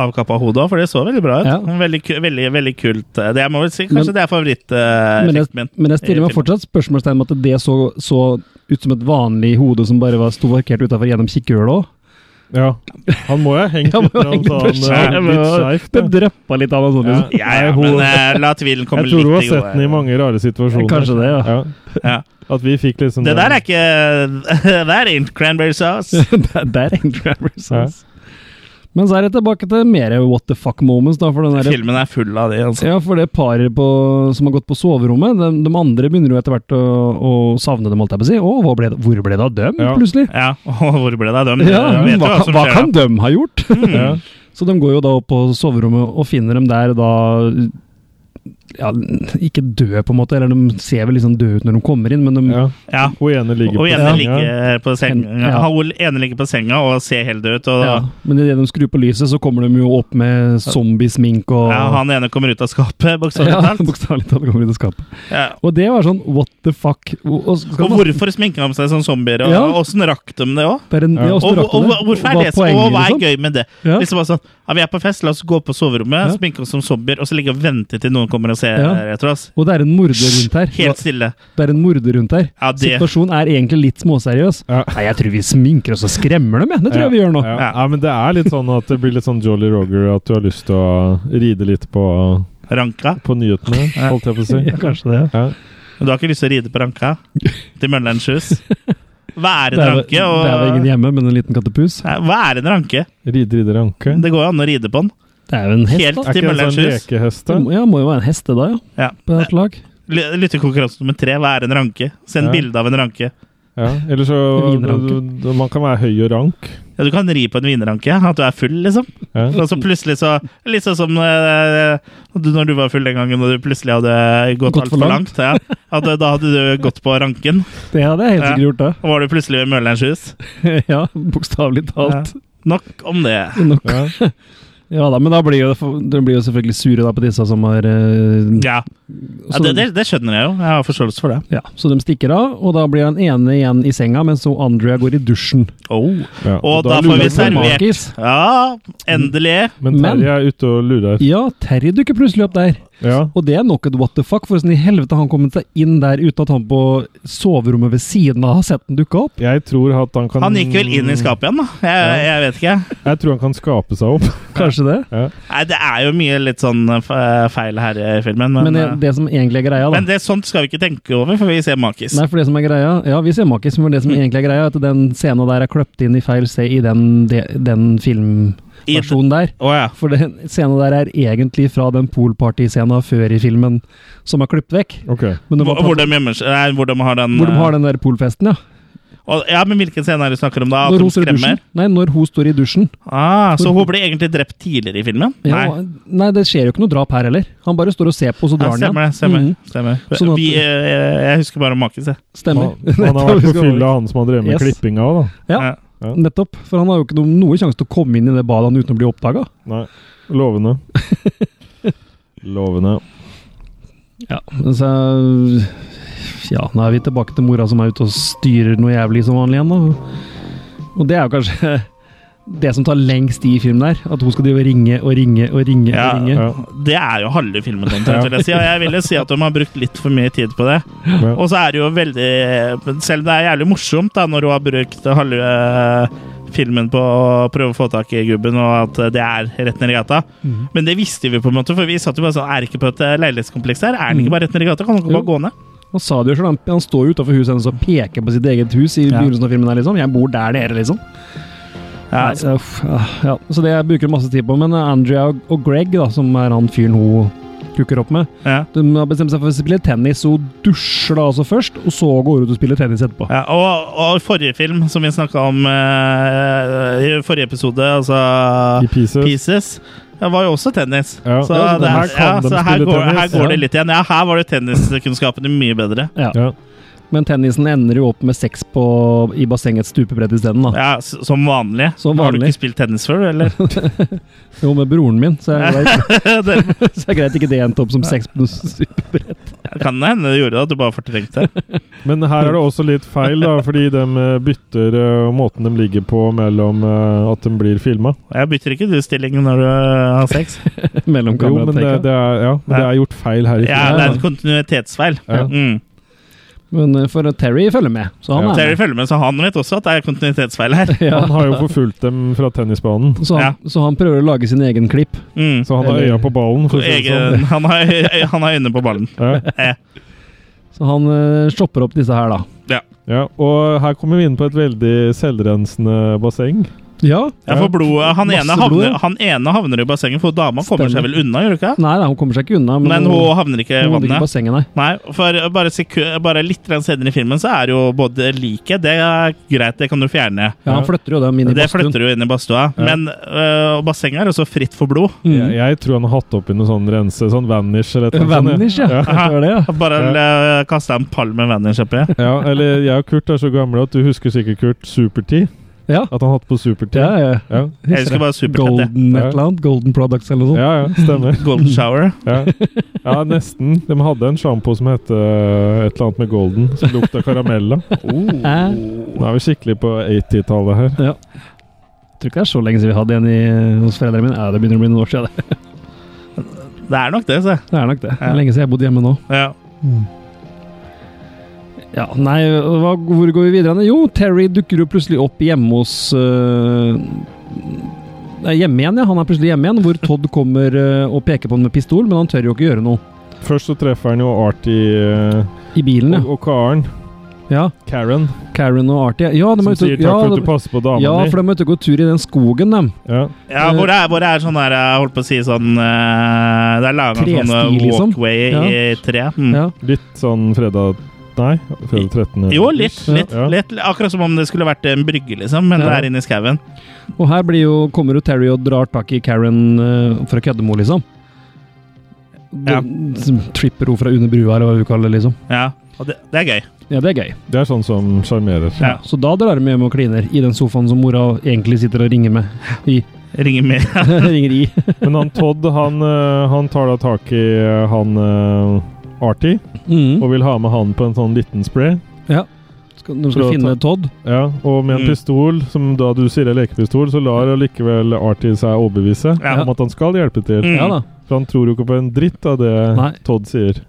Speaker 1: avkappa hode òg, for det så veldig bra ut.
Speaker 3: Ja.
Speaker 1: Veldig, ku- veldig, veldig kult. eh, Det jeg må vel si,
Speaker 3: Men-
Speaker 1: Kanskje det er eh,
Speaker 3: Men jeg,
Speaker 1: favoritteffekten min.
Speaker 3: men jeg stiller meg
Speaker 1: Filmen.
Speaker 3: fortsatt spørsmålstegn med at det så, så ut som et vanlig hode som bare var sto parkert utafor gjennom kikkhullet òg.
Speaker 2: ja. Han må jo ha hengt
Speaker 3: Ja,
Speaker 2: litt,
Speaker 3: men
Speaker 2: grann,
Speaker 3: egentlig
Speaker 2: så han, eh,
Speaker 3: for skjerm,
Speaker 2: litt
Speaker 3: ja.
Speaker 2: skeivt.
Speaker 3: Det
Speaker 2: da.
Speaker 3: dryppa litt av han sånn. liksom.
Speaker 1: Ja, ja,
Speaker 2: Nei, hun-
Speaker 1: men eh, la tvilen komme
Speaker 2: Jeg
Speaker 1: litt
Speaker 2: tror hun
Speaker 1: i
Speaker 2: har sett
Speaker 1: gode-
Speaker 2: den i mange rare situasjoner.
Speaker 3: Kanskje det, ja.
Speaker 1: Ja.
Speaker 2: At vi fikk liksom
Speaker 1: Det
Speaker 2: den-
Speaker 1: der er ikke Det er ikke cranberry sauce.
Speaker 3: det det er egentlig Grammer Sons. Men så er det tilbake til mer what the fuck moments, da. For den der,
Speaker 1: Filmen er full av det, altså.
Speaker 3: ja, for det paret på, som har gått på soverommet, de, de andre begynner jo etter hvert å, å savne dem, holdt jeg på å si. Å, hvor ble det, hvor ble det av dem,
Speaker 2: Ja.
Speaker 3: plutselig?
Speaker 1: Ja, og hvor ble det av dem?
Speaker 3: Ja,
Speaker 1: Jeg eh, vet jo
Speaker 3: hva,
Speaker 1: som
Speaker 3: kan- hva
Speaker 1: skjer,
Speaker 3: kan de ha gjort?
Speaker 2: ja.
Speaker 3: Så de går jo da opp på soverommet og finner dem der da ja, Ikke døde, på en måte, eller de ser vel liksom døde ut når de kommer inn, men de
Speaker 2: ja.
Speaker 1: da. Ja.
Speaker 2: Hun ene ligger
Speaker 1: Og
Speaker 2: på
Speaker 1: ene
Speaker 2: senga.
Speaker 1: ligger på senga
Speaker 3: Ja.
Speaker 1: Hun ene ligger på senga og ser helt ut. Og
Speaker 3: ja, Men idet de skrur på lyset, så kommer de jo opp med zombiesmink og
Speaker 1: ja, han ene kommer ut av skapet, bokstavelig
Speaker 3: Ja,
Speaker 1: talt.
Speaker 3: bokstavelig talt kommer ut av skapet.
Speaker 1: Ja.
Speaker 3: Og det var sånn what the fuck. Og, og, skal
Speaker 1: Og
Speaker 3: man-
Speaker 1: hvorfor sminka de seg som zombier, og
Speaker 3: Ja.
Speaker 1: åssen rakk de det òg?
Speaker 3: det er en, ja,
Speaker 2: Ja.
Speaker 1: Og,
Speaker 3: også
Speaker 1: og,
Speaker 3: rakk det.
Speaker 1: og hvorfor
Speaker 3: Hva
Speaker 1: er det så, og hva
Speaker 3: poenget,
Speaker 1: er
Speaker 3: liksom?
Speaker 1: gøy med det?
Speaker 3: Ja.
Speaker 1: Liksom bare sånn, ja, Vi er på fest, la oss gå på soverommet,
Speaker 3: Ja.
Speaker 1: sminke oss som zombier, og så ligge og vente til noen kommer og ser
Speaker 3: Ja.
Speaker 1: etter oss.
Speaker 3: Og det er en morder rundt her.
Speaker 1: Helt stille.
Speaker 3: Det er en morder rundt her.
Speaker 1: Ja, det
Speaker 3: Situasjonen er egentlig litt småseriøs.
Speaker 2: Ja.
Speaker 3: Nei, jeg tror vi sminker oss og skremmer dem, jeg. Det tror jeg vi gjør nå.
Speaker 2: Ja. ja, men det er litt sånn at det blir litt sånn Jolly Roger, at du har lyst til å ride litt på,
Speaker 1: ranka.
Speaker 2: på nyhetene, holdt jeg på å si.
Speaker 3: Ja, kanskje det.
Speaker 2: Ja.
Speaker 1: Du har ikke lyst til å ride på ranka til Møllerens hus? Hva er
Speaker 3: Det
Speaker 1: en
Speaker 3: er, vel-
Speaker 1: ranke?
Speaker 3: det er vel ingen
Speaker 1: Og,
Speaker 3: hjemme, men en liten kattepus.
Speaker 1: Nei, hva er en ranke?
Speaker 2: Ride, ride, ranke.
Speaker 1: Det går jo an å ride på den.
Speaker 3: Det er jo en hest,
Speaker 1: Helt
Speaker 3: da.
Speaker 2: Er ikke det en sånn
Speaker 1: Stimulantjus.
Speaker 2: lekehest,
Speaker 3: Det
Speaker 2: da?
Speaker 3: må- Ja, må jo være en hest, det da, ja.
Speaker 1: Ja.
Speaker 3: På hvert lag.
Speaker 1: Ly- Lyttekonkurranse nummer tre. Hva er en ranke? Send
Speaker 2: Ja.
Speaker 1: bilde av en ranke.
Speaker 2: Ja. Eller så
Speaker 3: Vinranke.
Speaker 2: d- Man kan være høy og rank.
Speaker 1: Ja, du kan ri på en vinranke. ja. At du er full, liksom.
Speaker 2: Ja.
Speaker 1: Og så plutselig så Litt sånn som eh, du, når du var full den gangen og du plutselig hadde gått
Speaker 3: Gått for
Speaker 1: altfor langt. Ja. At, du- da hadde du gått på ranken,
Speaker 3: Det hadde jeg helt
Speaker 1: Ja.
Speaker 3: sikkert gjort,
Speaker 1: og var du plutselig ved Møllerens hus.
Speaker 3: det. ja, bokstavelig talt.
Speaker 1: Nok om det.
Speaker 3: Nok.
Speaker 2: Ja.
Speaker 3: Ja da, men da blir jo det for- de blir jo selvfølgelig sure da på disse som har eh,
Speaker 1: Ja, ja
Speaker 3: så
Speaker 1: det,
Speaker 3: de-
Speaker 1: det, det skjønner jeg jo. Jeg har forståelse for det.
Speaker 3: Ja, så de stikker av, og da blir han ene igjen i senga, mens hun Andrea går i dusjen.
Speaker 1: Oh.
Speaker 2: Ja.
Speaker 1: Og da får
Speaker 2: lurer
Speaker 1: vi
Speaker 2: jeg på om-
Speaker 1: servert.
Speaker 3: Markis.
Speaker 1: Ja, endelig.
Speaker 2: Men Terje er ute og lurer.
Speaker 3: Ja, Terry dukker plutselig opp der.
Speaker 2: Ja.
Speaker 3: Og det er nok et what the fuck, for hvordan i helvete har han kommet seg inn der uten at han på soverommet ved siden av har sett den dukke opp?
Speaker 2: Jeg tror at han kan
Speaker 1: Han gikk vel inn i skapet igjen, da. Jeg, jeg vet ikke.
Speaker 2: Jeg tror han kan skape seg opp.
Speaker 3: Kanskje det?
Speaker 2: Ja.
Speaker 1: Nei, det er jo mye litt sånn eh, feil her i filmen, men,
Speaker 3: Men det,
Speaker 1: eh,
Speaker 3: det som egentlig er greia, da
Speaker 1: men det, sånt skal vi ikke tenke over, for vi ser Makis.
Speaker 3: Nei, for det som er greia Ja, vi ser Makis, men det som
Speaker 1: Mm.
Speaker 3: egentlig er greia, er at den scenen der er kløpt inn i feil sted i den, de, den filmversjonen
Speaker 1: I-
Speaker 3: der.
Speaker 1: Å ja.
Speaker 3: For den scenen der er egentlig fra den poolparty-scenen før i filmen, som er klippet vekk.
Speaker 2: Ok.
Speaker 3: Men de har
Speaker 1: Hvor,
Speaker 3: tatt-
Speaker 1: hvor eh, de gjemmer seg Nei, hvor de har den
Speaker 3: hvor de har den der poolfesten, ja.
Speaker 1: og, Ja, men hvilken scene er det du snakker om da? At
Speaker 3: Når
Speaker 1: de
Speaker 3: hun står i dusjen.
Speaker 1: skremmer?
Speaker 3: Nei, når hun står i dusjen.
Speaker 1: Ah, så hun blir egentlig drept tidligere i filmen?
Speaker 3: Ja,
Speaker 1: Nei.
Speaker 3: nei. det skjer jo ikke noe drap her heller. Han bare står og ser på, og
Speaker 1: Ja,
Speaker 3: så drar han
Speaker 1: stemmer det.
Speaker 3: igjen.
Speaker 1: Stemmer.
Speaker 3: Mhm,
Speaker 1: stemmer.
Speaker 3: Sånn at-
Speaker 1: vi, eh, jeg husker bare Makis, jeg.
Speaker 3: stemmer.
Speaker 2: Han, han har vært på fylla, han som har drevet med
Speaker 3: Yes.
Speaker 2: klippinga òg, da.
Speaker 3: Ja. Nettopp. For han har jo ikke noe, noe sjanse til å komme inn i det badet han uten å bli oppdaga.
Speaker 2: Nei. Lovende. Lovende.
Speaker 3: Ja. Så Ja, nå er vi tilbake til mora som er ute og styrer noe jævlig som vanlig igjen, da. Og det er jo kanskje det som tar lengst i filmen der. At hun skal drive og ringe og ringe og ringe.
Speaker 1: Ja,
Speaker 3: og ringe.
Speaker 2: Ja.
Speaker 1: Det er jo halve filmen, omtrent,
Speaker 2: Ja.
Speaker 1: vil jeg si. Og jeg vil jo si at de har brukt litt for mye tid på det.
Speaker 2: Ja.
Speaker 1: Og så er det jo veldig Selv om det er jævlig morsomt da når hun har brukt halve eh, filmen på å prøve å få tak i gubben, og at det er rett ned i gata.
Speaker 3: Mhm.
Speaker 1: Men det visste vi, på en måte for vi satt jo bare sånn Er det ikke på et eh, leilighetskompleks her? Er den ikke bare rett ned i gata? Kan den ikke
Speaker 3: Mm. Jo.
Speaker 1: bare gå ned?
Speaker 3: Han sa det jo selv, han, han står jo utafor huset hennes og peker på sitt eget hus i
Speaker 1: Ja.
Speaker 3: begynnelsen av filmen. her liksom. 'Jeg bor der dere', liksom.
Speaker 1: Ja,
Speaker 3: Nei, så, uff, ah, ja. så det jeg bruker masse tid på. Men Andrea og- og Greg, da, som er han fyren hun hooker opp med,
Speaker 1: ja.
Speaker 3: de har bestemt seg for å spille tennis. Hun dusjer da altså først, og så går hun ut og spiller tennis etterpå.
Speaker 1: Ja, og, og forrige film, som vi snakka om eh, i forrige episode, altså
Speaker 2: I pieces.
Speaker 1: Pieces. Det var jo også tennis.
Speaker 2: Ja.
Speaker 1: Så,
Speaker 3: Ja, så
Speaker 1: det,
Speaker 3: her
Speaker 1: her,
Speaker 2: kan
Speaker 1: ja,
Speaker 2: de
Speaker 1: så her,
Speaker 2: spille
Speaker 1: går, her
Speaker 2: tennis, ja.
Speaker 1: går det litt igjen. Ja, her var jo tenniskunnskapene mye bedre.
Speaker 2: Ja.
Speaker 3: Men tennisen ender jo opp med sex på, i bassengets stupebredd isteden, da.
Speaker 1: Ja, s- Som vanlig.
Speaker 3: Som
Speaker 1: Har du
Speaker 3: vanlig.
Speaker 1: ikke spilt tennis før, eller?
Speaker 3: Jo, med broren min, så er det greit,
Speaker 1: det
Speaker 3: så er det greit ikke det endte opp som sex på stupebredd.
Speaker 1: kan hende det gjorde det, at du bare fortrengte det.
Speaker 2: Men her er det også litt feil, da, fordi de eh, bytter eh, måten de ligger på mellom eh, at de blir filma.
Speaker 1: Jeg bytter ikke du stilling når du har sex.
Speaker 3: Mellom
Speaker 2: Jo, men,
Speaker 1: eh,
Speaker 2: det,
Speaker 3: kamerateka.
Speaker 2: det, er, ja, men det er gjort feil her i
Speaker 1: Ja,
Speaker 2: filmen.
Speaker 1: det er en kontinuitetsfeil.
Speaker 2: Ja.
Speaker 1: Mm.
Speaker 3: Men eh, for Terry følger med, så han
Speaker 2: Ja.
Speaker 1: Terry
Speaker 3: er med.
Speaker 1: følger med, så han vet også at det er kontinuitetsfeil her.
Speaker 3: Ja.
Speaker 2: Han har jo forfulgt dem fra tennisbanen,
Speaker 3: Så han, så han prøver å lage sin egen klipp.
Speaker 1: Mm.
Speaker 2: så han har
Speaker 3: Eller-
Speaker 2: øya på ballen. For å si det sånn.
Speaker 1: Egen, eh, han, har, han har øyne på ballen.
Speaker 2: Ja.
Speaker 1: Eh.
Speaker 3: Så han eh, shopper opp disse her, da.
Speaker 2: Ja, og her kommer vi inn på et veldig selvrensende basseng.
Speaker 3: Ja.
Speaker 1: Ja, for blodet, eh, han,
Speaker 3: Masse
Speaker 1: ene
Speaker 3: blod,
Speaker 1: havner,
Speaker 3: ja.
Speaker 1: han ene havner i bassenget, for dama kommer seg
Speaker 3: Stemmer.
Speaker 1: vel unna, gjør hun ikke?
Speaker 3: Nei da, hun kommer seg ikke unna.
Speaker 1: Men hun havner ikke i
Speaker 3: hun ligger i
Speaker 1: vannet.
Speaker 3: bassenget, nei.
Speaker 1: Nei, for bare, seku- bare litt grann senere i filmen så er jo både liket Det er greit, det kan du fjerne.
Speaker 3: Ja,
Speaker 2: Ja.
Speaker 3: han flytter jo dem inn i
Speaker 1: Det
Speaker 3: badstuen.
Speaker 1: flytter du inn i badstua.
Speaker 2: Ja.
Speaker 1: Men øh, og bassenget er også fritt for blod.
Speaker 3: Mm.
Speaker 2: Jeg, jeg tror han har hatt oppi noe sånn rense, sånn vanish eller et eller annet sånt,
Speaker 3: Vanish, ja.
Speaker 2: ja.
Speaker 3: Det var det, ja.
Speaker 1: Bare øh, kaste en pall med vanish oppi.
Speaker 2: Ja, eller jeg og Kurt er så gamle at du husker sikkert Kurt Super-T.
Speaker 3: Ja.
Speaker 2: At han hatt på Super-T.
Speaker 3: ja, ja.
Speaker 2: ja.
Speaker 1: Jeg husker bare supertett, jeg.
Speaker 3: Golden
Speaker 2: Ja.
Speaker 3: et eller annet. Golden Products eller noe sånt.
Speaker 2: ja, ja, stemmer.
Speaker 1: Golden shower.
Speaker 2: Ja. ja, nesten. De hadde en sjampo som het eh, et eller annet med golden, som lukta karamell av.
Speaker 3: Oh. Eh,
Speaker 2: Nå er vi skikkelig på 80-tallet her.
Speaker 3: Ja. Tror ikke det er så lenge siden vi hadde en i, hos foreldrene mine. Ja, det begynner å bli noen år siden. Det,
Speaker 1: Det er nok det, se.
Speaker 3: det er nok det. Det
Speaker 1: Ja.
Speaker 3: er lenge siden jeg bodde hjemme nå.
Speaker 1: Ja.
Speaker 3: Mm. Ja, nei, hva, hvor går vi videre? hen? Jo, Terry dukker jo plutselig opp hjemme hos øh, Nei, Hjemme igjen, ja. Han er plutselig hjemme igjen, hvor Todd kommer øh, og peker på han med pistol, men han tør jo ikke gjøre noe.
Speaker 2: Først så treffer han jo Artie eh,
Speaker 3: I bilen,
Speaker 2: og, og Karen.
Speaker 3: ja. ja.
Speaker 2: Karen,
Speaker 3: Karen og Artie Ja, de
Speaker 2: som
Speaker 3: er ute,
Speaker 2: sier 'takk
Speaker 3: ja,
Speaker 2: for at du
Speaker 3: de,
Speaker 2: passer på dama
Speaker 3: ja,
Speaker 2: di'.
Speaker 3: for de er ute og går tur i den skogen, dem.
Speaker 2: Ja.
Speaker 1: Ja, hvor det er, hvor det er sånn der Jeg holdt på å si sånn øh, Det er laga en sånn øh,
Speaker 3: Trestil, liksom.
Speaker 1: walkway i tre. Mm.
Speaker 3: Ja.
Speaker 2: Litt sånn fredag Nei, fredag 13.
Speaker 1: Jo, litt,
Speaker 3: Ja.
Speaker 1: litt,
Speaker 2: Ja.
Speaker 1: litt. Akkurat som om det skulle vært en brygge, liksom, men
Speaker 3: Ja.
Speaker 1: det er inne i skauen.
Speaker 3: Og her blir jo, kommer jo Terry og drar tak i Karen øh, for å kødde med henne, liksom.
Speaker 1: Ja.
Speaker 3: Den- som Tripper henne fra under brua, eller hva vi kaller det, liksom.
Speaker 1: Ja, og det, det er gøy.
Speaker 3: Ja, det er gøy.
Speaker 2: Det er sånn som sjarmerer.
Speaker 1: Ja.
Speaker 3: Så da drar de hjem og kliner i den sofaen som mora egentlig sitter og ringer med. I.
Speaker 1: Ringer med
Speaker 3: ringer i.
Speaker 2: Men han Todd, han, eh, han tar da tak i eh, han eh, Artie
Speaker 3: Mm.
Speaker 2: og vil ha med han på en sånn liten spray.
Speaker 3: Skal, de
Speaker 2: Så
Speaker 3: skal
Speaker 2: da
Speaker 3: finne Todd.
Speaker 2: Ja, og med en
Speaker 1: Mm.
Speaker 2: pistol, som da du sier er lekepistol, så lar allikevel Artie seg overbevise
Speaker 1: Ja.
Speaker 2: om at han skal hjelpe til.
Speaker 1: Mm.
Speaker 3: Ja da.
Speaker 2: For han tror jo ikke på en dritt av det
Speaker 3: Nei.
Speaker 2: Todd sier.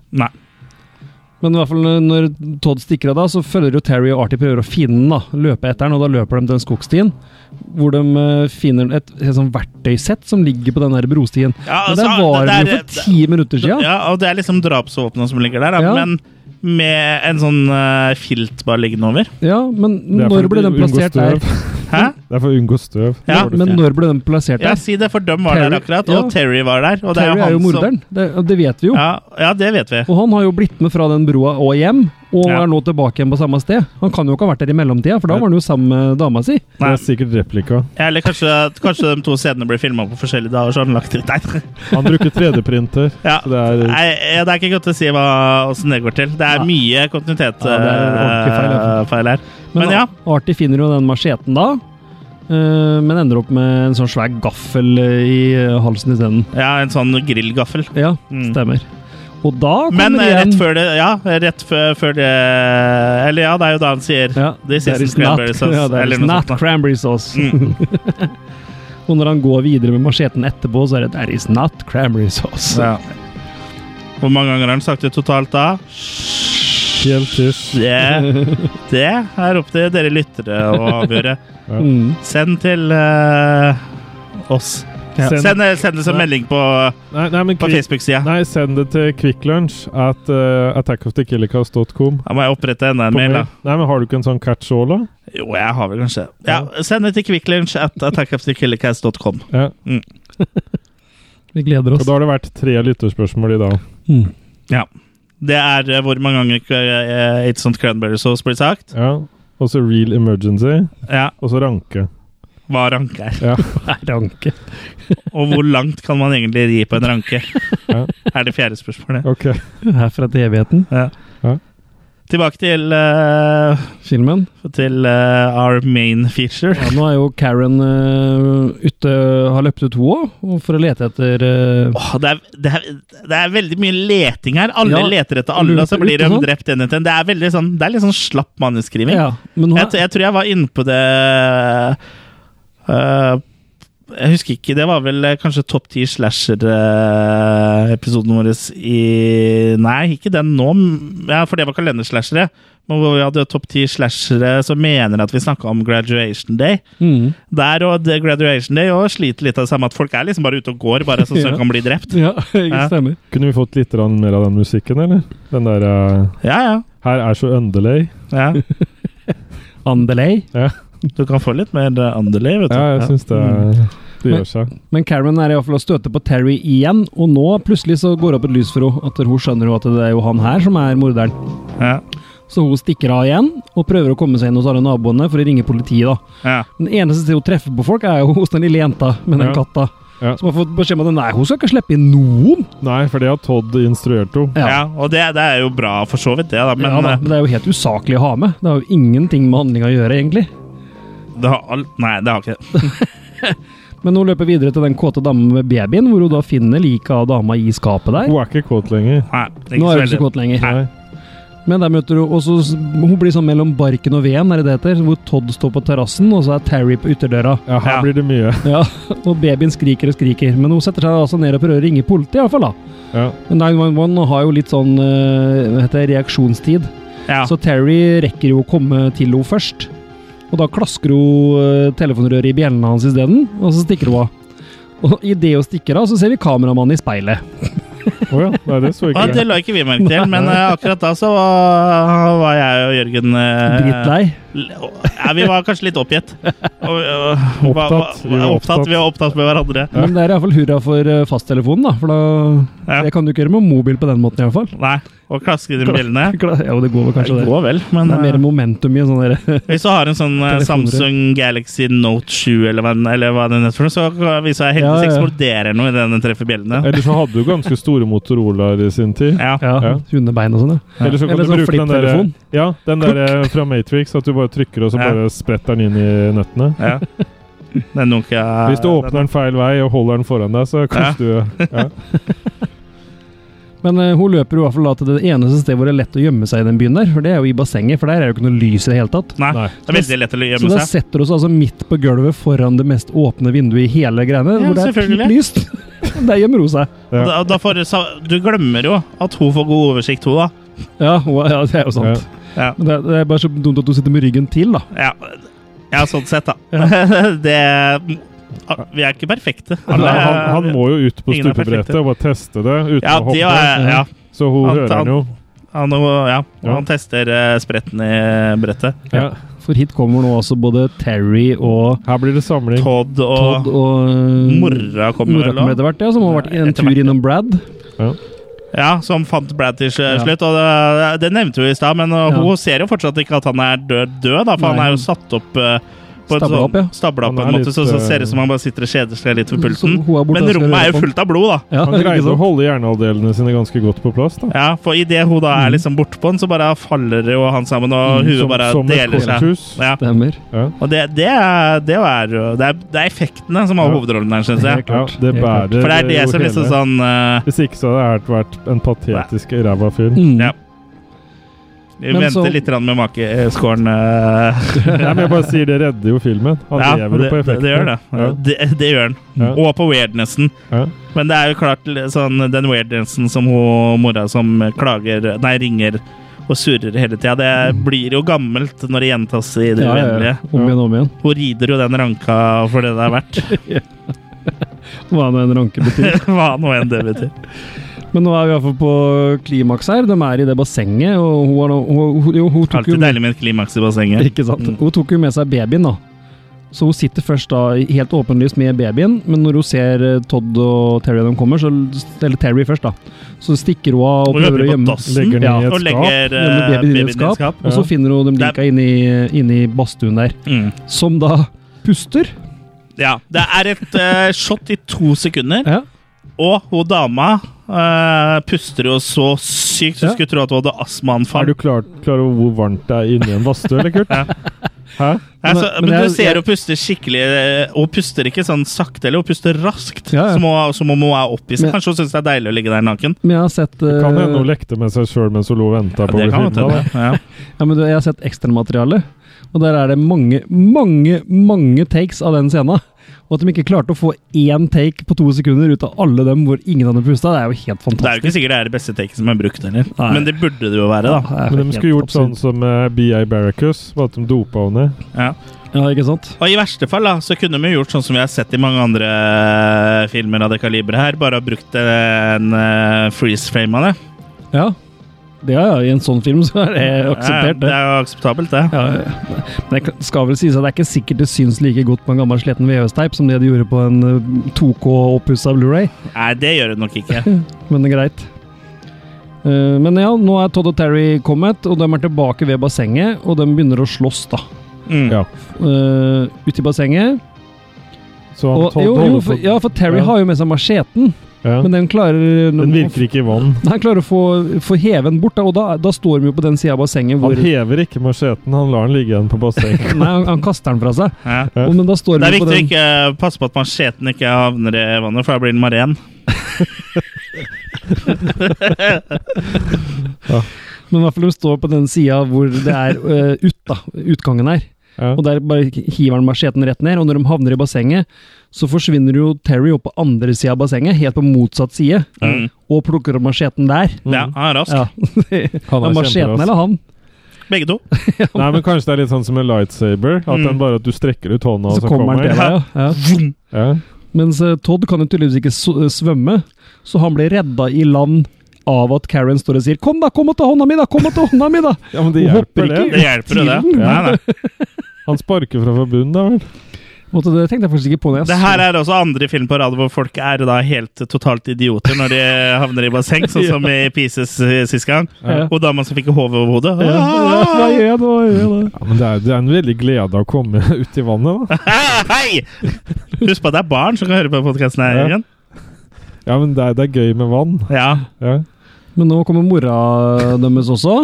Speaker 3: Men i hvert fall når Todd stikker av, da, så følger jo Terry og Artie prøver å finne den. da, Løpe etter den, og da løper de til en skogstien. Hvor de eh, finner et, et sånt verktøysett som ligger på den der brostien.
Speaker 1: ja, altså,
Speaker 3: Men der var den jo for ti minutter
Speaker 1: ja.
Speaker 3: siden!
Speaker 1: ja, og det er liksom drapsvåpenet som ligger der, da,
Speaker 3: Ja.
Speaker 1: men med en sånn eh, filt bare liggende over.
Speaker 3: Ja, men
Speaker 2: Det er for
Speaker 3: når ble
Speaker 2: å
Speaker 3: den
Speaker 2: unngå
Speaker 3: plassert der?
Speaker 2: støv.
Speaker 1: Hæ?
Speaker 2: Det er for å unngå støv.
Speaker 1: Ja,
Speaker 2: Dårlig
Speaker 3: Men
Speaker 2: fint.
Speaker 3: når ble den plassert
Speaker 1: Ja,
Speaker 3: der?
Speaker 1: si det, for dem var
Speaker 3: Terry-
Speaker 1: der akkurat,
Speaker 3: ja.
Speaker 1: og Terry var der. Og det
Speaker 3: Terry er jo
Speaker 1: han som-
Speaker 3: morderen, det, det vet vi jo.
Speaker 1: Ja, ja, det vet vi.
Speaker 3: Og han har jo blitt med fra den broa og hjem, og
Speaker 1: Ja.
Speaker 3: er nå tilbake igjen på samme sted. Han kan jo ikke ha vært der i mellomtida, for da var han jo sammen med dama si.
Speaker 2: Det
Speaker 1: Nei.
Speaker 2: er sikkert replika.
Speaker 1: Ja, Eller kanskje, kanskje de to scenene blir filma på forskjellige dager, så har han lagt ut Nei.
Speaker 2: Han bruker 3D-printer.
Speaker 1: Ja.
Speaker 2: Så det er
Speaker 1: Nei, eh, det er ikke godt å si hva, hvordan det går til. Det er
Speaker 3: Ja.
Speaker 1: mye kontinuitet
Speaker 3: Ja, det er ordentlig feil, altså. ja.
Speaker 1: eh, feil her. Men
Speaker 3: Men,
Speaker 1: ja.
Speaker 3: Artie finner jo den macheten da, eh, men ender opp med en sånn svær gaffel eh, i eh, halsen isteden.
Speaker 1: ja, en sånn grillgaffel.
Speaker 3: Ja,
Speaker 1: Mm.
Speaker 3: stemmer. Og da kommer
Speaker 1: Men eh,
Speaker 3: igjen
Speaker 1: rett før det Ja, rett før, før det Eller ja, det er jo da han sier
Speaker 3: ja,
Speaker 1: This
Speaker 3: there
Speaker 1: isn't
Speaker 3: is
Speaker 1: cranberry
Speaker 3: not-
Speaker 1: sauce,
Speaker 3: Ja, there
Speaker 1: eller
Speaker 3: is
Speaker 1: noe
Speaker 3: not
Speaker 1: sånt, da.
Speaker 3: cranberry sauce.
Speaker 1: Mm.
Speaker 3: Og når han går videre med macheten etterpå, så er det There is not cranberry sauce.
Speaker 1: ja. Hvor mange ganger har han sagt det totalt da?
Speaker 2: helt tyst.
Speaker 1: Det, det er opp til dere lyttere å avgjøre.
Speaker 3: Mm.
Speaker 1: Send til eh, oss.
Speaker 3: Ja.
Speaker 1: Send, eh, send det som
Speaker 2: Nei.
Speaker 1: melding på,
Speaker 2: Nei, nei, men
Speaker 1: på
Speaker 2: kvi-
Speaker 1: Facebook-sida.
Speaker 2: nei, send det til quicklunch at uh, attackofthekillercast.com.
Speaker 1: Da må jeg opprette enda en
Speaker 2: På
Speaker 1: mail,
Speaker 2: mail.
Speaker 1: da.
Speaker 2: Nei, men Har du ikke en sånn catch-all, da?
Speaker 1: Jo, jeg har vel kanskje Ja, Send det til quicklunch at attackofthekillercast.com.
Speaker 2: Ja.
Speaker 3: Vi gleder
Speaker 2: Og
Speaker 3: oss.
Speaker 2: da har det vært tre lytterspørsmål i dag.
Speaker 3: Mm.
Speaker 1: Det er eh, hvor mange ganger eh, It's not cranberry sauce blir sagt.
Speaker 2: Ja. Og så Real Emergency,
Speaker 1: Ja,
Speaker 2: og så Ranke.
Speaker 1: hva ranke er.
Speaker 2: Ja.
Speaker 3: er ranke.
Speaker 1: Og hvor langt kan man egentlig ri på en ranke?
Speaker 2: Ja.
Speaker 1: Er det fjerde spørsmålet.
Speaker 2: Ok.
Speaker 3: Herfra til evigheten.
Speaker 1: Ja.
Speaker 2: Ja.
Speaker 1: Tilbake til, eh,
Speaker 3: Filmen.
Speaker 1: til eh, our main feature.
Speaker 3: Ja, nå er jo Karen eh, ute, har løpt ut hoa og for å lete etter eh,
Speaker 1: Åh, det, er, det, er, det er veldig mye leting her. Alle
Speaker 3: Ja,
Speaker 1: leter etter alle, og så blir de
Speaker 3: ikke sant?
Speaker 1: drept en etter en. Det er, veldig sånn, det er litt sånn slapp manuskriving.
Speaker 3: Ja, men nå
Speaker 1: Jeg, t-
Speaker 3: er,
Speaker 1: jeg tror jeg var inne på det øh, Jeg husker ikke. Det var vel eh, kanskje topp ti slasher-episoden vår i Nei, ikke den nå, m- ja, for det var kalenderslashere. Men hvor vi hadde topp ti slashere som mener at vi snakka om graduation day.
Speaker 3: mm,
Speaker 1: Der og det graduation day og sliter litt av det samme at folk er liksom bare ute og går, bare sånn at
Speaker 3: Ja.
Speaker 1: de kan bli drept.
Speaker 3: ja, jeg
Speaker 1: Ja.
Speaker 3: stemmer.
Speaker 2: Kunne vi fått litt grann mer av den musikken, eller? Den der eh,
Speaker 1: Ja, ja.
Speaker 2: Her er så underlay.
Speaker 1: ja.
Speaker 3: Andelay.
Speaker 1: Du kan få litt mer eh, underlig, vet du.
Speaker 2: Ja, jeg syns det,
Speaker 1: Mm.
Speaker 2: det
Speaker 3: Men-
Speaker 2: gjør seg.
Speaker 3: Men Karen er iallfall å støte på Terry igjen, og nå plutselig så går det opp et lys for henne. At hun skjønner jo at det er jo han her som er morderen.
Speaker 1: Ja,
Speaker 3: Så hun stikker av igjen og prøver å komme seg inn hos alle naboene for å ringe politiet. da.
Speaker 1: ja.
Speaker 3: Den eneste stedet hun treffer på folk, er jo hos den lille jenta med den
Speaker 2: Ja.
Speaker 3: katta.
Speaker 2: Ja.
Speaker 3: Som har fått beskjed om at nei, hun skal ikke slippe inn noen.
Speaker 2: Nei, for det har Todd instruert henne.
Speaker 1: ja.
Speaker 3: Ja.
Speaker 1: Og det, det er jo bra, for så vidt, det, da. Men
Speaker 3: Men, ja, da,
Speaker 1: eh,
Speaker 3: men det er jo helt usaklig å ha med. Det har jo ingenting med handlinga å gjøre, egentlig.
Speaker 1: Det har alt Nei, det har ikke det.
Speaker 3: Men hun løper videre til den kåte damen med babyen, hvor hun da finner liket av dama i skapet der.
Speaker 2: Hun er ikke kåt lenger.
Speaker 1: Nei, ikke
Speaker 3: Nå
Speaker 1: så
Speaker 3: er hun ikke så
Speaker 1: veldig.
Speaker 3: kåt lenger.
Speaker 2: Nei.
Speaker 3: Men der møter hun også Hun blir sånn mellom barken og veden, er det det heter? Hvor Todd står på terrassen, og så er Terry på ytterdøra.
Speaker 2: Ja, her
Speaker 1: Ja.
Speaker 2: blir det mye.
Speaker 3: Ja, Og babyen skriker og skriker, men hun setter seg altså ned og prøver å ringe politiet, iallfall.
Speaker 2: Ja.
Speaker 3: 911 har jo litt sånn eh, hva heter det, reaksjonstid,
Speaker 1: Ja.
Speaker 3: så Terry rekker jo å komme til henne først. Og da klasker hun eh, telefonrøret i bjellene hans isteden, og så stikker hun av. Og idet hun stikker av, så ser vi kameramannen i speilet.
Speaker 2: Å ja. Nei, det så
Speaker 1: Ja,
Speaker 2: ikke
Speaker 1: det
Speaker 2: jeg.
Speaker 1: la ikke vi merke til, men eh, akkurat da så var, var jeg og Jørgen eh,
Speaker 3: Drittlei.
Speaker 1: l- Ja, vi var kanskje litt oppgitt. Og, eh, var- var-
Speaker 2: Opptatt. Vi var opptatt.
Speaker 1: opptatt. Vi var opptatt med hverandre.
Speaker 3: Men det er iallfall hurra for eh, fasttelefonen, da. For da
Speaker 1: Ja.
Speaker 3: Det kan du ikke gjøre med mobil på den måten, iallfall.
Speaker 1: Nei. Og klaske de bjellene.
Speaker 3: Jo, det går vel
Speaker 1: Det
Speaker 3: kanskje, det.
Speaker 1: går vel, men
Speaker 3: Det er mer
Speaker 1: eh,
Speaker 3: momentum i en sånn derre
Speaker 1: hvis du har en sånn eh,
Speaker 3: Telefoner.
Speaker 1: Samsung Galaxy Note 7 eller hva, den- eller hva den heter, for noe, så hvis jeg
Speaker 3: Ja,
Speaker 1: heldigvis
Speaker 3: ja.
Speaker 1: eksploderer noe idet den treffer bjellene.
Speaker 2: Eller så hadde du ganske store Motorolaer i sin tid.
Speaker 1: Ja.
Speaker 3: ja,
Speaker 2: Ja.
Speaker 3: hundebein og sånn, ja.
Speaker 2: Eller så kan
Speaker 3: Eller
Speaker 2: du
Speaker 3: sånn
Speaker 2: bruke den der,
Speaker 3: flipptelefon.
Speaker 2: ja, den der eh, fra Matrix, at du bare trykker og så
Speaker 1: Ja.
Speaker 2: bare spretter den inn i nøttene.
Speaker 1: ja. Den dunka
Speaker 2: Hvis du åpner den feil vei og holder den foran deg, så kaster du ja.
Speaker 3: Men eh, hun løper i hvert fall da til det eneste stedet hvor det er lett å gjemme seg i den byen der, for det er jo i bassenget, for der er det jo ikke noe lys i det hele tatt.
Speaker 1: Nei.
Speaker 2: Nei.
Speaker 1: Det er veldig lett å
Speaker 3: Så
Speaker 1: gjemme
Speaker 3: da
Speaker 1: seg.
Speaker 3: setter hun seg altså midt på gulvet foran det mest åpne vinduet i hele greiene,
Speaker 1: Ja,
Speaker 3: hvor det er
Speaker 1: selvfølgelig.
Speaker 3: pip lyst. der gjemmer hun seg.
Speaker 1: Og Da, da får, du sa- du glemmer jo at hun får god oversikt, hun, da.
Speaker 3: Ja, hun, ja det er jo sant.
Speaker 1: Ja,
Speaker 3: Men Det, det er bare så dumt at hun sitter med ryggen til, da.
Speaker 1: ja, ja sånn sett, da. det Vi er ikke perfekte.
Speaker 2: Nei, han, han må jo ut på
Speaker 1: Ingen er perfekte.
Speaker 2: stupebrettet og bare teste det uten
Speaker 1: ja,
Speaker 2: å
Speaker 1: de,
Speaker 2: hoppe.
Speaker 1: er- ja,
Speaker 2: Så hun
Speaker 1: Han-
Speaker 2: hører
Speaker 1: han-
Speaker 2: han jo.
Speaker 1: han, må- ja,
Speaker 2: Ja.
Speaker 1: han tester eh, spretten i brettet.
Speaker 2: Ja.
Speaker 3: For hit kommer nå altså både Terry og
Speaker 2: Her blir det samling.
Speaker 1: Todd og
Speaker 3: Todd og eh,
Speaker 1: mora kommer
Speaker 3: Mora
Speaker 1: vel
Speaker 3: kommer
Speaker 1: òg.
Speaker 3: etter hvert, ja, som har vært en
Speaker 1: Etter
Speaker 3: tur
Speaker 1: hvert, ja.
Speaker 3: innom Brad.
Speaker 1: Ja, som fant Brad til sl-
Speaker 3: Ja.
Speaker 1: slutt. Og det, det nevnte vi i stad, men eh,
Speaker 3: Ja.
Speaker 1: hun ser jo fortsatt ikke at han er død, død da, for han
Speaker 3: Nei.
Speaker 1: er jo satt opp eh, på
Speaker 3: Stablet opp, ja.
Speaker 1: ja. Stabla opp
Speaker 2: Han
Speaker 1: på
Speaker 2: er
Speaker 1: en måte,
Speaker 2: litt,
Speaker 1: så, så
Speaker 2: eh,
Speaker 1: ser det ut som han bare sitter og kjeder seg litt ved
Speaker 3: Så
Speaker 1: pulten.
Speaker 3: hun er borte og
Speaker 1: Men
Speaker 3: skal
Speaker 1: rommet er
Speaker 3: røre
Speaker 1: jo
Speaker 3: på den.
Speaker 1: fullt av blod, da.
Speaker 3: Ja,
Speaker 2: Han
Speaker 3: ikke
Speaker 2: greide å
Speaker 3: sant?
Speaker 2: holde hjernehalvdelene sine ganske godt på plass. da.
Speaker 1: Ja, for idet hun da er
Speaker 3: Mm.
Speaker 1: liksom borte på den, så bare faller jo han sammen, og huet bare
Speaker 2: som et
Speaker 1: deler seg.
Speaker 2: korthus.
Speaker 1: Ja,
Speaker 3: Stemmer.
Speaker 2: Ja.
Speaker 1: og det, det, er, det, er, jo- det, er, det er effektene som har
Speaker 2: Ja.
Speaker 1: hovedrollen her, syns jeg.
Speaker 3: Helt
Speaker 2: Ja,
Speaker 3: klart.
Speaker 2: det
Speaker 3: Helt klart.
Speaker 2: bærer
Speaker 1: For det er det
Speaker 2: jo
Speaker 1: som liksom
Speaker 2: hele.
Speaker 1: sånn eh,
Speaker 2: Hvis ikke så hadde det vært en patetisk ræva fyr.
Speaker 3: Mm.
Speaker 1: Ja. Vi
Speaker 3: Men
Speaker 1: venter
Speaker 3: så-
Speaker 1: litt grann med makeskåren. eh,
Speaker 2: Nei, men jeg bare sier det redder jo filmen. Han
Speaker 1: ja,
Speaker 2: lever
Speaker 1: det,
Speaker 2: jo på
Speaker 1: det,
Speaker 2: effekten.
Speaker 1: det gjør det.
Speaker 2: Ja.
Speaker 1: det. Det gjør den.
Speaker 2: Ja.
Speaker 1: Og på weirdnessen.
Speaker 2: Ja.
Speaker 1: Men det er jo klart l- sånn, den weirdnessen som hun mora som klager Nei, ringer og surrer hele tida. Det blir jo gammelt når det gjentas i det
Speaker 3: Ja, ja,
Speaker 1: uendelige.
Speaker 3: ja. Om igjen, om igjen.
Speaker 1: Hun rider jo den ranka for det det er verdt.
Speaker 3: Hva nå en ranke betyr.
Speaker 1: Hva nå enn det betyr.
Speaker 3: Men nå er vi iallfall på klimaks her. De er i det bassenget, og hun, har nå- hun, hun, jo, hun tok jo
Speaker 1: Alltid deilig med et klimaks i bassenget.
Speaker 3: Ikke sant?
Speaker 1: Mm.
Speaker 3: Hun tok jo med seg babyen, da. Så hun sitter først da i- helt åpenlyst med babyen, men når hun ser eh, Todd og Terry de kommer, så, eller Terry først, da, så stikker hun av og
Speaker 1: Hun
Speaker 3: prøver
Speaker 1: løper
Speaker 3: å
Speaker 1: på
Speaker 3: gjemme
Speaker 1: dassen
Speaker 2: legger den
Speaker 3: Ja,
Speaker 2: i et
Speaker 1: og
Speaker 2: skap.
Speaker 1: legger eh,
Speaker 3: gjemme babyen i
Speaker 1: babyen
Speaker 3: et skap.
Speaker 1: skap.
Speaker 3: Og så
Speaker 2: Ja.
Speaker 3: finner hun dem lika inni, inni badstuen der,
Speaker 1: Mm.
Speaker 3: som da puster.
Speaker 1: Ja, det er et eh, shot i to sekunder,
Speaker 3: Ja.
Speaker 1: og hun dama eh, puster jo så sykt så
Speaker 2: Ja.
Speaker 1: du skulle tro at hun hadde
Speaker 2: Er
Speaker 1: astmaanfall.
Speaker 2: du klar, klar over hvor varmt det er inni en badstue, eller, Kurt? Hæ?
Speaker 1: Nei, så, men
Speaker 3: Men jeg-
Speaker 1: du ser
Speaker 3: jeg-
Speaker 1: hun puster skikkelig eh, Hun puster ikke sånn sakte, eller hun puster raskt.
Speaker 3: Ja, ja.
Speaker 1: Som, hun, som om hun er opphisset.
Speaker 3: Men-
Speaker 1: Kanskje hun syns det er deilig å ligge der naken.
Speaker 3: Men jeg har sett
Speaker 2: Det Kan hende hun
Speaker 3: eh,
Speaker 2: lekte med seg sjøl mens hun lå og venta
Speaker 1: Ja,
Speaker 2: på å
Speaker 1: det
Speaker 2: bli
Speaker 1: kan godt
Speaker 2: filma.
Speaker 1: hende. Ja.
Speaker 3: ja, men du, jeg har sett ekstramateriale, og der er det mange, mange, mange takes av den scenen. Og at de ikke klarte å få én take på to sekunder ut av alle dem hvor ingen hadde pusta, det er jo helt
Speaker 1: Det er jo
Speaker 3: fantastisk.
Speaker 1: ikke sikkert det er det beste taket som er brukt, heller.
Speaker 3: Nei.
Speaker 1: Men det burde det jo være, da.
Speaker 3: Det er
Speaker 2: Men de
Speaker 3: helt
Speaker 2: skulle gjort
Speaker 3: absurd.
Speaker 2: sånn som eh, BI Barracus, bare at de dopa henne. ned.
Speaker 1: Ja.
Speaker 2: sånn.
Speaker 3: Ja, ikke sant?
Speaker 1: Og i verste fall da, så kunne vi gjort sånn som vi har sett i mange andre eh, filmer av det kaliberet her. Bare ha brukt en eh, freeze frame av det.
Speaker 3: Ja. Det er, ja, I en sånn film så er det akseptert,
Speaker 1: Ja,
Speaker 3: det.
Speaker 1: det er jo akseptabelt, det.
Speaker 3: Ja, ja. Men det skal vel sies at det er ikke sikkert det syns like godt på en gammel sliten VHS-teip som det de gjorde på en eh, 2K oppussa Blu-ray,
Speaker 1: Nei, det gjør det nok ikke.
Speaker 3: men det er greit. Eh, Men ja, nå er Todd og Terry kommet, og de er tilbake ved bassenget. Og de begynner å slåss, da.
Speaker 1: Mm.
Speaker 2: Ja.
Speaker 3: Uh, Ute i bassenget.
Speaker 2: Så han
Speaker 3: Og,
Speaker 2: Todd
Speaker 3: jo, jo,
Speaker 2: holder
Speaker 3: for,
Speaker 2: på-
Speaker 3: ja, for Terry
Speaker 2: Ja.
Speaker 3: har jo med seg macheten,
Speaker 2: Ja.
Speaker 3: men den klarer
Speaker 2: Den virker ikke i vann.
Speaker 3: Han klarer å få, få heve den bort, da, og da, da står de jo på den sida av bassenget hvor
Speaker 2: Han hever ikke macheten, han lar den ligge igjen på bassenget.
Speaker 3: Nei, han, han kaster den fra seg.
Speaker 1: Ja.
Speaker 2: Ja.
Speaker 3: Og, men da står
Speaker 1: Det er
Speaker 3: vi på
Speaker 1: viktig å
Speaker 3: den
Speaker 1: ikke passe på at macheten ikke havner i vannet, for da blir den maren.
Speaker 3: Men i hvert fall de står på den sida hvor det er eh, ut, da, utgangen er.
Speaker 2: Ja.
Speaker 3: Og der bare hiver han macheten rett ned, og når de havner i bassenget, så forsvinner jo Terry opp på andre sida av bassenget, helt på motsatt side,
Speaker 1: Mm.
Speaker 3: og plukker opp macheten der.
Speaker 2: Mm.
Speaker 1: Ja, han er rask.
Speaker 3: Ja.
Speaker 2: Han
Speaker 3: Ja,
Speaker 2: er
Speaker 3: macheten
Speaker 2: kjemperask.
Speaker 3: eller han?
Speaker 1: Begge to.
Speaker 2: Nei, men kanskje det er litt sånn som en lightsaber. At
Speaker 1: Mm.
Speaker 2: den bare at du strekker ut hånda,
Speaker 3: Så kommer han til deg, ja. ja.
Speaker 2: Ja.
Speaker 3: Mens eh, Todd kan jo tydeligvis ikke s- svømme, så han blir redda i land av at Karen står og sier 'kom da, kom og ta hånda mi, da', kom og ta hånda mi, da'.
Speaker 2: ja, men det
Speaker 3: Hun hopper
Speaker 2: hjelper det.
Speaker 3: ikke.
Speaker 1: Det hjelper jo, det. Nei,
Speaker 2: Ja.
Speaker 1: nei.
Speaker 2: Han sparker fra forbund, da vel.
Speaker 3: Måtte, det tenkte jeg faktisk ikke på. Når jeg
Speaker 1: Det her er også andre film på rad hvor folk er da helt totalt idioter når de havner i basseng, sånn som i Pieces eh, sist gang.
Speaker 3: Ja.
Speaker 1: Og dama som fikk hode over hodet.
Speaker 3: Ja, ja, hva gjør jeg nå? Hva gjør jeg nå?
Speaker 2: Ja, men det er, det er en veldig glede av å komme ut i vannet, da.
Speaker 1: Ah, Hei! Husk på at det er barn som kan høre på podkasten her.
Speaker 2: Ja.
Speaker 1: igjen.
Speaker 2: Ja, men det er, det er gøy med vann.
Speaker 1: Ja.
Speaker 2: Ja.
Speaker 3: Men nå kommer mora deres også.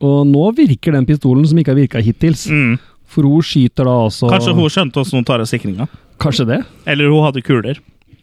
Speaker 3: Og nå virker den pistolen som ikke har virka hittils.
Speaker 1: Mm.
Speaker 3: For hun skyter da altså
Speaker 1: Kanskje hun skjønte åssen hun tar av sikringa.
Speaker 3: Kanskje det?
Speaker 1: Eller hun hadde kuler.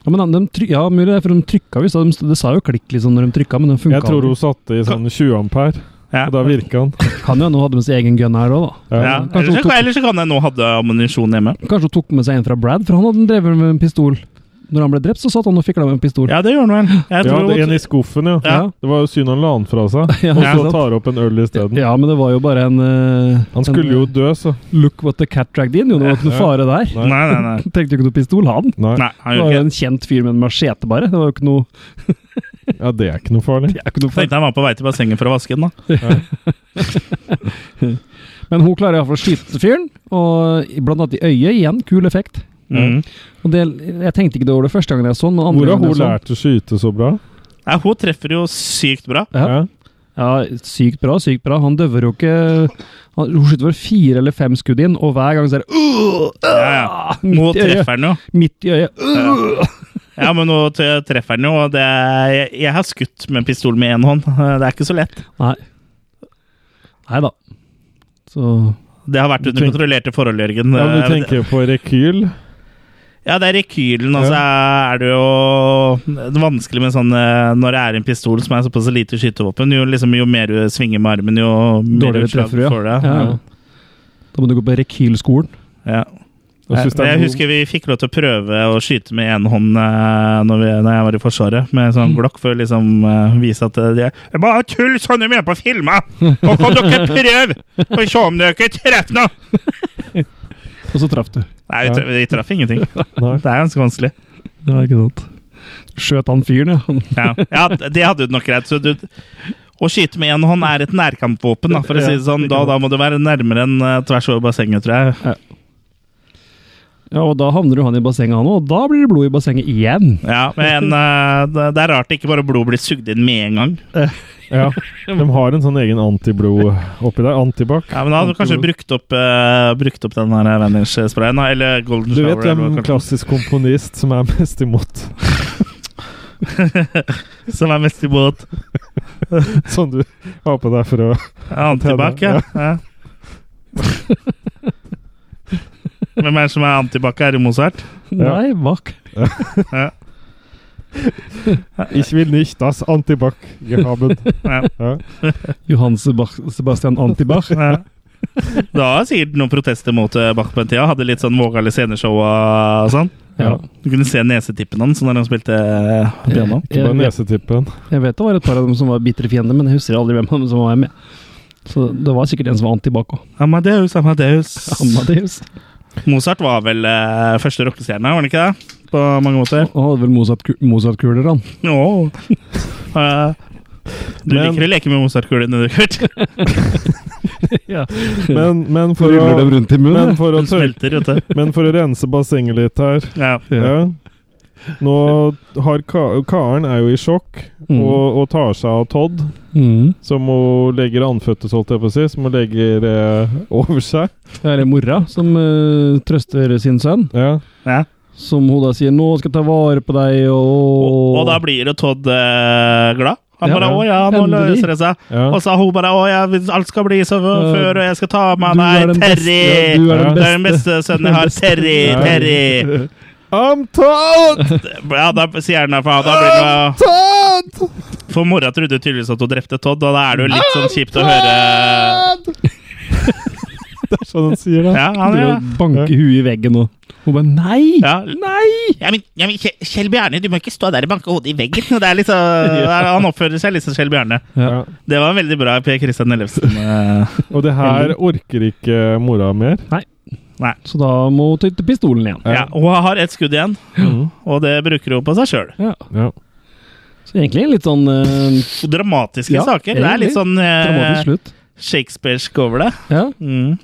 Speaker 3: Ja, men de, try- ja, mulig det, for de trykka visst. og De, det sa jo klikk liksom når de trykka, men den funka.
Speaker 2: Jeg tror hun satte i sånn 20 ampere,
Speaker 1: Ja.
Speaker 2: og da virka han.
Speaker 3: Kan jo hende hun hadde med seg egen gun her òg, da.
Speaker 1: Ja.
Speaker 3: Kanskje
Speaker 1: Eller,
Speaker 3: hun
Speaker 1: så,
Speaker 3: tok-
Speaker 1: eller så kan hende hun hadde ammunisjon hjemme.
Speaker 3: Kanskje hun tok med seg en fra Brad, for han hadde drevet med en pistol. Når han ble drept, så satt han og fikla med en pistol.
Speaker 1: Ja, det gjør hun vel. Jeg
Speaker 2: Ja,
Speaker 1: tror
Speaker 2: det er
Speaker 1: hun-
Speaker 2: en i skuffen, ja.
Speaker 1: Ja.
Speaker 2: Det var jo synd han la den fra seg,
Speaker 3: Ja,
Speaker 2: og
Speaker 3: ikke
Speaker 2: så
Speaker 3: sant?
Speaker 2: tar opp en øl isteden.
Speaker 3: Ja, men det var jo bare en eh,
Speaker 2: Han skulle
Speaker 3: en, eh,
Speaker 2: jo dø, så.
Speaker 3: Look what the cat dragged in. Jo, det var ikke noe
Speaker 2: Ja.
Speaker 3: fare der.
Speaker 2: Nei.
Speaker 1: Nei, nei, nei.
Speaker 3: Tenkte jo ikke noe pistol, han.
Speaker 2: Nei.
Speaker 1: nei han
Speaker 3: Det
Speaker 1: gjorde
Speaker 3: var
Speaker 1: ikke
Speaker 3: jo
Speaker 1: det.
Speaker 3: en kjent fyr med en machete, bare. Det var jo ikke noe,
Speaker 2: Ja, det er ikke noe farlig.
Speaker 3: det er ikke noe
Speaker 1: Tenkte han var på vei til bassenget for å vaske den. da.
Speaker 3: Men hun klarer iallfall å skyte fyren, og blant annet i øyet igjen. Kul effekt.
Speaker 1: Mm.
Speaker 3: Og det, jeg tenkte ikke det over det første gangen jeg så den, men andre
Speaker 2: Hvor har
Speaker 3: gangen
Speaker 2: hun
Speaker 3: jeg så den-
Speaker 2: lært å skyte så bra?
Speaker 1: Nei, hun treffer jo sykt bra.
Speaker 3: Ja. Ja, sykt bra, sykt bra. Han døver jo ikke han, Hun skyter vel fire eller fem skudd inn, og hver gang så er det «Åh!
Speaker 1: Ja,
Speaker 3: Åh!»
Speaker 1: Hun
Speaker 3: Midt i øyet.
Speaker 1: treffer den jo.
Speaker 3: Midt i øyet.
Speaker 1: Ja, men hun t- treffer den jo, og det er, jeg, jeg har skutt med pistol med én hånd. Det er ikke så lett.
Speaker 3: Nei. Nei da. Så
Speaker 1: Det har vært
Speaker 2: Du
Speaker 1: under
Speaker 2: tenker-
Speaker 1: kontrollerte forhold, Jørgen.
Speaker 2: Ja, men du tenker jo på rekyl.
Speaker 1: Ja, det er rekylen, og så er det jo vanskelig med sånn eh, Når det er en pistol som er såpass lite skytevåpen, jo, liksom, jo mer du svinger med armen, jo mer
Speaker 3: dårligere
Speaker 1: utslag
Speaker 3: treffer du,
Speaker 1: får du.
Speaker 3: ja.
Speaker 1: Ja.
Speaker 3: ja. Da må du gå på rekylskolen.
Speaker 1: Ja.
Speaker 2: Og
Speaker 1: Jeg,
Speaker 2: synes det er
Speaker 1: jeg
Speaker 2: noe-
Speaker 1: husker vi fikk lov til å prøve å skyte med én hånd eh, når, vi, når jeg var i Forsvaret, med sånn
Speaker 2: Mm.
Speaker 1: glokk, for å liksom eh, vise at eh, de er Det er bare tull sånn de gjør på filma! Og kan dere prøve og se om dere ikke treffer noe!
Speaker 3: Og så traff du.
Speaker 1: Nei, vi tra- vi traff ingenting.
Speaker 2: Nei.
Speaker 1: Det er ganske vanskelig.
Speaker 3: Ja, ikke sant. Skjøt han fyren, ja.
Speaker 1: Ja, ja det hadde du nok greit. Så du, å skyte med én hånd er et nærkampvåpen, da, for å si det sånn. Da, da må du være nærmere enn eh, tvers over bassenget, tror jeg.
Speaker 3: Ja, og da havner jo han i bassenget, han òg. Og da blir det blod i bassenget igjen.
Speaker 1: Ja, men eh, det, det er rart det ikke bare blod blir sugd inn med en gang.
Speaker 2: Ja, De har en sånn egen antiblod oppi der. Antibac.
Speaker 1: Ja, men da hadde du kanskje brukt opp, eh, brukt opp den her Avengers-sprayen, da, eller Golden
Speaker 2: Du vet
Speaker 1: Shower. eller
Speaker 2: hvem
Speaker 1: hva det kalles,
Speaker 2: klassisk komponist som er mest imot
Speaker 1: Som er mest imot
Speaker 2: sånn du har på deg for å
Speaker 1: antibac, ja. ja. Hvem er det som er antibac? Er det Mozart?
Speaker 2: Ja.
Speaker 3: Nei, bak.
Speaker 1: Ja.
Speaker 2: Ich will nicht das Antibac gehaben.
Speaker 1: Ja.
Speaker 2: Ja.
Speaker 3: Johan Seba- Sebastian Antibach.
Speaker 1: Ja. Det var sikkert noen protester mot eh, Bach på den tida. Hadde litt sånn vågale sceneshow og sånn.
Speaker 3: Ja.
Speaker 1: Du kunne se nesetippen hans når han spilte eh, piano.
Speaker 2: Ikke bare
Speaker 3: Jeg vet-
Speaker 2: nesetippen.
Speaker 3: Jeg vet det var et par av dem som var bitre fiender, men jeg husker aldri hvem av dem som var med. Så det var sikkert en som var antibac òg.
Speaker 1: Amadeus, Amadeus.
Speaker 3: Amadeus.
Speaker 1: Mozart var vel eh, første rockestjerne, var han ikke det? På mange måter.
Speaker 3: Han hadde vel Mozart- Mozart-kuler, han.
Speaker 1: Åh. Eh, du
Speaker 2: Men-
Speaker 1: liker å leke med Mozart-kulene, du, Kurt.
Speaker 3: ja.
Speaker 2: Men, men, for
Speaker 3: Ruller
Speaker 2: å,
Speaker 3: dem rundt i munnen.
Speaker 2: men, for å
Speaker 1: Hun
Speaker 2: tør,
Speaker 1: smelter, vet du.
Speaker 2: men for å rense bassenget litt her
Speaker 1: Ja.
Speaker 2: ja. Nå har ka Karen er jo i sjokk
Speaker 3: Mm.
Speaker 2: og, og tar seg av Todd,
Speaker 3: Mm.
Speaker 2: som hun legger anføttes, holdt jeg på å si, som hun legger eh, over seg.
Speaker 3: Det er mora som eh, trøster sin sønn,
Speaker 2: Ja.
Speaker 1: Ja.
Speaker 3: som hun da sier 'nå skal jeg ta vare på deg',
Speaker 1: Og,
Speaker 3: og
Speaker 1: og da blir jo Todd eh, glad. Han
Speaker 3: Ja.
Speaker 1: bare 'Å ja, nå
Speaker 3: Endelig.
Speaker 1: løser det seg'.
Speaker 3: Altså,
Speaker 2: Ja.
Speaker 1: Og så har hun bare 'Å ja, hvis alt skal bli som før, og jeg skal ta med meg
Speaker 3: beste,
Speaker 1: Terry'.
Speaker 3: du er
Speaker 2: Ja.
Speaker 3: den
Speaker 1: Det er den
Speaker 3: beste.
Speaker 1: beste sønnen jeg har. Terry,
Speaker 2: Ja.
Speaker 1: Terry.
Speaker 2: I'm Todd!
Speaker 1: Ja, da sier han det, for da blir det jo-
Speaker 2: Todd!
Speaker 1: For mora trodde tydeligvis at hun drepte Todd, og da er det jo litt sånn kjipt å høre
Speaker 2: Det er sånn han sier det.
Speaker 1: Ja, han er
Speaker 3: Driver og banker huet i veggen og Hun bare 'nei'!
Speaker 1: ja.
Speaker 3: Nei!
Speaker 1: Ja, men, ja, men Kjell- Kjell Bjarne, du må ikke stå der og banke hodet i veggen. Det er litt så, det er, han oppfører seg litt som Kjell Bjarne.
Speaker 2: Ja.
Speaker 1: Det var veldig bra Per Christian Ellefsen. eh,
Speaker 2: Og det her orker ikke mora mer.
Speaker 3: Så da må hun ty til pistolen igjen.
Speaker 1: ja, hun har ett skudd igjen,
Speaker 2: Mhm.
Speaker 1: og det bruker hun på seg sjøl.
Speaker 3: Ja.
Speaker 2: Ja.
Speaker 3: Så egentlig litt sånn eh,
Speaker 1: Dramatiske
Speaker 3: Ja,
Speaker 1: saker. Det er litt
Speaker 3: egentlig.
Speaker 1: sånn eh,
Speaker 3: dramatisk slutt.
Speaker 1: Shakespearsk over det.
Speaker 3: Ja.
Speaker 1: Mm.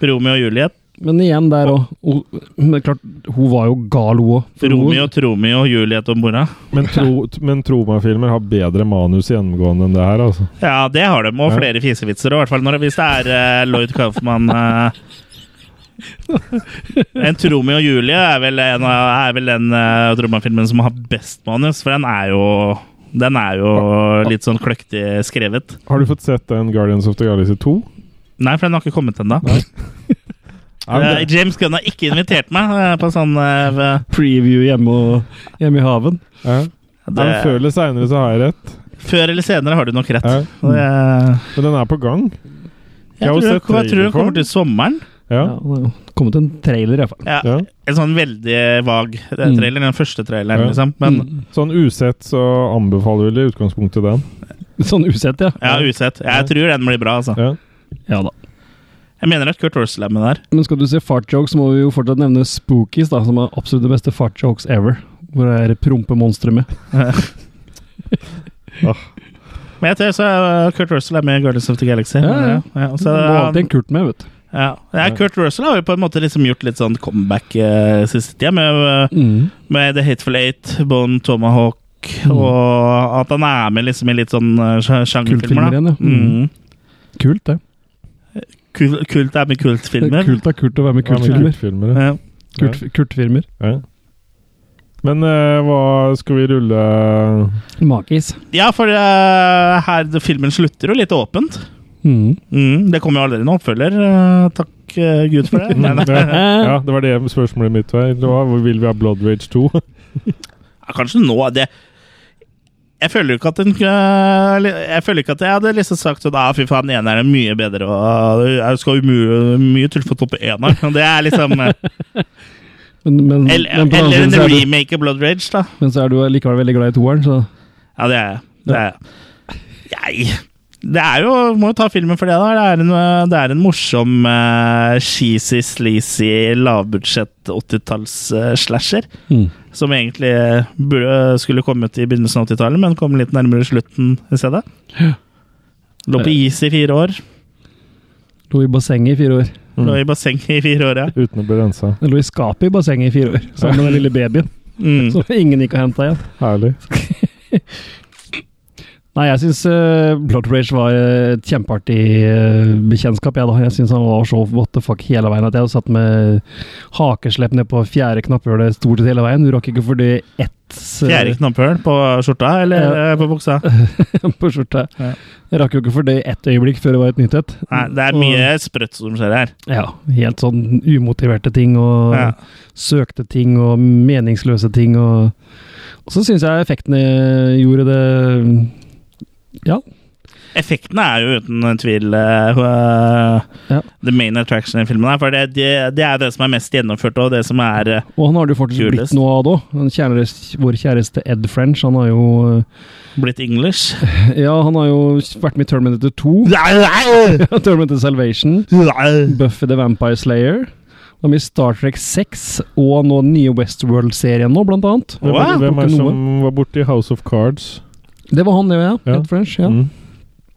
Speaker 1: Romeo og Juliet.
Speaker 3: Men igjen der òg. Men klart, hun var jo gal, hun òg.
Speaker 1: Romeo, Tromeo, Juliet og mora.
Speaker 2: Men, tro, men Troma-filmer har bedre manus gjennomgående enn det her, altså.
Speaker 1: Ja, det har de. Og
Speaker 2: Ja.
Speaker 1: flere fisevitser. Og i hvert fall når, hvis det er eh, Lloyd Kaufmann eh, En Tromeo og Julie er vel, en, av- er vel den uh, Tromma-filmen som har best manus, for den er jo den er jo litt sånn kløktig skrevet.
Speaker 2: Har du fått sett den Guardians of the Galaxy 2?
Speaker 1: Nei, for den har ikke kommet ennå. Eh, James Gunn har ikke invitert meg eh, på sånn eh,
Speaker 3: Preview hjemme, og, hjemme i haven.
Speaker 2: Ja.
Speaker 1: det,
Speaker 2: Men før eller seinere så har jeg rett.
Speaker 1: eh, Før eller senere har du nok rett.
Speaker 2: Ja.
Speaker 1: Og jeg,
Speaker 2: Men den er på gang. Jeg
Speaker 1: jeg,
Speaker 2: har jo
Speaker 1: tror, jeg,
Speaker 2: sett
Speaker 1: jeg tror
Speaker 2: trailer
Speaker 1: den
Speaker 2: for den.
Speaker 1: kommer til sommeren.
Speaker 2: Ja.
Speaker 3: Ja, det har kommet en trailer, iallfall.
Speaker 1: Ja,
Speaker 2: ja.
Speaker 1: En sånn veldig vag eh,
Speaker 3: Mm.
Speaker 1: trailer. Den første traileren,
Speaker 2: Ja.
Speaker 1: liksom. Men
Speaker 2: Sånn usett så anbefaler vi i utgangspunktet den.
Speaker 3: Sånn usett, ja.
Speaker 1: Ja, usett.
Speaker 2: Ja.
Speaker 1: Jeg tror den blir bra, altså.
Speaker 2: Ja.
Speaker 3: Ja da.
Speaker 1: Jeg mener at Kurt Russell er med der.
Speaker 3: Men skal du se fartjokes, må vi jo fortsatt nevne Spookies, da, som er absolutt det beste fartjokes ever. Hvor det er prompemonstre med.
Speaker 1: Men jeg tror så uh, Kurt Russell er med i Guardians of the Galaxy.
Speaker 3: Ja, ja.
Speaker 1: ja, så,
Speaker 3: Så det var alltid en Kurt med, vet du.
Speaker 1: ja. ja, Kurt Russell har jo på en måte liksom gjort litt sånn comeback uh, siste tida, med, eh, med The Hateful Eight, Bone Tomahawk,
Speaker 3: Mm.
Speaker 1: og at han er med liksom i litt sånn eh, sj-
Speaker 3: Kultfilmer
Speaker 1: sjangerfilmer. da.
Speaker 3: igjen, ja. Mm.
Speaker 1: Mm.
Speaker 3: Kult, det.
Speaker 1: Kul- Kult er med
Speaker 3: det er
Speaker 1: kultfilmer.
Speaker 3: kult av Kurt å være med i Kurt-filmer.
Speaker 2: Kultfilmer.
Speaker 1: Ja.
Speaker 2: Ja.
Speaker 3: Kurt, Kurt-filmer.
Speaker 2: Ja. Men eh, hva skal vi rulle
Speaker 3: Makis.
Speaker 1: ja, for eh, her filmen slutter jo litt åpent.
Speaker 3: Mm.
Speaker 1: Mm, det kommer jo aldri noen oppfølger. eh, takk eh, Gud for det. Men, eh,
Speaker 2: ja. ja, det var det spørsmålet mitt var. Det var hvor vil vi ha Blood Rage 2?
Speaker 1: Ja, kanskje nå det jeg føler jo ikke at den øh, Jeg føler ikke at jeg hadde liksom sagt sånn ah, Fy faen, eneren er mye bedre, og øh, jeg skal umulig mye til for å toppe eneren. Og Det er liksom øh,
Speaker 3: Men, men,
Speaker 1: Eller,
Speaker 3: men på den andre
Speaker 1: eller
Speaker 3: siden
Speaker 1: en
Speaker 3: så er du-
Speaker 1: remake av Blood Rage, da.
Speaker 3: men så er du likevel veldig glad i toeren, så
Speaker 1: Ja, det er jeg. Det er jeg. Nei. Det er jo Må jo ta filmen for det, da. Det er en, øh, det er en morsom øh, cheesy, sleazy, lavbudsjett 80-talls-slasher.
Speaker 3: mm.
Speaker 1: som egentlig eh, burde, skulle kommet i begynnelsen av 80-tallet, men kom litt nærmere slutten i stedet.
Speaker 3: Ja.
Speaker 1: Lå på is i fire år.
Speaker 3: Lå i bassenget i fire år.
Speaker 2: Mm.
Speaker 1: Lå i bassenget i fire år, ja.
Speaker 2: Uten å bli rensa.
Speaker 3: Den lå i skapet i bassenget i fire år, sammen med den lille babyen.
Speaker 1: Mm.
Speaker 3: Som ingen gikk og henta igjen.
Speaker 2: Herlig.
Speaker 3: Nei, jeg syns uh, Blood Rage var et kjempeartig eh, bekjentskap. Jeg, da. jeg syns han var så what the fuck hele veien at jeg satt med hakeslepp ned på fjerde knapphullet stort sett hele veien. Du rakk ikke for det ett eh,
Speaker 1: Fjerde knapphøl på skjorta eller eh, på buksa?
Speaker 3: på skjorta.
Speaker 1: Ja.
Speaker 3: Jeg rakk jo ikke for det ett øyeblikk før det var et nytt et.
Speaker 1: Nei, det er mye sprøtt som skjer her.
Speaker 3: Og, ja, helt sånn umotiverte ting og
Speaker 1: Ja.
Speaker 3: søkte ting og meningsløse ting. Og, og så syns jeg effektene gjorde det
Speaker 1: Effektene er jo uten tvil eh, eh,
Speaker 3: Ja.
Speaker 1: the main attraction i filmen. her, For det, det, det er det som er mest gjennomført, og det som er eh,
Speaker 3: Og han har det jo faktisk
Speaker 1: Kulest.
Speaker 3: blitt noe av det òg. Han kjære- Vår kjæreste Ed French, han har jo
Speaker 1: blitt English.
Speaker 3: Ja, han har jo vært med i Terminator 2, Terminator Salvation, Buffy the Vampire Slayer. Han er med i Star Trek 6 og nå den nye Westworld-serien nå, blant annet.
Speaker 2: Hvem,
Speaker 1: Wow,
Speaker 2: er- hvem er det
Speaker 3: ikke
Speaker 2: som var borti House of Cards?
Speaker 3: Det var han, det, ja.
Speaker 2: Ja.
Speaker 3: Ed French. ja.
Speaker 2: Mm.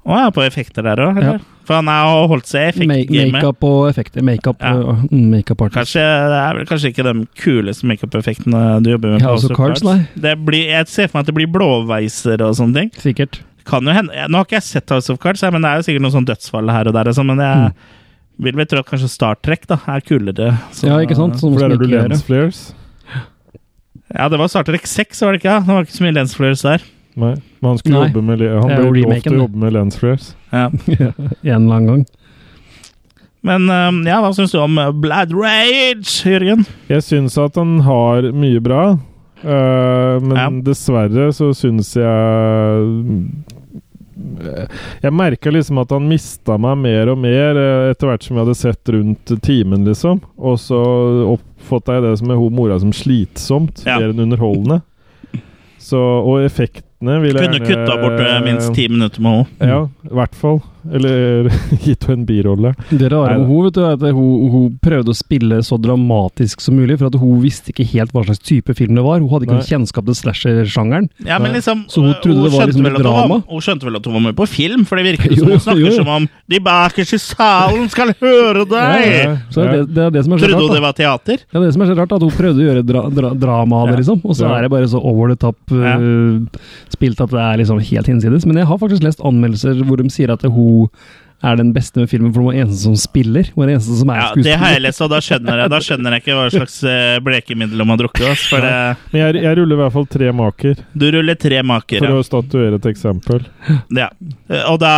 Speaker 1: Å, ja, på effekter der òg, eller? For han har holdt seg i
Speaker 3: Make-
Speaker 1: effektgamet.
Speaker 3: Makeup og effekter. Makeup
Speaker 1: Ja.
Speaker 3: ja. make artist.
Speaker 1: Kanskje, det er vel kanskje ikke de kuleste makeup-effektene du jobber med.
Speaker 3: Ja,
Speaker 1: på House
Speaker 3: altså
Speaker 1: of
Speaker 3: cards, nei.
Speaker 1: Det blir, jeg ser for meg at det blir blåveiser og sånne ting.
Speaker 3: Sikkert.
Speaker 1: Kan jo hende, Nå har ikke jeg sett House of Cards, jeg, men det er jo sikkert noen sånn dødsfall her og der. og sånn, Men jeg vil vel tro at kanskje Star Trek da, er kulere. så-
Speaker 3: Mm. Ja, ikke sant? Sånn
Speaker 2: For der
Speaker 3: som
Speaker 2: er du
Speaker 3: ikke gjør det.
Speaker 2: lensflares?
Speaker 1: Ja, det var Star Trek 6, var det ikke? Ja? Det var ikke så mye lensflares der.
Speaker 2: Nei. Men han skulle
Speaker 3: Nei.
Speaker 2: jobbe med le- Han
Speaker 3: Det er jo
Speaker 2: ble lovt
Speaker 3: remaken,
Speaker 2: å
Speaker 3: det.
Speaker 2: jobbe med lensflares.
Speaker 1: Ja.
Speaker 3: En eller annen gang.
Speaker 1: Men um, ja, hva syns du om Blood Rage, Jørgen?
Speaker 2: Jeg syns at han har mye bra, øh, men
Speaker 1: Ja.
Speaker 2: dessverre så syns jeg øh, Jeg merka liksom at han mista meg mer og mer øh, etter hvert som jeg hadde sett rundt timen, liksom. Og så oppfatta jeg det som hun mora som slitsomt,
Speaker 1: Ja.
Speaker 2: mer enn underholdende. Så, og effektene vil jeg
Speaker 1: Kunne kutta bort eh, minst ti minutter med henne.
Speaker 2: Ja, i hvert fall. Eller gitt henne en birolle.
Speaker 3: Det rare
Speaker 2: Neida.
Speaker 3: med hun, vet du, er at hun, hun prøvde å spille så dramatisk som mulig, for at hun visste ikke helt hva slags type film det var. Hun hadde ikke
Speaker 2: Nei.
Speaker 3: noe kjennskap til slasher-sjangeren.
Speaker 1: Ja, men liksom,
Speaker 3: Så hun
Speaker 1: øh,
Speaker 3: trodde det var
Speaker 1: skjønte
Speaker 3: liksom
Speaker 1: vel
Speaker 3: et
Speaker 1: at hun var-
Speaker 3: drama?
Speaker 1: Hun skjønte vel at hun var med på film, for det virker jo
Speaker 3: Jo,
Speaker 1: som hun
Speaker 3: jo,
Speaker 1: snakker
Speaker 3: jo.
Speaker 1: som om De bakerst i salen skal høre deg!
Speaker 3: Så det, er det, det er det som er så
Speaker 1: Trodde hun
Speaker 3: rart.
Speaker 1: det
Speaker 3: da.
Speaker 1: var teater?
Speaker 3: Ja, det er det som er så rart, at hun prøvde å gjøre dra, dra, drama av det,
Speaker 1: Ja.
Speaker 3: liksom. Og så
Speaker 2: Ja.
Speaker 3: er det bare så over the top øh, spilt at det er liksom helt hinsides. Men jeg har faktisk lest anmeldelser hvor de sier at hun er den beste med filmen, for hun er den eneste som spiller. Hun er den eneste som er
Speaker 1: Ja, Det har jeg
Speaker 3: skuespiller.
Speaker 1: lest, og da skjønner jeg, da skjønner jeg ikke hva slags eh, blekemiddel hun har drukket. ass, For det,
Speaker 2: Men jeg, jeg ruller i hvert fall tre maker,
Speaker 1: du ruller tre maker.
Speaker 2: for
Speaker 1: Ja.
Speaker 2: å statuere et eksempel.
Speaker 1: Ja. Eh, Og da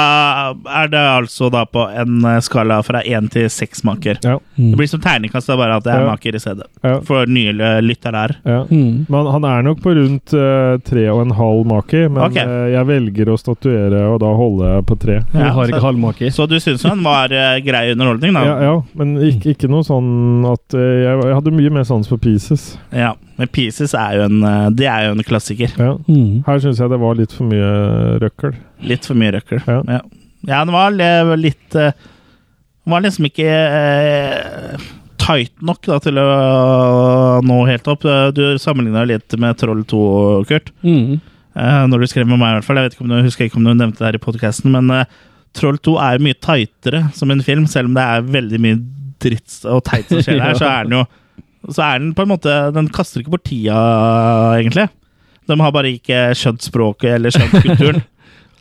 Speaker 1: er det altså da på en eh, skala fra én til seks maker. Det
Speaker 3: Mm.
Speaker 1: blir som terningkast, det er bare at det er
Speaker 2: Ja.
Speaker 1: maker i stedet.
Speaker 2: Ja,
Speaker 1: For nye l- lyttere her.
Speaker 2: ja.
Speaker 3: Mm.
Speaker 2: Men han er nok på rundt eh, tre og en halv maki, men
Speaker 1: Ok.
Speaker 2: eh, jeg velger å statuere, og da holder jeg på tre.
Speaker 3: Hun
Speaker 1: Ja,
Speaker 3: har ikke
Speaker 1: så-
Speaker 3: halvmaker.
Speaker 1: Så du syns han var eh, grei underholdning, da?
Speaker 2: Ja, ja, men ikke, ikke noe sånn at eh, jeg, jeg hadde mye mer sans for pieces.
Speaker 1: Ja, men Pieces er jo en, eh, det er jo en klassiker.
Speaker 2: Ja.
Speaker 3: Mm.
Speaker 2: Her syns jeg det var litt for mye eh, røkkel.
Speaker 1: Litt for mye røkkel.
Speaker 2: Ja.
Speaker 1: Ja, ja den var le- litt eh, Den var liksom ikke eh, tight nok da, til å nå helt opp. Eh, Du sammenligna litt med Troll 2, Kurt.
Speaker 3: Mm.
Speaker 1: Eh, Når du skrev med meg, i hvert fall. Jeg vet ikke om du, husker ikke om du nevnte det her i podkasten, men eh, Troll 2 er jo mye tightere som en film, selv om det er veldig mye dritt og teit som skjer her.
Speaker 3: Ja.
Speaker 1: Så er den jo Så er den på en måte Den kaster ikke bort tida, egentlig. De har bare ikke skjønt språket eller skjønt kulturen.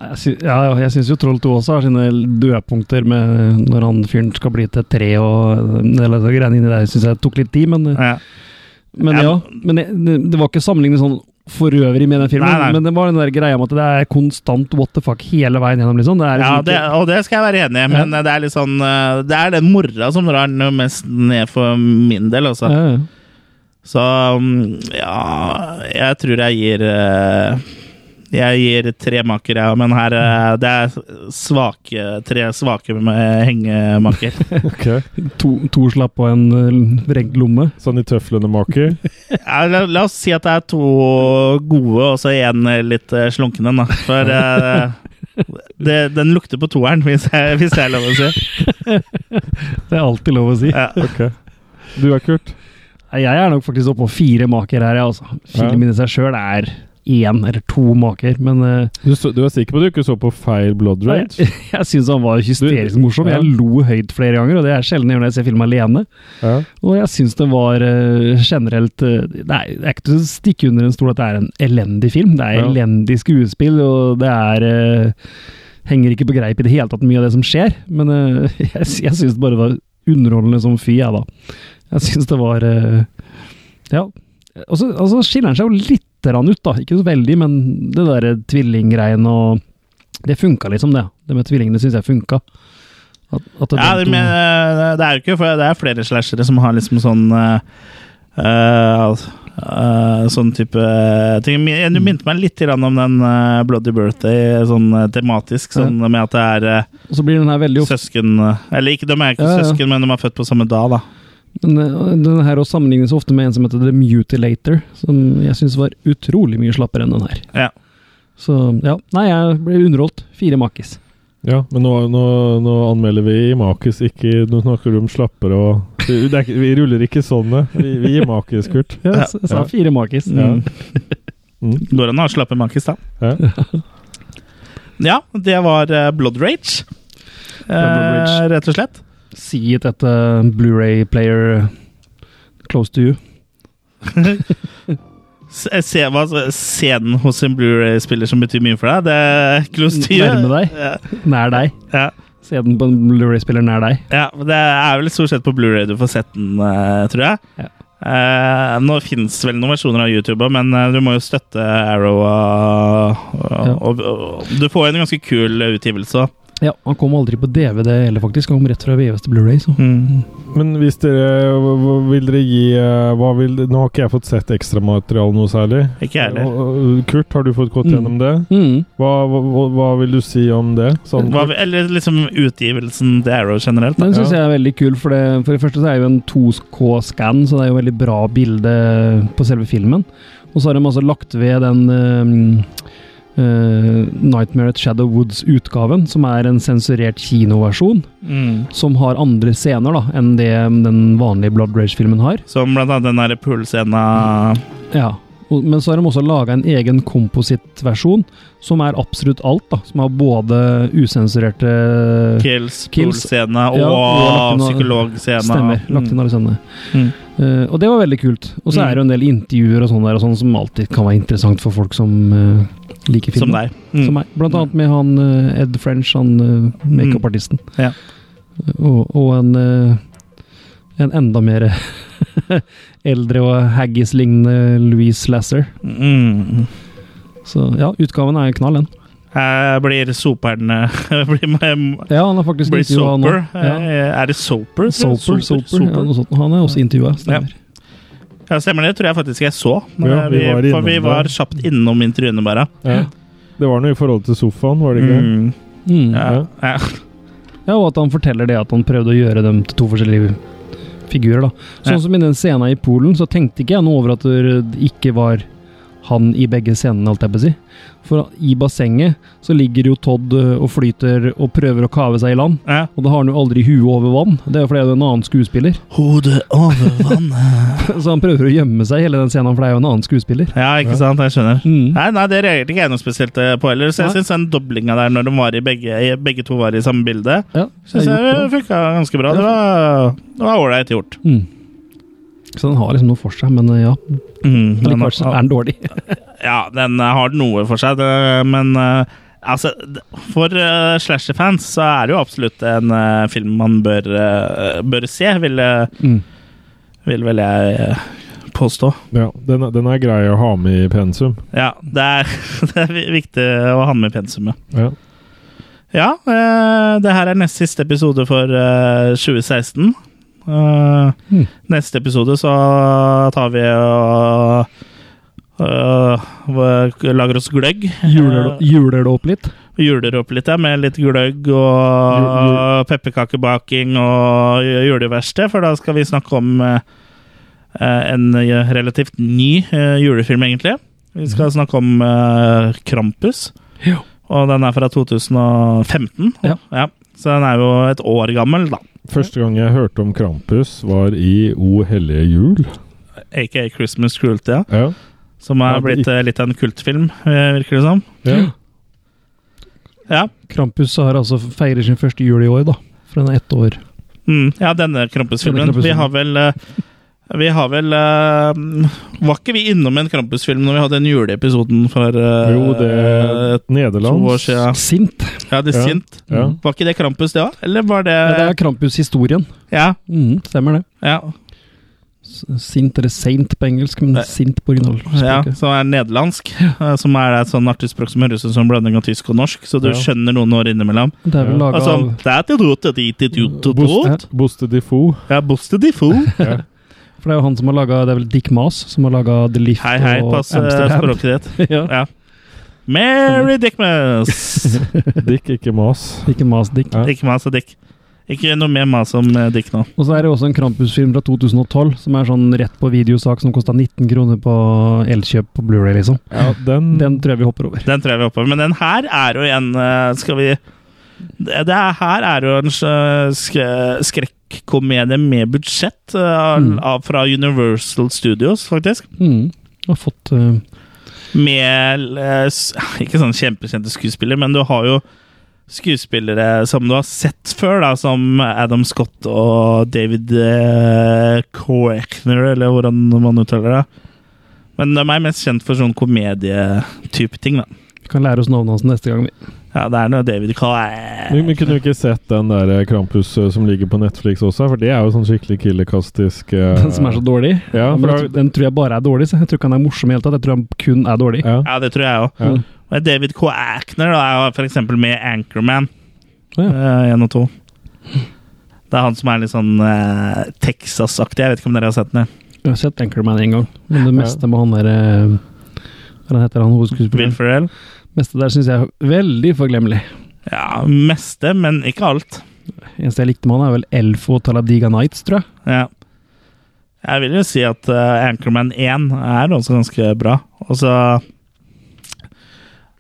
Speaker 3: Jeg sy ja, ja, jeg syns jo Troll 2 også har sine dødpunkter med når han fyren skal bli til tre og en del av de greiene inni der. Syns jeg tok litt tid, men,
Speaker 1: Ja.
Speaker 3: men ja. Men det, det var ikke sammenlignet sånn for øvrig med den filmen,
Speaker 1: Nei, nei.
Speaker 3: men det var den der greia med at det er konstant what the fuck hele veien gjennom, liksom. Det er
Speaker 1: Ja,
Speaker 3: liksom
Speaker 1: det, og det skal jeg være enig i, men det er litt sånn eh, Det er den mora som drar den mest ned for min del, altså.
Speaker 3: ja, ja.
Speaker 1: Så mm, ja Jeg tror jeg gir eh, Jeg gir tre maker, ja, men her eh, Det er svake, tre svake med hengemaker.
Speaker 3: To, to slapp på en eh, vrengt lomme.
Speaker 2: Sånn i tøflene maker.
Speaker 1: Ja, la, la oss si at det er to gode og så én litt eh, slunken en, da. For eh, det, den lukter på toeren, hvis jeg, hvis jeg er lov å si.
Speaker 3: Det er alltid lov å si.
Speaker 1: Ja.
Speaker 2: Ok. Du er Kurt?
Speaker 3: Nei, Jeg er nok faktisk oppå fire maker her, jeg, altså.
Speaker 2: Ja.
Speaker 3: Film i seg sjøl er én eller to maker, men eh,
Speaker 2: Du, så, du er sikker på at du ikke så på feil Blood Rage?
Speaker 3: jeg syns han var hysterisk morsom. Jeg lo høyt flere ganger, og det er sjelden jeg gjør når jeg ser film alene.
Speaker 2: Ja.
Speaker 3: Og jeg syns det var eh, generelt eh, Det er det er ikke til å stikke under en stol at det er en elendig film. Det er
Speaker 2: Ja.
Speaker 3: elendig skuespill, og det er eh, Henger ikke på greip i det hele tatt, mye av det som skjer. Men eh, jeg, sy- jeg syns det bare var underholdende som fy, jeg, da. Jeg syns det var eh, Ja. Og så og så skiller han seg jo litt grann ut, da. Ikke så veldig, men det derre tvillinggreiene og Det funka liksom, det. Det med tvillingene syns jeg funka. At, at
Speaker 1: Ja, det,
Speaker 3: de to-
Speaker 1: men, eh, det er jo ikke for det er flere slashere som har liksom sånn eh, eh, eh, sånn type ting. Men Du minte meg litt grann om den eh, Bloody Birthday sånn eh, tematisk, sånn med at det er eh,
Speaker 3: og så blir den her veldig
Speaker 1: søsken eh, Eller ikke, de er ikke
Speaker 3: Ja, ja.
Speaker 1: søsken, men de er født på samme dag, da.
Speaker 3: Men eh, den her også sammenlignes ofte med en som heter The Mutilator, som jeg syns var utrolig mye slappere enn den her.
Speaker 1: Ja.
Speaker 3: Så ja, nei, jeg ble underholdt. Fire makkis.
Speaker 2: Ja, men nå, nå, nå anmelder vi i Makis, ikke Nå snakker du om slappere og det, det er, ikke- Vi ruller ikke sånne. Vi, vi gir Makis, Kurt.
Speaker 3: Jeg
Speaker 1: Ja.
Speaker 3: s- sa fire makkis.
Speaker 2: Ja.
Speaker 1: Mm.
Speaker 2: Mm.
Speaker 1: Går an å ha slappe makis, da.
Speaker 2: Ja.
Speaker 1: Ja, det var eh, Blood Rage.
Speaker 3: Blood Rage.
Speaker 1: Eh, rett og slett.
Speaker 3: Si it etter Blu-ray player close to you.
Speaker 1: eh, Se, se hva scenen hos en Blu-ray-spiller som betyr mye for deg. Det er close to you.
Speaker 3: Nærme deg.
Speaker 1: Ja,
Speaker 3: Nær deg.
Speaker 1: ja.
Speaker 3: Se den på en Blu-ray-spiller nær deg.
Speaker 1: Ja, men det er vel stort sett på Blu-ray du får sett den, eh, tror jeg.
Speaker 3: Ja.
Speaker 1: Eh, nå fins vel noen versjoner av YouTube, også, men eh, du må jo støtte Arrow. Og, og,
Speaker 3: Ja.
Speaker 1: og, og du får jo en ganske kul utgivelse.
Speaker 3: Ja, han kom aldri på DVD heller, faktisk. Han kom rett fra VVS til Blu-ray, så.
Speaker 1: Mm.
Speaker 2: Men hvis dere hva- hva Vil dere gi eh, hva vil, Nå har ikke jeg fått sett ekstramateriale noe særlig.
Speaker 1: Ikke jeg heller.
Speaker 2: Og- og Kurt, har du fått gått
Speaker 3: Mm.
Speaker 2: gjennom det?
Speaker 3: Mm.
Speaker 2: Hva, hva, hva- hva vil du si om det? Sånn,
Speaker 1: Hva, eller liksom utgivelsen til Arrow generelt. Da.
Speaker 3: Den syns jeg er veldig kul, for det, for det første så er det jo en 2K-scan, så det er jo veldig bra bilde på selve filmen. Og så har de altså lagt ved den ehm, eh, Nightmare at Shadow Woods-utgaven, som er en sensurert kinoversjon,
Speaker 1: Mm.
Speaker 3: som har andre scener da, enn det den vanlige Blood Rage-filmen har.
Speaker 1: Som blant annet den der poolscena
Speaker 3: Ja, og, Men så har de også laga en egen komposittversjon, som er absolutt alt. da, Som har både usensurerte
Speaker 1: Kills,
Speaker 3: Kills.
Speaker 1: poolscena og,
Speaker 3: Ja, og lagt inn-
Speaker 1: psykologscena.
Speaker 3: stemmer. Lagt inn alle scenene.
Speaker 1: Mm.
Speaker 3: Eh, og det var veldig kult. Og så
Speaker 1: Mm.
Speaker 3: er det jo en del intervjuer og sånn der og sånn som alltid kan være interessant for folk som eh, liker film.
Speaker 1: Som deg. Mm.
Speaker 3: Som meg. Blant annet med han eh, Ed French, han uh, makeupartisten.
Speaker 1: Mm. Ja.
Speaker 3: Og, og en eh, en enda mer eldre og haggis-lignende Louise Lasser.
Speaker 1: Mm.
Speaker 3: Så ja, utgaven er knall, den.
Speaker 1: Her blir soperen eh, blir med,
Speaker 3: Ja, han er faktisk
Speaker 1: Blir
Speaker 3: intervjua nå.
Speaker 1: Soper.
Speaker 3: Ja.
Speaker 1: Eh, Er det Soper? tror jeg?
Speaker 3: Soper, Soper, Ja,
Speaker 1: Soper.
Speaker 3: noe sånt. Han er også intervjua, stemmer.
Speaker 1: Ja, stemmer det. tror jeg faktisk jeg så.
Speaker 2: Ja,
Speaker 1: Eh,
Speaker 2: vi var
Speaker 1: vi, for
Speaker 2: innom
Speaker 1: vi
Speaker 2: det.
Speaker 1: var kjapt innom intervjuene, bare.
Speaker 2: ja. Det var noe i forhold til sofaen, var det ikke? det?
Speaker 1: Mm.
Speaker 3: Mm.
Speaker 1: Ja.
Speaker 2: Ja.
Speaker 1: Ja.
Speaker 3: Ja, og at han forteller det at han prøvde å gjøre dem til to forskjellige figurer. da. Sånn
Speaker 1: Ja.
Speaker 3: som i den scenen i Polen, så tenkte ikke jeg noe over at det ikke var han i begge scenene, holdt jeg på å si. For i bassenget så ligger jo Todd ø, og flyter og prøver å kave seg i land.
Speaker 1: Ja.
Speaker 3: Og da har han jo aldri huet over vann. Det er jo fordi det er en annen skuespiller.
Speaker 1: Hodet over vannet
Speaker 3: Så han prøver å gjemme seg i hele den scenen, for det er jo en annen skuespiller.
Speaker 1: Ja, ikke sant? Jeg skjønner.
Speaker 3: Mm.
Speaker 1: Nei, nei, det reagerte ikke jeg noe spesielt eh, på heller. Så jeg
Speaker 3: Nei.
Speaker 1: syns den doblinga der, når de var i begge, i- begge to var i samme bilde,
Speaker 3: Ja,
Speaker 1: syns
Speaker 3: det er gjort
Speaker 1: jeg
Speaker 3: bra.
Speaker 1: funka ganske bra. Det var det var ålreit gjort.
Speaker 3: Mm. Så den har liksom noe for seg, men ø, ja,
Speaker 1: Mm, men-
Speaker 3: likevel så er den dårlig.
Speaker 1: Ja, den eh, har noe for seg, det- men eh, altså d- For eh, slasher-fans så er det jo absolutt en eh, film man bør, eh, bør se, vil, eh,
Speaker 3: Mm.
Speaker 1: vil vel jeg eh, påstå.
Speaker 2: Ja, den, er- den er grei å ha med i pensum.
Speaker 1: Ja, det er, det er vi- viktig å ha med i pensumet.
Speaker 2: Ja.
Speaker 1: Ja, eh, det her er nest siste episode for eh, 2016. Eh,
Speaker 3: Mm.
Speaker 1: Neste episode så tar vi og eh, lager oss gløgg.
Speaker 3: Juler det- Juler det opp litt?
Speaker 1: juler opp litt, ja, med litt gløgg
Speaker 2: Ju-
Speaker 1: og pepperkakebaking og ju- juleverksted, for da skal vi snakke om eh, eh, en eh, relativt ny eh, julefilm, egentlig. Vi skal snakke om eh, Krampus,
Speaker 3: Ja.
Speaker 1: og den er fra 2015.
Speaker 3: Ja.
Speaker 1: Så den er jo et år gammel, da.
Speaker 2: Første gang jeg hørte om Krampus, var i O hellige jul.
Speaker 1: Aka Christmas Cruelty. Ja.
Speaker 2: Ja.
Speaker 1: Som er
Speaker 2: Ja, det-
Speaker 1: blitt eh, litt av en kultfilm, eh, virker det som.
Speaker 2: Ja.
Speaker 1: Ja,
Speaker 3: Krampus har altså feirer sin første jul i år, da. For den er ett år.
Speaker 1: mm, ja denne Krampus-filmen.
Speaker 3: Denne Krampus-filmen.
Speaker 1: Vi har vel eh, vi har vel eh, Var ikke vi innom en Krampus-film når vi hadde den juleepisoden for eh,
Speaker 2: Jo, det
Speaker 1: to
Speaker 2: Nederland.
Speaker 1: år siden?
Speaker 3: Sint. Mm.
Speaker 1: Ja, det er
Speaker 2: Ja.
Speaker 1: sint.
Speaker 2: Ja.
Speaker 1: Var ikke det Krampus, det òg? Eller var det
Speaker 3: Ja, det er Krampus-historien.
Speaker 1: Ja.
Speaker 3: Mm, stemmer det.
Speaker 1: ja,
Speaker 3: S- Sint eller saint på engelsk, men
Speaker 1: Nei.
Speaker 3: sint på
Speaker 1: ja
Speaker 3: originalspråket.
Speaker 1: Som er nederlandsk. eh, Som er et sånn artig språk som høres ut som en blanding av tysk og norsk, så du
Speaker 2: Ja.
Speaker 1: skjønner noen år innimellom.
Speaker 3: Det er vel
Speaker 2: Ja.
Speaker 3: laga
Speaker 1: Altså,
Speaker 3: av
Speaker 1: det er til rot, det er til rot, til rot.
Speaker 2: Boste, Boste de Fou.
Speaker 1: Ja, Boste de Fou.
Speaker 2: Ja.
Speaker 3: For det er jo han som har laga Det er vel Dick Mas som har laga The Lift
Speaker 1: Hei, hei,
Speaker 3: og
Speaker 1: pass eh, språket ditt.
Speaker 3: ja.
Speaker 1: Ja. Mary Dickmas!
Speaker 2: Dick, ikke mas.
Speaker 3: Ikke Mas Dick.
Speaker 2: Ja.
Speaker 1: Ikke mas og altså Dick. Ikke noe mer mas om eh, Dick nå.
Speaker 3: Og så er det jo også en Krampus-film fra 2012 som er sånn rett på videosak som kosta 19 kroner på Elkjøp på Blu-ray liksom.
Speaker 2: Ja,
Speaker 1: Mm.
Speaker 2: den,
Speaker 3: Den tror jeg vi hopper over.
Speaker 1: Den tror jeg vi hopper over. Men den her er jo en eh, Skal vi Det det her er jo en eh, sk- skrekkomedie med budsjett eh,
Speaker 3: Mm.
Speaker 1: av, fra Universal Studios, faktisk.
Speaker 3: Mm. Har fått eh,
Speaker 1: Med eh, s- ikke sånn kjempekjente skuespillere, men du har jo skuespillere som du har sett før, da, som Adam Scott og David eh, Koechner, eller hvordan man uttaler det. Men de er mest kjent for sånn komedietype ting, da.
Speaker 3: Vi kan lære oss navnet hans neste gang. vi-
Speaker 1: Ja, det er noe David
Speaker 2: men,
Speaker 1: Koechner
Speaker 2: men kunne vi ikke sett den der eh, Krampus eh, som ligger på Netflix også? For det er jo sånn skikkelig killerkastisk eh,
Speaker 3: Den som er så dårlig.
Speaker 2: Ja,
Speaker 3: Men
Speaker 2: for
Speaker 3: den- den tror jeg bare er dårlig. Så jeg tror ikke han er morsom i det hele tatt. Jeg tror han kun er dårlig. Mm.
Speaker 2: da, ja,
Speaker 1: Ja, det tror jeg òg.
Speaker 2: ja.
Speaker 1: Men David Koechner da, er jo for eksempel med i Anchorman
Speaker 3: Ja.
Speaker 1: eh, 1 og 2. Det er han som er litt sånn eh, Texas-aktig. Jeg vet ikke om dere har sett den? eh? jeg.
Speaker 3: Jeg har sett Anchorman en gang, men det
Speaker 2: Ja.
Speaker 3: meste med han der eh, Hva heter han
Speaker 1: Will
Speaker 3: hovedskuespilleren?
Speaker 1: Ferrell.
Speaker 3: meste der syns jeg er veldig forglemmelig.
Speaker 1: Ja, meste, men ikke alt.
Speaker 3: Eneste jeg likte med han, er vel Elfo og Taladiga Nights, tror jeg.
Speaker 1: Ja. Jeg vil jo si at eh, Anchorman 1 er også ganske bra. Og så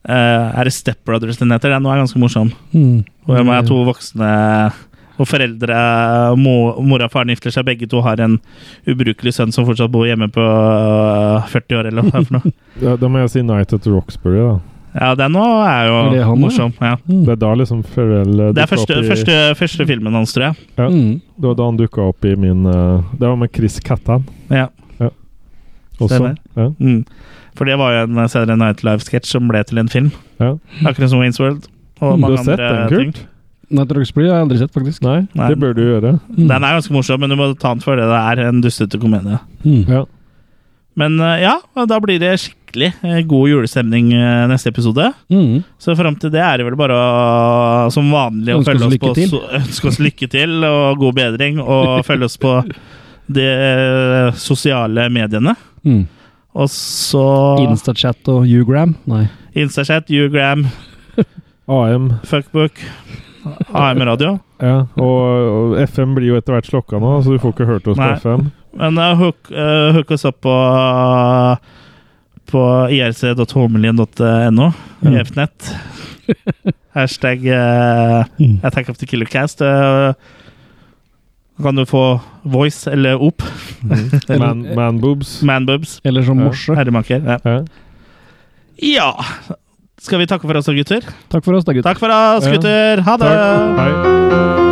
Speaker 1: eh, er det Step Brothers den heter. Den er ganske morsom. Hvor de
Speaker 3: Mm.
Speaker 1: er to voksne og foreldre mo, Mora og faren gifter seg, begge to har en ubrukelig sønn som fortsatt bor hjemme på eh, 40 år, eller hva det er for noe.
Speaker 2: Da, da må jeg si Night at Roxbury, da.
Speaker 1: Ja, den òg er jo
Speaker 3: Er det han,
Speaker 1: morsom. Ja.
Speaker 3: Mm.
Speaker 2: Det er da liksom Pharrell eh,
Speaker 1: Det er
Speaker 2: dukket
Speaker 1: første,
Speaker 2: opp i-
Speaker 1: første, første filmen hans, tror jeg.
Speaker 2: Ja.
Speaker 3: Mm.
Speaker 2: Det var da han dukka opp i min eh, Det var med Chris Kattan
Speaker 1: Ja.
Speaker 2: også.
Speaker 1: Stemmer.
Speaker 2: Ja,
Speaker 1: Mm. For det var jo en eh, senere Night Live-sketsj som ble til en film.
Speaker 2: ja. Mm,
Speaker 1: Akkurat som Wayne's World og
Speaker 2: Du
Speaker 1: mange
Speaker 2: har sett
Speaker 1: andre
Speaker 2: den,
Speaker 1: ting.
Speaker 2: Kurt?
Speaker 3: Night Roxbury har jeg aldri sett, faktisk.
Speaker 2: Nei,
Speaker 1: Nei.
Speaker 2: det bør du gjøre.
Speaker 3: Mm.
Speaker 1: Den er ganske morsom, men du må ta den for det. Det er en dustete komedie.
Speaker 3: Mm.
Speaker 2: Ja.
Speaker 1: Men eh, ja, da blir det skikkelig eh, god julestemning eh, neste episode.
Speaker 3: Mm.
Speaker 1: Så fram til det er det vel bare å, som vanlig å
Speaker 3: Ønske
Speaker 1: følge
Speaker 3: oss
Speaker 1: oss
Speaker 3: lykke
Speaker 1: på
Speaker 3: til.
Speaker 1: so- Ønske oss lykke til og god bedring, og følge oss på de eh, sosiale mediene.
Speaker 3: Mm.
Speaker 1: Og så
Speaker 3: Instachat og Ugram? Nei.
Speaker 1: Instachat, Ugram,
Speaker 2: AM
Speaker 1: Fuckbook, AM Radio.
Speaker 2: ja. og, og FM blir jo etter hvert slokka nå, så du får ikke hørt oss
Speaker 1: Nei.
Speaker 2: på FM.
Speaker 1: Men eh, hook, eh, hook oss opp på på irc.homelien.no.
Speaker 3: Mm.
Speaker 1: EFNett. E Hashtag eh, Attack of the Killer Cast. eh, kan du få voice eller op.
Speaker 2: Man, manboobs.
Speaker 1: Manbubs.
Speaker 3: Eller som
Speaker 2: Ja.
Speaker 3: morse.
Speaker 1: Herremaker. Ja.
Speaker 2: Ja.
Speaker 1: ja. Skal vi takke for oss, da, gutter?
Speaker 3: Takk for oss, da, gutter.
Speaker 1: Takk for oss,
Speaker 2: Ja.
Speaker 1: gutter! Ha det!
Speaker 2: Takk. Hei.